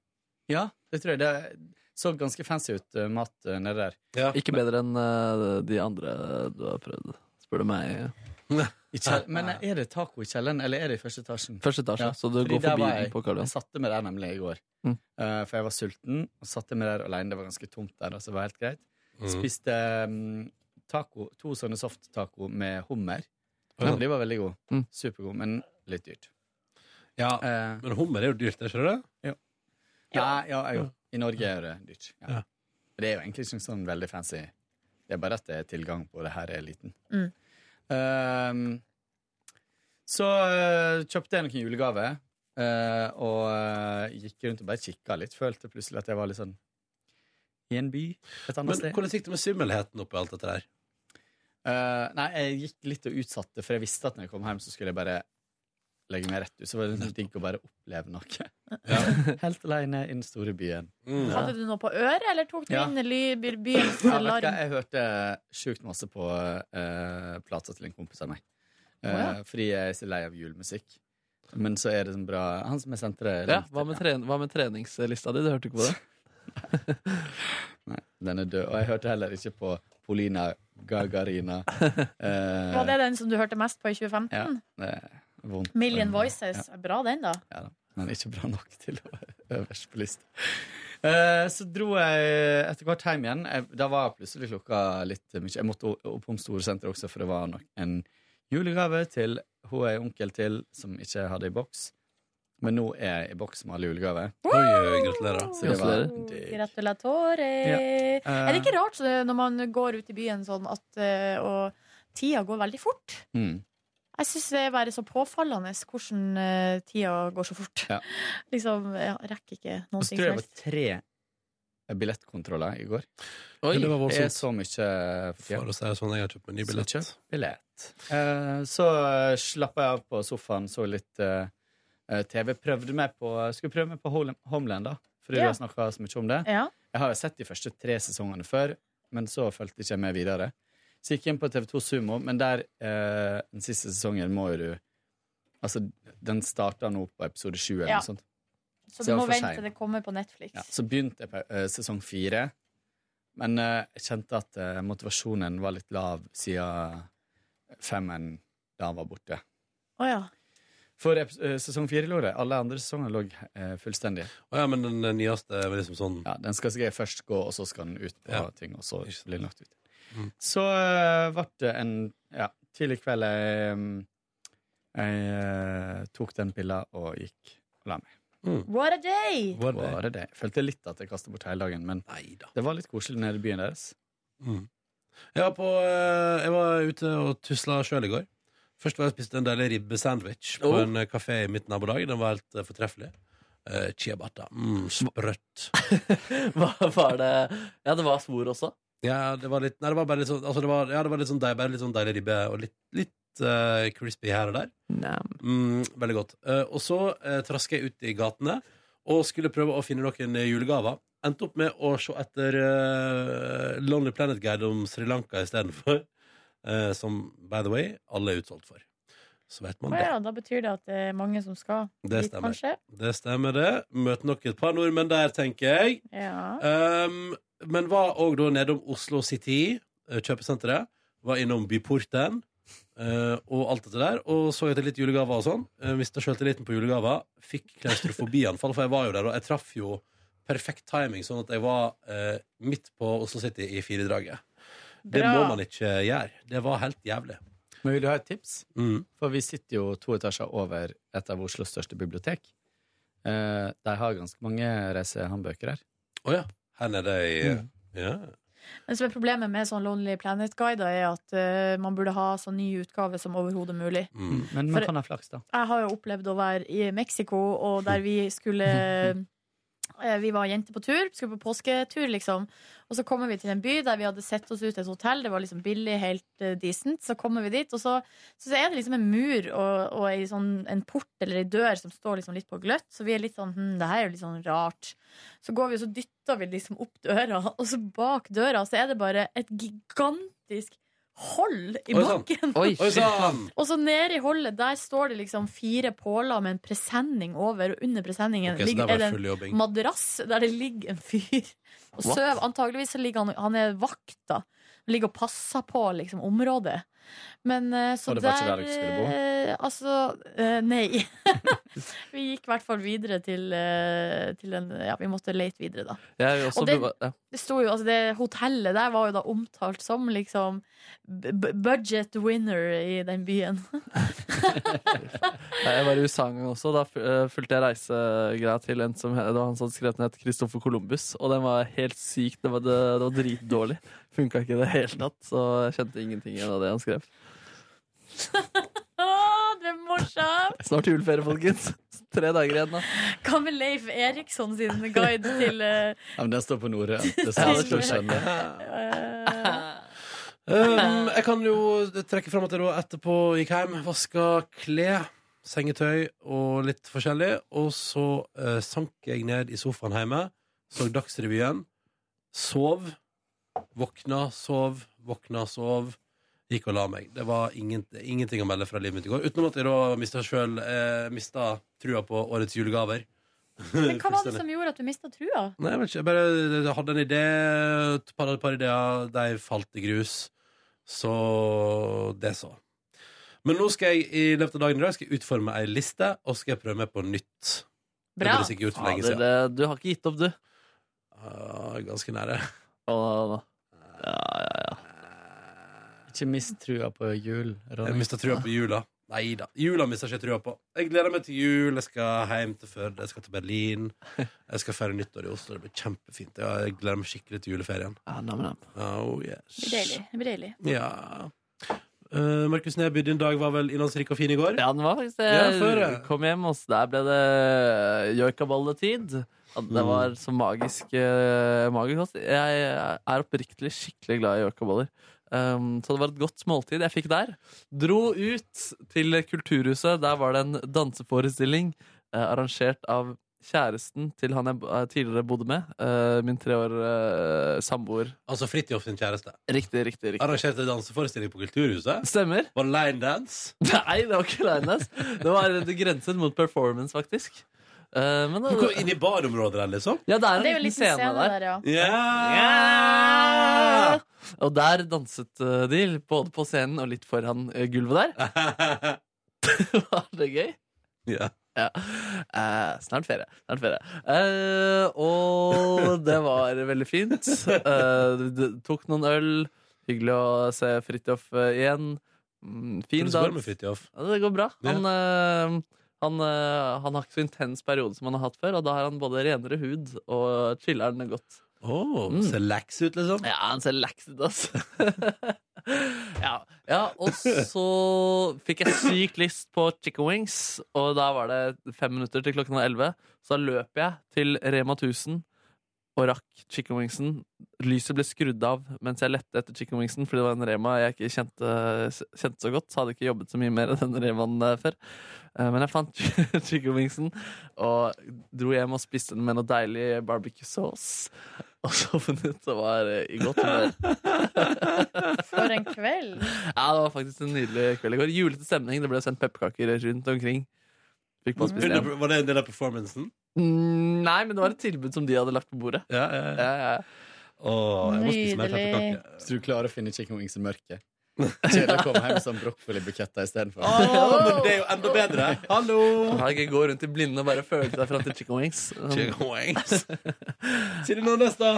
S9: Ja, det tror jeg. Det så ganske fancy ut, eh, mat eh, nede der.
S4: Ikke bedre enn eh, de andre du har prøvd, spør du meg.
S9: I kjell- Men eh, er det taco i kjelleren, eller er det i første etasjen?
S4: Første etasje,
S9: Ja,
S4: så du
S9: fordi
S4: går
S9: der
S4: forbi
S9: var
S4: den
S9: jeg.
S4: på Karl
S9: Jeg
S4: Johan.
S9: satte meg der nemlig i går.
S4: Mm.
S9: Eh, for jeg var sulten, og satte meg der alene. Det var ganske tomt der, altså det var helt greit.
S4: Mm.
S9: Spiste mm, taco, to sånne soft-taco med hummer.
S2: Ja.
S9: Og De var veldig gode.
S4: Mm.
S9: Supergode, men litt dyrt.
S2: Ja,
S9: Eh,
S2: men hummer er jo dyrt, er ikke det?
S9: Nei, ja, jo. I Norge er det dyrt. Ja.
S2: Ja.
S9: Det er jo egentlig ikke sånn veldig fancy. Det er bare at det er tilgang på det her er liten.
S3: Mm.
S9: Ehm, så eh, kjøpte jeg noen julegaver, eh, og eh, gikk rundt og bare kikka litt. Følte plutselig at jeg var litt sånn i en by et annet
S2: Men
S9: sted.
S2: hvordan gikk det med svimmelheten oppi alt dette der?
S9: Eh, nei, jeg gikk litt og utsatte, for jeg visste at når jeg kom hjem, så skulle jeg bare legge meg rett ut. Så var det litt digg å bare oppleve noe. Helt aleine i den store byen.
S2: Mm.
S3: Hadde du noe på øret, eller tok du
S9: Ja.
S3: inn ly- by- byens
S9: Ja, vet du hva?
S3: larm?
S9: Jeg hørte sjukt masse på eh, plata til en kompis av meg. Eh,
S3: Å,
S9: Fordi jeg er så lei av julemusikk. Men så er det sånn bra Han som jeg sendte det
S4: Ja,
S9: link til,
S4: hva med, tren hva med treningslista di? Du hørte ikke på det?
S9: Nei, Den er død. Og jeg hørte heller ikke på Polina Gagarina. Eh,
S3: Var det den som du hørte mest på i 2015?
S9: Ja, det er vondt.
S3: Million
S9: Men-
S3: Voices. Bra den, da.
S9: men ikke bra nok til å være øverst på lista. Eh, så dro jeg etter hvert hjem igjen. Jeg, da var plutselig klokka litt mye. Jeg måtte o- opp om Storsenteret også, for det var nok en julegave til hun jeg er onkel til, som ikke jeg hadde i boks. Men nå er jeg i boks med alle julegaver.
S2: Oi, oi, gratulerer.
S9: Så det var
S4: Gratulerer.
S9: digg.
S3: Gratulatore. Er det ikke rart så det, når man går ut i byen sånn at eh, og tida går veldig fort?
S9: Mm.
S3: Jeg syns det er bare så påfallende hvordan eh, tida går så fort.
S9: Ja.
S3: Liksom, jeg rekker ikke
S9: Og
S3: noen
S9: så
S3: ting
S9: tror
S3: som
S9: jeg det
S3: helst.
S9: var tre billettkontroller i går.
S2: Oi, det var
S9: Det er
S2: voldsomt.
S9: så mye for tida.
S2: For å si det sånn, jeg har kjøpt meg ny billett.
S9: Så kjøp billett. Eh, så eh, slappa jeg av på sofaen, så litt eh, eh, TV. Prøvde meg på, skulle prøve meg på Hol- Homeland, da, fordi
S3: Ja.
S9: du har snakka så mye om det.
S3: Ja.
S9: Jeg har jo sett de første tre sesongene før, men så fulgte ikke jeg med videre. Så gikk jeg inn på TV2 Sumo, men der eh, den siste sesongen må jo du Altså, den starta nå på episode sju, eller
S3: Ja.
S9: noe sånt.
S3: Så
S9: Så
S3: du
S9: jeg var
S3: må
S9: for
S3: vente
S9: sein.
S3: til det kommer på Netflix.
S9: Ja, så begynte jeg på eh, sesong fire, men eh, jeg kjente at eh, motivasjonen var litt lav siden femmeren da var borte.
S3: Å ja.
S9: For eps- eh, sesong fire lå det. Alle andre sesonger lå eh, fullstendig.
S2: Å ja, men den den nyeste er vel liksom sånn
S9: Ja, den skal sikkert først gå, og så skal den ut på
S2: Ja.
S9: ting, og så
S2: Ikke sant.
S9: blir den lagt ut.
S2: Mm.
S9: Så eh, ble det en ja, tidlig kveld jeg, mm, jeg eh, tok den pilla og gikk og la meg.
S3: What a day!
S2: Var det?
S9: Bare det. Jeg følte litt at jeg kastet bort hele dagen, men
S2: Nei da.
S9: det var litt koselig nede i byen deres.
S2: Mm. Jeg, var på, eh, jeg var ute og tusla sjøl i går. Først var jeg og spiste en deilig ribbesandwich på
S4: Oh.
S2: en eh, kafé i mitt nabolag. Den var helt eh, fortreffelig. Uh, Ciabatta. Mm, sprøtt.
S4: Hva var det? Ja, det var svor også.
S2: Ja, det var litt Nei, det var bare litt sånn altså det var, Ja, det var litt sånn deig, bare litt sånn deilig ribbe og litt, litt eh, crispy her og der. Mm, veldig godt. Eh, og så uh, traska jeg ut i gatene og skulle prøve å finne noen eh, julegaver. Endte opp med å se etter eh, Lonely Planet Guide om Sri Lanka istedenfor. Uh, som, by the way, alle er utsolgt for. Så vet man
S3: Å
S2: det.
S3: ja, da betyr det at det er mange som skal
S2: Det
S3: dit,
S2: stemmer.
S3: kanskje.
S2: Det stemmer, det. Møter nok et par nordmenn der, tenker jeg.
S3: Ja.
S2: Um, men var òg da nedom Oslo City, eh, kjøpesenteret. Var innom Byporten eh, og alt dette der. Og så etter litt julegaver og sånn. Uh, Mista sjøltilliten på julegaver. Fikk klaustrofobianfall, for jeg var jo der, og jeg traff jo perfekt timing, sånn at jeg var eh, midt på Oslo City i firedraget. Det
S3: Bra.
S2: må man ikke gjøre. Det var helt jævlig.
S9: Men vil du ha et tips?
S2: Mm.
S9: For vi sitter jo to etasjer over et av Oslos største bibliotek. Eh, de har ganske mange reisehåndbøker her.
S2: Å ja. Her nede i
S3: Mm.
S2: ja.
S3: Men som er problemet med sånn Lonely Planet-guider, er at eh, man burde ha så ny utgave som overhodet mulig.
S2: mm.
S9: Men man
S3: For-
S9: kan ha flaks, da.
S3: Jeg har jo opplevd å være i Mexico, og der vi skulle eh, vi var jenter på tur, skulle på påsketur, liksom. Og så kommer vi til en by der vi hadde sett oss ut et hotell. Det var liksom billig, helt eh, decent. Så kommer vi dit, og så, så er det liksom en mur og, og ei sånn, en port eller ei dør som står liksom litt på gløtt. Så vi er litt sånn hm, det her er jo litt sånn rart. Så går vi og så dytter vi liksom opp døra, og så bak døra så er det bare et gigantisk hold i
S2: Oi, sann.
S3: bakken.
S4: Oi,
S2: Oi
S4: shit.
S2: sann!
S3: Og så nede i holdet, der står det liksom fire påler med en presenning over, og under presenningen
S2: Ok, så
S3: ligger,
S2: der var
S3: er
S2: det
S3: det en
S2: full jobbing.
S3: madrass der det ligger en fyr og
S8: What?
S3: søv. Antageligvis så ligger han, han er vakt, da. Han ligger og passer på liksom området. Men eh, så
S9: Og det var ikke
S3: der,
S9: der dere skulle bo?
S3: eh, Altså, eh, nei. vi gikk i hvert fall videre til, eh, til en Ja, vi måtte lete videre, da.
S4: Jeg vil også
S3: Og det-
S4: beva- ja.
S3: Det sto jo, altså det hotellet der var jo da omtalt som liksom b- b- budget winner i den byen.
S4: Nei, Jeg var i USA en gang også. Da fu- eh, fulgte jeg reisegreia til en som het- det var han som hadde skrevet ned Christopher Columbus. Og den var helt syk. Det var, det, det var dritdårlig. Funka ikke i det hele tatt. Så jeg kjente ingenting igjen av det han skrev.
S3: Å, det er morsomt!
S4: Snart juleferie, folkens. Tre dager igjen, da.
S3: Hva med Leif Eriksson sin guide til eh,
S9: Ja, men den står på Norrøn. Det
S4: Ja,
S9: skal
S4: det
S9: du
S4: skjønner jeg.
S9: skjønne.
S3: eh,
S2: Um, jeg kan jo trekke fram at jeg da etterpå gikk hjem, vaska klær, sengetøy og litt forskjellig. Og så eh, sank jeg ned i sofaen hjemme, så Dagsrevyen, sov, våkna, sov, våkna, sov. Gikk og la meg. Det var ingen, ingenting å melde fra livet mitt i går. Utenom at jeg da mista sjøl eh, mista trua på årets julegaver.
S3: Men hva var det
S2: Fullstendig.
S3: som gjorde at du mista trua?
S2: Nei, jeg vet ikke. Jeg bare hadde en idé, et par, et par ideer, de falt i grus. Så det så. Men nå skal jeg i løpet av dagen i dag skal jeg utforme ei liste, og skal jeg prøve meg på nytt. Det
S3: Bra.
S2: burde jeg sikkert gjort for lenge
S4: Fader,
S2: siden.
S4: det, du har ikke gitt opp, du.
S2: Ah, ganske nære.
S4: Å, da, da. Ja, ja, ja.
S9: Ikke mist trua på jul,
S2: Jeg
S9: Ronny.
S2: mista trua på jula. Nei da. Jula mista ikke jeg trua på. Jeg gleder meg til jul. Jeg skal hjem til Førde. Jeg skal til Berlin. Jeg skal feire nyttår i Oslo. Det blir kjempefint. Jeg gleder meg skikkelig til juleferien.
S4: ja nam, nam.
S2: Oh, yes.
S3: Det blir deilig. Det blir deilig.
S2: Ja Eh, Markus Neby, din dag var vel innholdsrik og fin i går?
S4: Ja, den var faktisk det.
S2: Ja, før, ja.
S4: Kom hjem, og så der ble det joikabolletid. At
S2: Mm.
S4: Det var så magisk. eh, magisk altså. Jeg er oppriktig skikkelig glad i joikaboller. Um, så det var et godt måltid jeg fikk der. Dro ut til Kulturhuset. Der var det en danseforestilling eh, arrangert av kjæresten til han jeg bo- eh, tidligere bodde med. eh, min tre år eh, samboer.
S2: Altså Fridtjof sin kjæreste.
S4: Riktig, riktig, riktig.
S2: Arrangerte danseforestilling på Kulturhuset.
S4: Stemmer.
S2: Var det line dance?
S4: Nei, det var ikke Lines. Det var det grenset mot performance, faktisk. Eh, men
S2: Du kom inn i barområdet der, liksom?
S4: ja, det er en
S3: Det er jo
S4: liten scene, der.
S3: ja.
S2: Ja!
S4: Og der danset eh, de, både på scenen og litt foran eh, gulvet der. var det gøy?
S2: ja.
S4: Ja. Eh, snart ferie. Snart ferie. Eh, og det var veldig fint. Eh, det- det tok noen øl. Hyggelig å se Fridtjof eh, igjen. Mm,
S2: Hvordan
S4: fin
S2: går det med
S4: dans.
S2: Fridtjof?
S4: Ja, det går bra.
S2: Ja.
S4: Han, eh, han, eh, han har ikke så intens periode som han har hatt før, og da har han både renere hud og chiller'n godt.
S2: Oh,
S4: Mm.
S2: Ser lax ut, liksom?
S4: Ja, han ser lax ut, ass. ja. ja, og så fikk jeg sykt lyst på chicken wings, og da var det fem minutter til klokken var elleve. Så da løp jeg til Rema 1000 og rakk chicken wingsen. Lyset ble skrudd av mens jeg lette etter chicken wingsen, fordi det var en Rema jeg ikke kjente, kjente så godt. Så hadde jeg ikke jobbet så mye mer i den Remaen eh, før. Eh, Men jeg fant chicken wingsen og dro hjem og spiste den med noe deilig barbecue sauce. Og sovnet og var eh, i godt humør.
S3: For en kveld.
S4: Ja, det var faktisk en nydelig kveld i går. Julete stemning. Det ble sendt pepperkaker rundt omkring. Fikk man spise
S2: Under,
S4: igjen.
S2: var det en del av performancen?
S4: Mm, Nei, men det var et tilbud som de hadde lagt på bordet.
S2: Ja, ja, ja.
S4: Ja, ja.
S2: Åh, jeg må spise mer
S3: Nydelig.
S2: pepperkake.
S9: Hvis du klarer å finne chicken wings i mørket. Kjedelig å komme hjem som brokkolibuketta istedenfor.
S2: Åh, men det er jo enda bedre! Hallo!
S4: Jeg kan ikke gå rundt i blinde og bare føle deg fram til chicken wings. Sånn.
S2: Chicken wings. Sier du noe neste?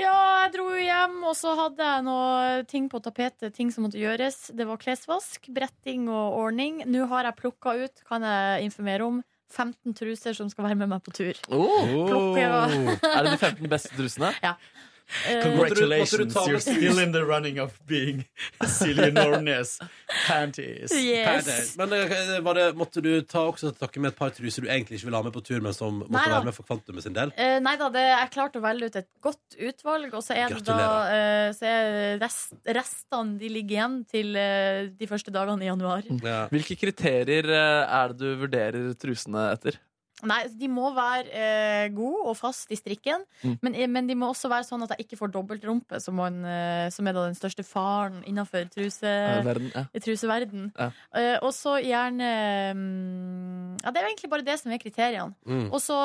S3: Ja, jeg dro jo hjem, og så hadde jeg noe ting på tapetet, ting som måtte gjøres. Det var klesvask, bretting og ordning. Nå har jeg plukka ut, kan jeg informere om, 15 truser som skal være med meg på tur.
S4: Oh,
S3: Plukker,
S2: Åh.
S4: er det de 15 beste trusene?
S3: Eh,
S9: Congratulations,
S2: ta med
S9: you're
S2: pus?
S9: still in the running of being Silje Nordnes. Panties.
S3: Yes.
S2: Paradise. Men eh, var det, måtte du ta også til dere med et par truser du egentlig ikke ville ha med på tur, men som måtte
S3: Neida.
S2: være med for kvantumet sin del?
S3: Eh, nei da, det, jeg klarte å velge ut et godt utvalg, og så er det da eh, så er rest, restene de ligger igjen til eh, de første dagene i januar.
S4: Mm.
S2: Ja.
S4: Hvilke kriterier eh, er det du vurderer trusene etter?
S3: Nei, de må være eh, gode og fast i strikken,
S4: Mm.
S3: men, eh, men de må også være sånn at jeg ikke får dobbelt rumpe, som, man, eh, som er da den største faren innenfor truse,
S4: Eh, verden, ja.
S3: i truseverden.
S4: Ja.
S3: Eh, og så gjerne mm, Ja, det er jo egentlig bare det som er kriteriene.
S2: Mm.
S3: Og så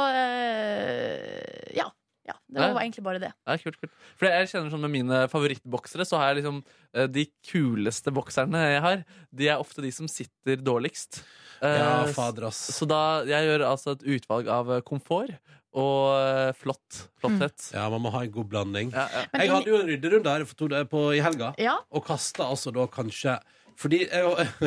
S3: eh, ja, ja. Det
S4: Ja.
S3: var egentlig bare det.
S4: Ja, kult, kult. For jeg kjenner sånn med mine favorittboksere, så har jeg liksom eh, De kuleste bokserne jeg har, de er ofte de som sitter dårligst. Eh,
S2: Ja, fader, ass.
S4: Så da Jeg gjør altså et utvalg av eh, komfort og eh, flott. Flotthet.
S2: Ja, man må ha en god blanding.
S4: Ja, ja.
S3: Men
S2: Jeg
S3: inni-
S2: hadde jo en rydderunde her for to dager på, i helga,
S3: Ja.
S2: og kasta altså da kanskje Fordi jeg,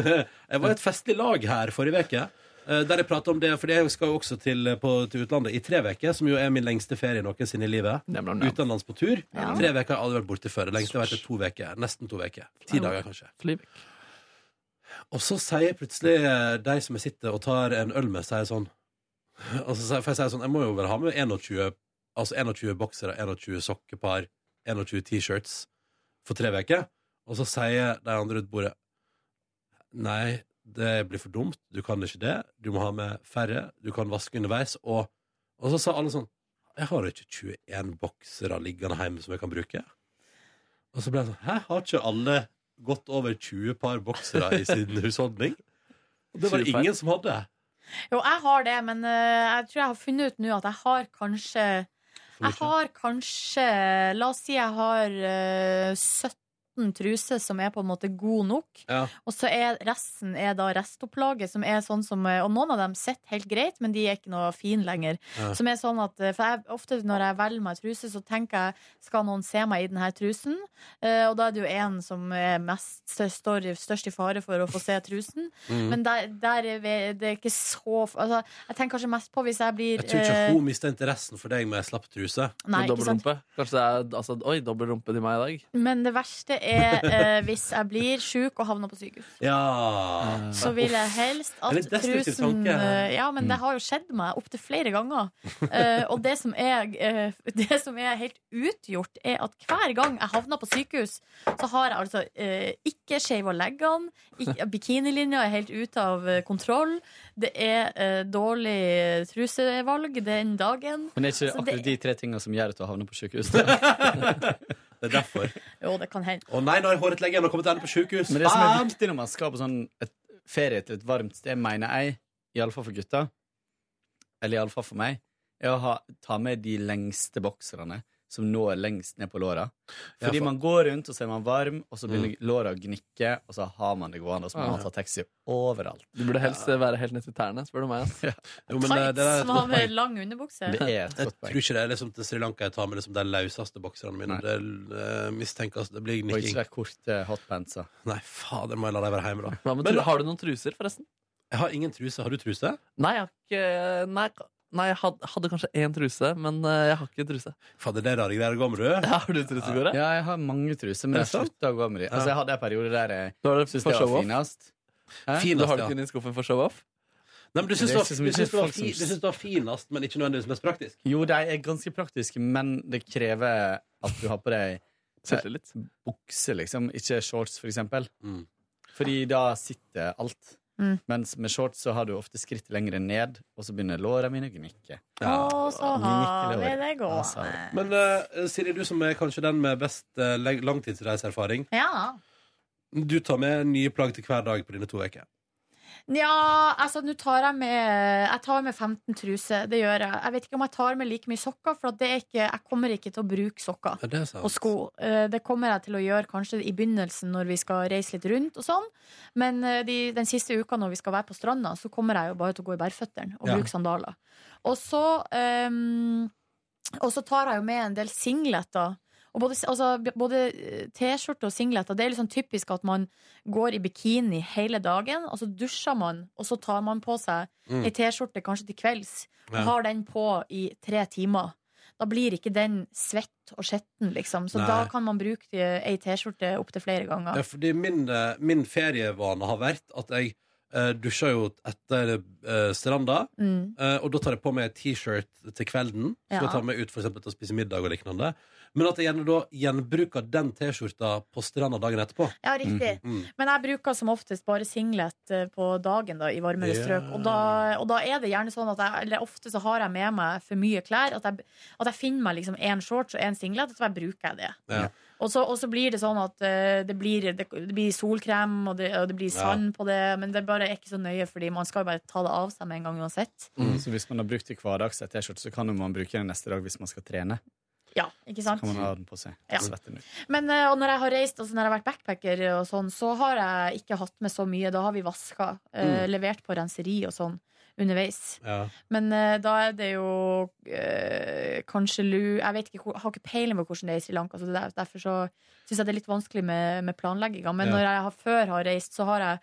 S2: jeg var i et festlig lag her forrige uke. eh, Der jeg pratet om det, fordi jeg skal jo også til, eh, på, til utlandet i tre uker, som jo er min lengste ferie noensinne i livet.
S4: Nam, nam, nam.
S2: Utenlands på tur.
S3: Ja.
S2: Tre uker har jeg aldri vært borte før. Det lengste har vært to uker. Nesten to uker. Ti dager, kanskje.
S4: Flyvekk.
S2: Og så sier plutselig eh, de som jeg sitter og tar en øl med, sier sånn altså, sier- For jeg sier sånn, jeg må jo vel ha med 21, altså 21 boksere, 21 sokkepar, 21 T-shirts for tre uker. Og så sier de andre rundt bordet Nei, det blir for dumt. Du kan ikke det. Du må ha med færre. Du kan vaske underveis. Og, og så sa alle sånn Jeg har jo ikke 21 boksere liggende hjemme som jeg kan bruke. Og så ble jeg sånn Hæ, har ikke alle gått over 20 par boksere i sin husholdning? Og det var det
S4: 20 par.
S2: ingen som hadde.
S3: Jo, jeg har det, men eh, jeg tror jeg har funnet ut nå at jeg har kanskje Jeg har kanskje La oss si jeg har eh, 17 truser som er på en måte god nok,
S2: Ja.
S3: og så er resten er da restopplaget, som er sånn som eh, Og noen av dem sitter helt greit, men de er ikke noe fine lenger.
S2: Ja.
S3: Som er sånn at eh, For jeg, ofte når jeg velger meg truse, så tenker jeg skal noen se meg i denne trusen? Eh, og da er det jo en som er mest, står i- størst i fare for å få se trusen.
S2: Mm.
S3: Men der, der er vi, det er ikke så altså, Jeg tenker kanskje mest på hvis jeg blir
S2: Jeg tror ikke
S3: eh,
S2: hun mista interessen for deg med slapp truse.
S3: Nei,
S4: Med
S3: ikke
S4: dobbel
S3: sant?
S4: rumpe. Kanskje det er altså, Oi, dobbel rumpe til meg i dag.
S3: Men det verste er eh, hvis jeg blir sjuk og havner på sykehus.
S2: Ja.
S3: Så vil jeg helst
S2: Det er
S3: at
S2: litt destruktiv
S3: trusen
S2: tanke. Mm.
S3: eh, Ja, men det har jo skjedd meg opptil flere ganger. Eh, og det som, er, eh, det som er helt utgjort, er at hver gang jeg havner på sykehus, så har jeg altså eh, ikke skeiva leggene, ikke- bikinilinja er helt ute av eh, kontroll, det er eh, dårlig trusevalg den dagen.
S9: Men det er
S3: Så det-
S9: ikke akkurat de tre tingene som gjør at du havner på sykehus.
S2: Det er derfor.
S3: Jo, det kan hende.
S2: Å nei, nå har jeg håret lenge og kommet ærlig på sjukehus.
S9: Men det som er viktig når man skal på sånn et ferie til et varmt sted, mener jeg, iallfall for gutta, eller iallfall for meg, er å ha, ta med de lengste bokserne som når lengst ned på låra.
S2: Ja, for-
S9: Fordi
S2: Mm.
S9: man går rundt, og så er man varm, og så begynner låra å gnikke, og så har man det gående, og så må man ta taxi overalt.
S4: Du burde helst eh, være helt ned til tærne, spør du meg. ass.
S2: Jo, men, eh, det er
S3: Tights
S2: et
S3: som har
S2: godt
S3: med
S2: poeng.
S3: lang underbukse.
S9: Det er et
S2: Jeg
S9: godt
S2: tror
S9: poeng.
S2: ikke det er liksom til Sri Lanka jeg tar med liksom de løseste bokserne mine.
S9: Nei.
S2: Det eh, mistenkes det blir
S9: Og ikke
S2: gnikking.
S9: de korte hotpantsa.
S2: Nei, fader, må jeg la dem være hjemme, da.
S4: Hva med
S2: Men-
S4: tru- har du noen truser, forresten?
S2: Jeg har ingen truse. Har du truse?
S4: Nei, jeg har ikke Nei, ka- nei jeg had- hadde kanskje én truse, men eh, jeg har ikke truse.
S2: Fader, det er rare greier å gå med, du.
S4: Har du truse, Kåre?
S9: Ja, jeg har mange truser, men
S2: Er
S9: jeg
S2: det sant?
S9: slutta å gå med de. Altså, jeg hadde en periode der jeg
S4: Du har det
S9: syntes
S4: for
S9: det var
S4: show-off?
S9: finest. Hæ?
S4: Du har
S2: Finast,
S4: det
S2: ja.
S4: kun i skuffen for show-off?
S2: Nei, men du syns
S9: Det
S2: det,
S9: er
S2: var-
S9: ikke så
S2: du
S9: mye
S2: syns det, var
S9: folk som-
S2: fi- du syns det var finast, men ikke nødvendigvis mest praktisk.
S9: Jo, de er ganske praktiske, men det krever at du har på deg
S4: Selvtillit.
S9: bukse, liksom. Ikke shorts, for eksempel.
S2: Mm.
S9: Fordi da sitter alt.
S3: Mm.
S9: Mens med shorts så har du ofte skritt lenger ned, og så begynner låra mine å gnikke.
S3: Å, så har vi det
S9: Altså.
S3: gående.
S2: Men eh, Silje, du som er kanskje den med best eh, lang- langtidsreiseerfaring,
S3: Ja.
S2: du tar med nye plagg til hver dag på dine to uker.
S3: Nja, altså nå tar jeg med Jeg tar med 15 truser, det gjør jeg. Jeg vet ikke om jeg tar med like mye sokker, for at det er ikke, jeg kommer ikke til å bruke sokker.
S2: Ja, det er sant.
S3: Og sko. Eh, Det kommer jeg til å gjøre kanskje i begynnelsen når vi skal reise litt rundt og sånn. Men eh, de, den siste uka når vi skal være på stranda, så kommer jeg jo bare til å gå i bærføttene og
S2: Ja.
S3: bruke sandaler. Og så, ehm, og så tar jeg jo med en del singleter. Og både, altså, b- både eh, T-skjorte og singleter. Det er litt sånn typisk at man går i bikini hele dagen, og så dusjer man, og så tar man på seg
S2: Mm.
S3: ei T-skjorte kanskje til kvelds, og
S2: Ja.
S3: har den på i tre timer. Da blir ikke den svett og skjetten, liksom. Så
S2: Nei.
S3: da kan man bruke eh, ei T-skjorte opptil flere
S2: Ja,
S3: ganger.
S2: fordi min, eh, min ferievane har vært at jeg eh, dusjer jo etter eh, stranda,
S3: Mm.
S2: eh, og da tar jeg på meg et T-shirt til kvelden, som
S3: Ja.
S2: jeg tar meg ut for eksempel til å spise middag og liknande. Men at jeg gjerne da gjenbruker den T-skjorta på stranda dagen etterpå.
S3: Ja, riktig.
S2: Mm.
S3: Men jeg bruker som oftest bare singlet eh, på dagen da, i varmere
S2: Ja.
S3: strøk. Og da, og da er det gjerne sånn at jeg, eller ofte så har jeg med meg for mye klær. At jeg, at jeg finner meg liksom én shorts og én singlet, og så bare bruker jeg det.
S2: Ja.
S3: Og så, og så blir det sånn at eh, det, blir, det, det blir solkrem, og det, og det blir sand på det, men det bare er ikke så nøye, fordi man skal jo bare ta det av seg med en gang uansett.
S9: Så hvis man har brukt det hverdags, et T-skjorte, så kan jo man bruke den neste dag hvis man skal trene.
S3: Ja, ikke sant?
S9: Kan man ha den på seg.
S3: Ja.
S9: Svette den ut.
S3: Men eh, og når jeg har reist, altså når jeg har vært backpacker og sånn, så har jeg ikke hatt med så mye. Da har vi vaska, eh,
S9: Mm.
S3: levert på renseri og sånn underveis.
S2: Ja.
S3: Men eh, da er det jo eh, kanskje lu Jeg vet ikke, hvor- har ikke peiling på hvordan det er i Sri Lanka, så det er, derfor så syns jeg det er litt vanskelig med, med planlegginga. Men
S2: Ja.
S3: når jeg har, før har reist, så har jeg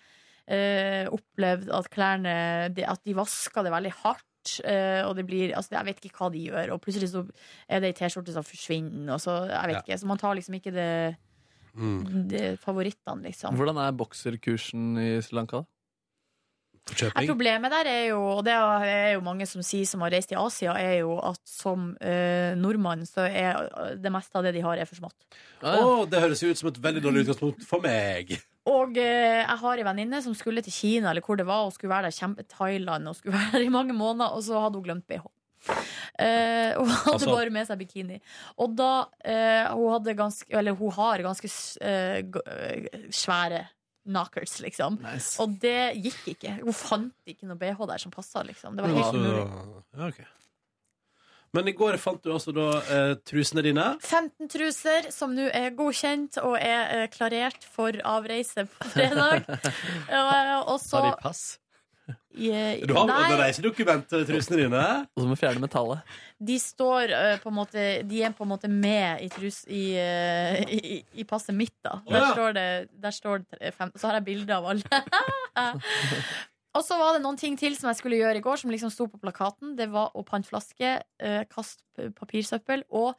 S3: eh, opplevd at klærne de, At de vasker det veldig hardt. eh, og det blir, altså Jeg vet ikke hva de gjør. Og plutselig så er det ei T-skjorte som forsvinner. Og så, jeg vet
S2: Ja.
S3: ikke, så man tar liksom ikke det,
S2: Mm.
S3: det favorittene, liksom.
S4: Hvordan er bokserkursen i Sri Lanka? da?
S3: Nei,
S2: Forkjøping.
S3: problemet der er jo, og det er jo mange som sier som har reist i Asia, er jo at som eh, nordmann så er det meste av det de har, er for smått.
S2: Å, det høres jo ut som et veldig dårlig utgangspunkt for meg.
S3: Og eh, jeg har en venninne som skulle til Kina eller hvor det var, og skulle være der kjempe Thailand og skulle være der i mange måneder, og så hadde hun glemt BH. Eh, hun hadde
S2: Altså-
S3: bare med seg bikini. Og da eh, hun hadde ganske Eller hun har ganske s- eh, g- eh, svære knockers, liksom.
S4: Nice.
S3: Og det gikk ikke. Hun fant ikke noe BH der som passa, liksom. Det var helt umulig.
S2: Altså, ja, ok. Men i går fant du altså da eh, trusene dine.
S3: 15 truser som nå er godkjent og er eh, klarert for avreise på fredag. Eh, og så
S9: Har de pass?
S2: Du har Nei. reisedokumentet, trusene dine.
S4: Og så må vi fjerne metallet.
S3: De står eh, på en måte De er på en måte med i, trus, i, eh, i, i passet mitt da Der
S2: ja.
S3: står det, der står det fem, Så har jeg bilder av alle Og så var det noen ting til som jeg skulle gjøre i går Som liksom sto på plakaten Det var å pante flaske, eh, kast p- papirsøppel Og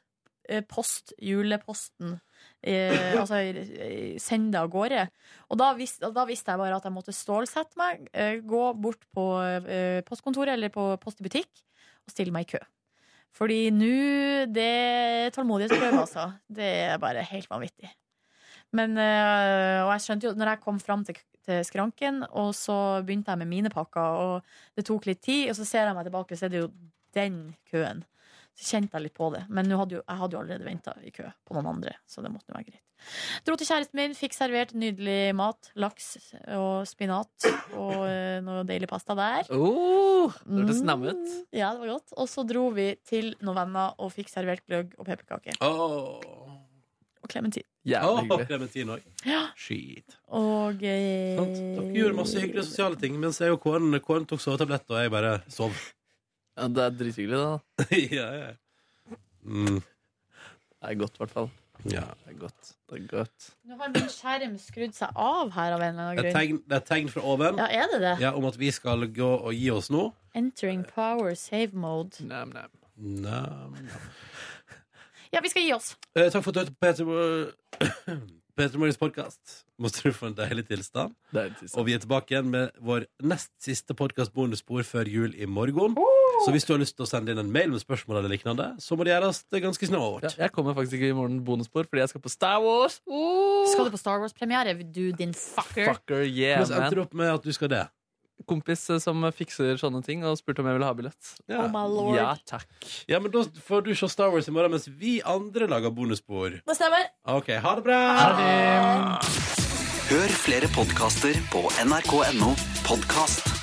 S3: eh, post, juleposten eh, altså eh, send det av gårde og da visste, da visste jeg bare at jeg måtte stålsette meg eh, Gå bort på eh, postkontoret Eller på post i butikk Og stille meg i kø fordi nå Det er tålmodighetsprøve, altså. Det er bare helt vanvittig. Men eh, Og jeg skjønte jo Når jeg kom fram til, til skranken, og så begynte jeg med mine pakker, og det tok litt tid, og så ser jeg meg tilbake, så er det jo den køen. Så kjente jeg litt på det. Men nå hadde jo, jeg hadde jo allerede venta i kø på noen andre, så det måtte jo være greit. Dro til kjæresten min, fikk servert nydelig mat. Laks og spinat og eh, noe deilig pasta der.
S4: Oh, det hørtes
S3: Mm.
S4: nam ut.
S3: Ja, det var godt. Og så dro vi til noen venner og fikk servert gløgg og pepperkake.
S2: Åh,
S3: Og klementin.
S4: Jævlig
S2: Åh,
S4: hyggelig.
S2: Clementine òg. Shit.
S3: Og eh,
S2: Sant? Dere gjorde masse hyggelige sosiale ting, mens jeg og Kåren, Kåren tok sovetablett, og jeg bare sov.
S4: Ja, det er drithyggelig, det. da.
S2: ja, ja. Mm,
S4: Det er godt, i hvert fall.
S2: ja.
S4: Det er godt. Det er godt.
S3: Nå har min skjerm skrudd seg av her av en eller
S2: Det er et
S3: annen grunn.
S2: tegn, det er et tegn fra oven
S3: Ja, er det det?
S2: ja, om at vi skal gå og gi oss nå.
S3: Entering power save mode.
S4: Nam, nam.
S2: Nam.
S3: Ja, vi skal gi oss.
S2: Eh, takk for at du hørte på Peter Mor- Peter Morgens podkast. Måtte du få en deilig tilstand.
S4: Det er litt
S2: Og vi er tilbake igjen med vår nest siste podkast bonusspor før jul i morgen. Så hvis du har lyst til å sende inn en mail med spørsmål eller lignende, så må det gjøres det ganske
S4: ja,
S2: snart.
S4: jeg kommer faktisk ikke i morgen bonusspor fordi jeg skal på Star Wars. Oh!
S3: Skal du på Star Wars-premiere, du din fucker?
S4: Fucker, yeah,
S2: Men så endte
S4: man.
S2: du opp med at du skal det.
S4: Kompis eh, som fikser sånne ting, og spurte om jeg ville ha billett.
S2: Ja.
S3: Oh my lord.
S4: Ja, takk.
S2: ja, men da får du se Star Wars i morgen, mens vi andre lager bonusspor.
S3: Det stemmer.
S2: OK, ha det bra!
S11: Hør flere podkaster på nrk.no podkast.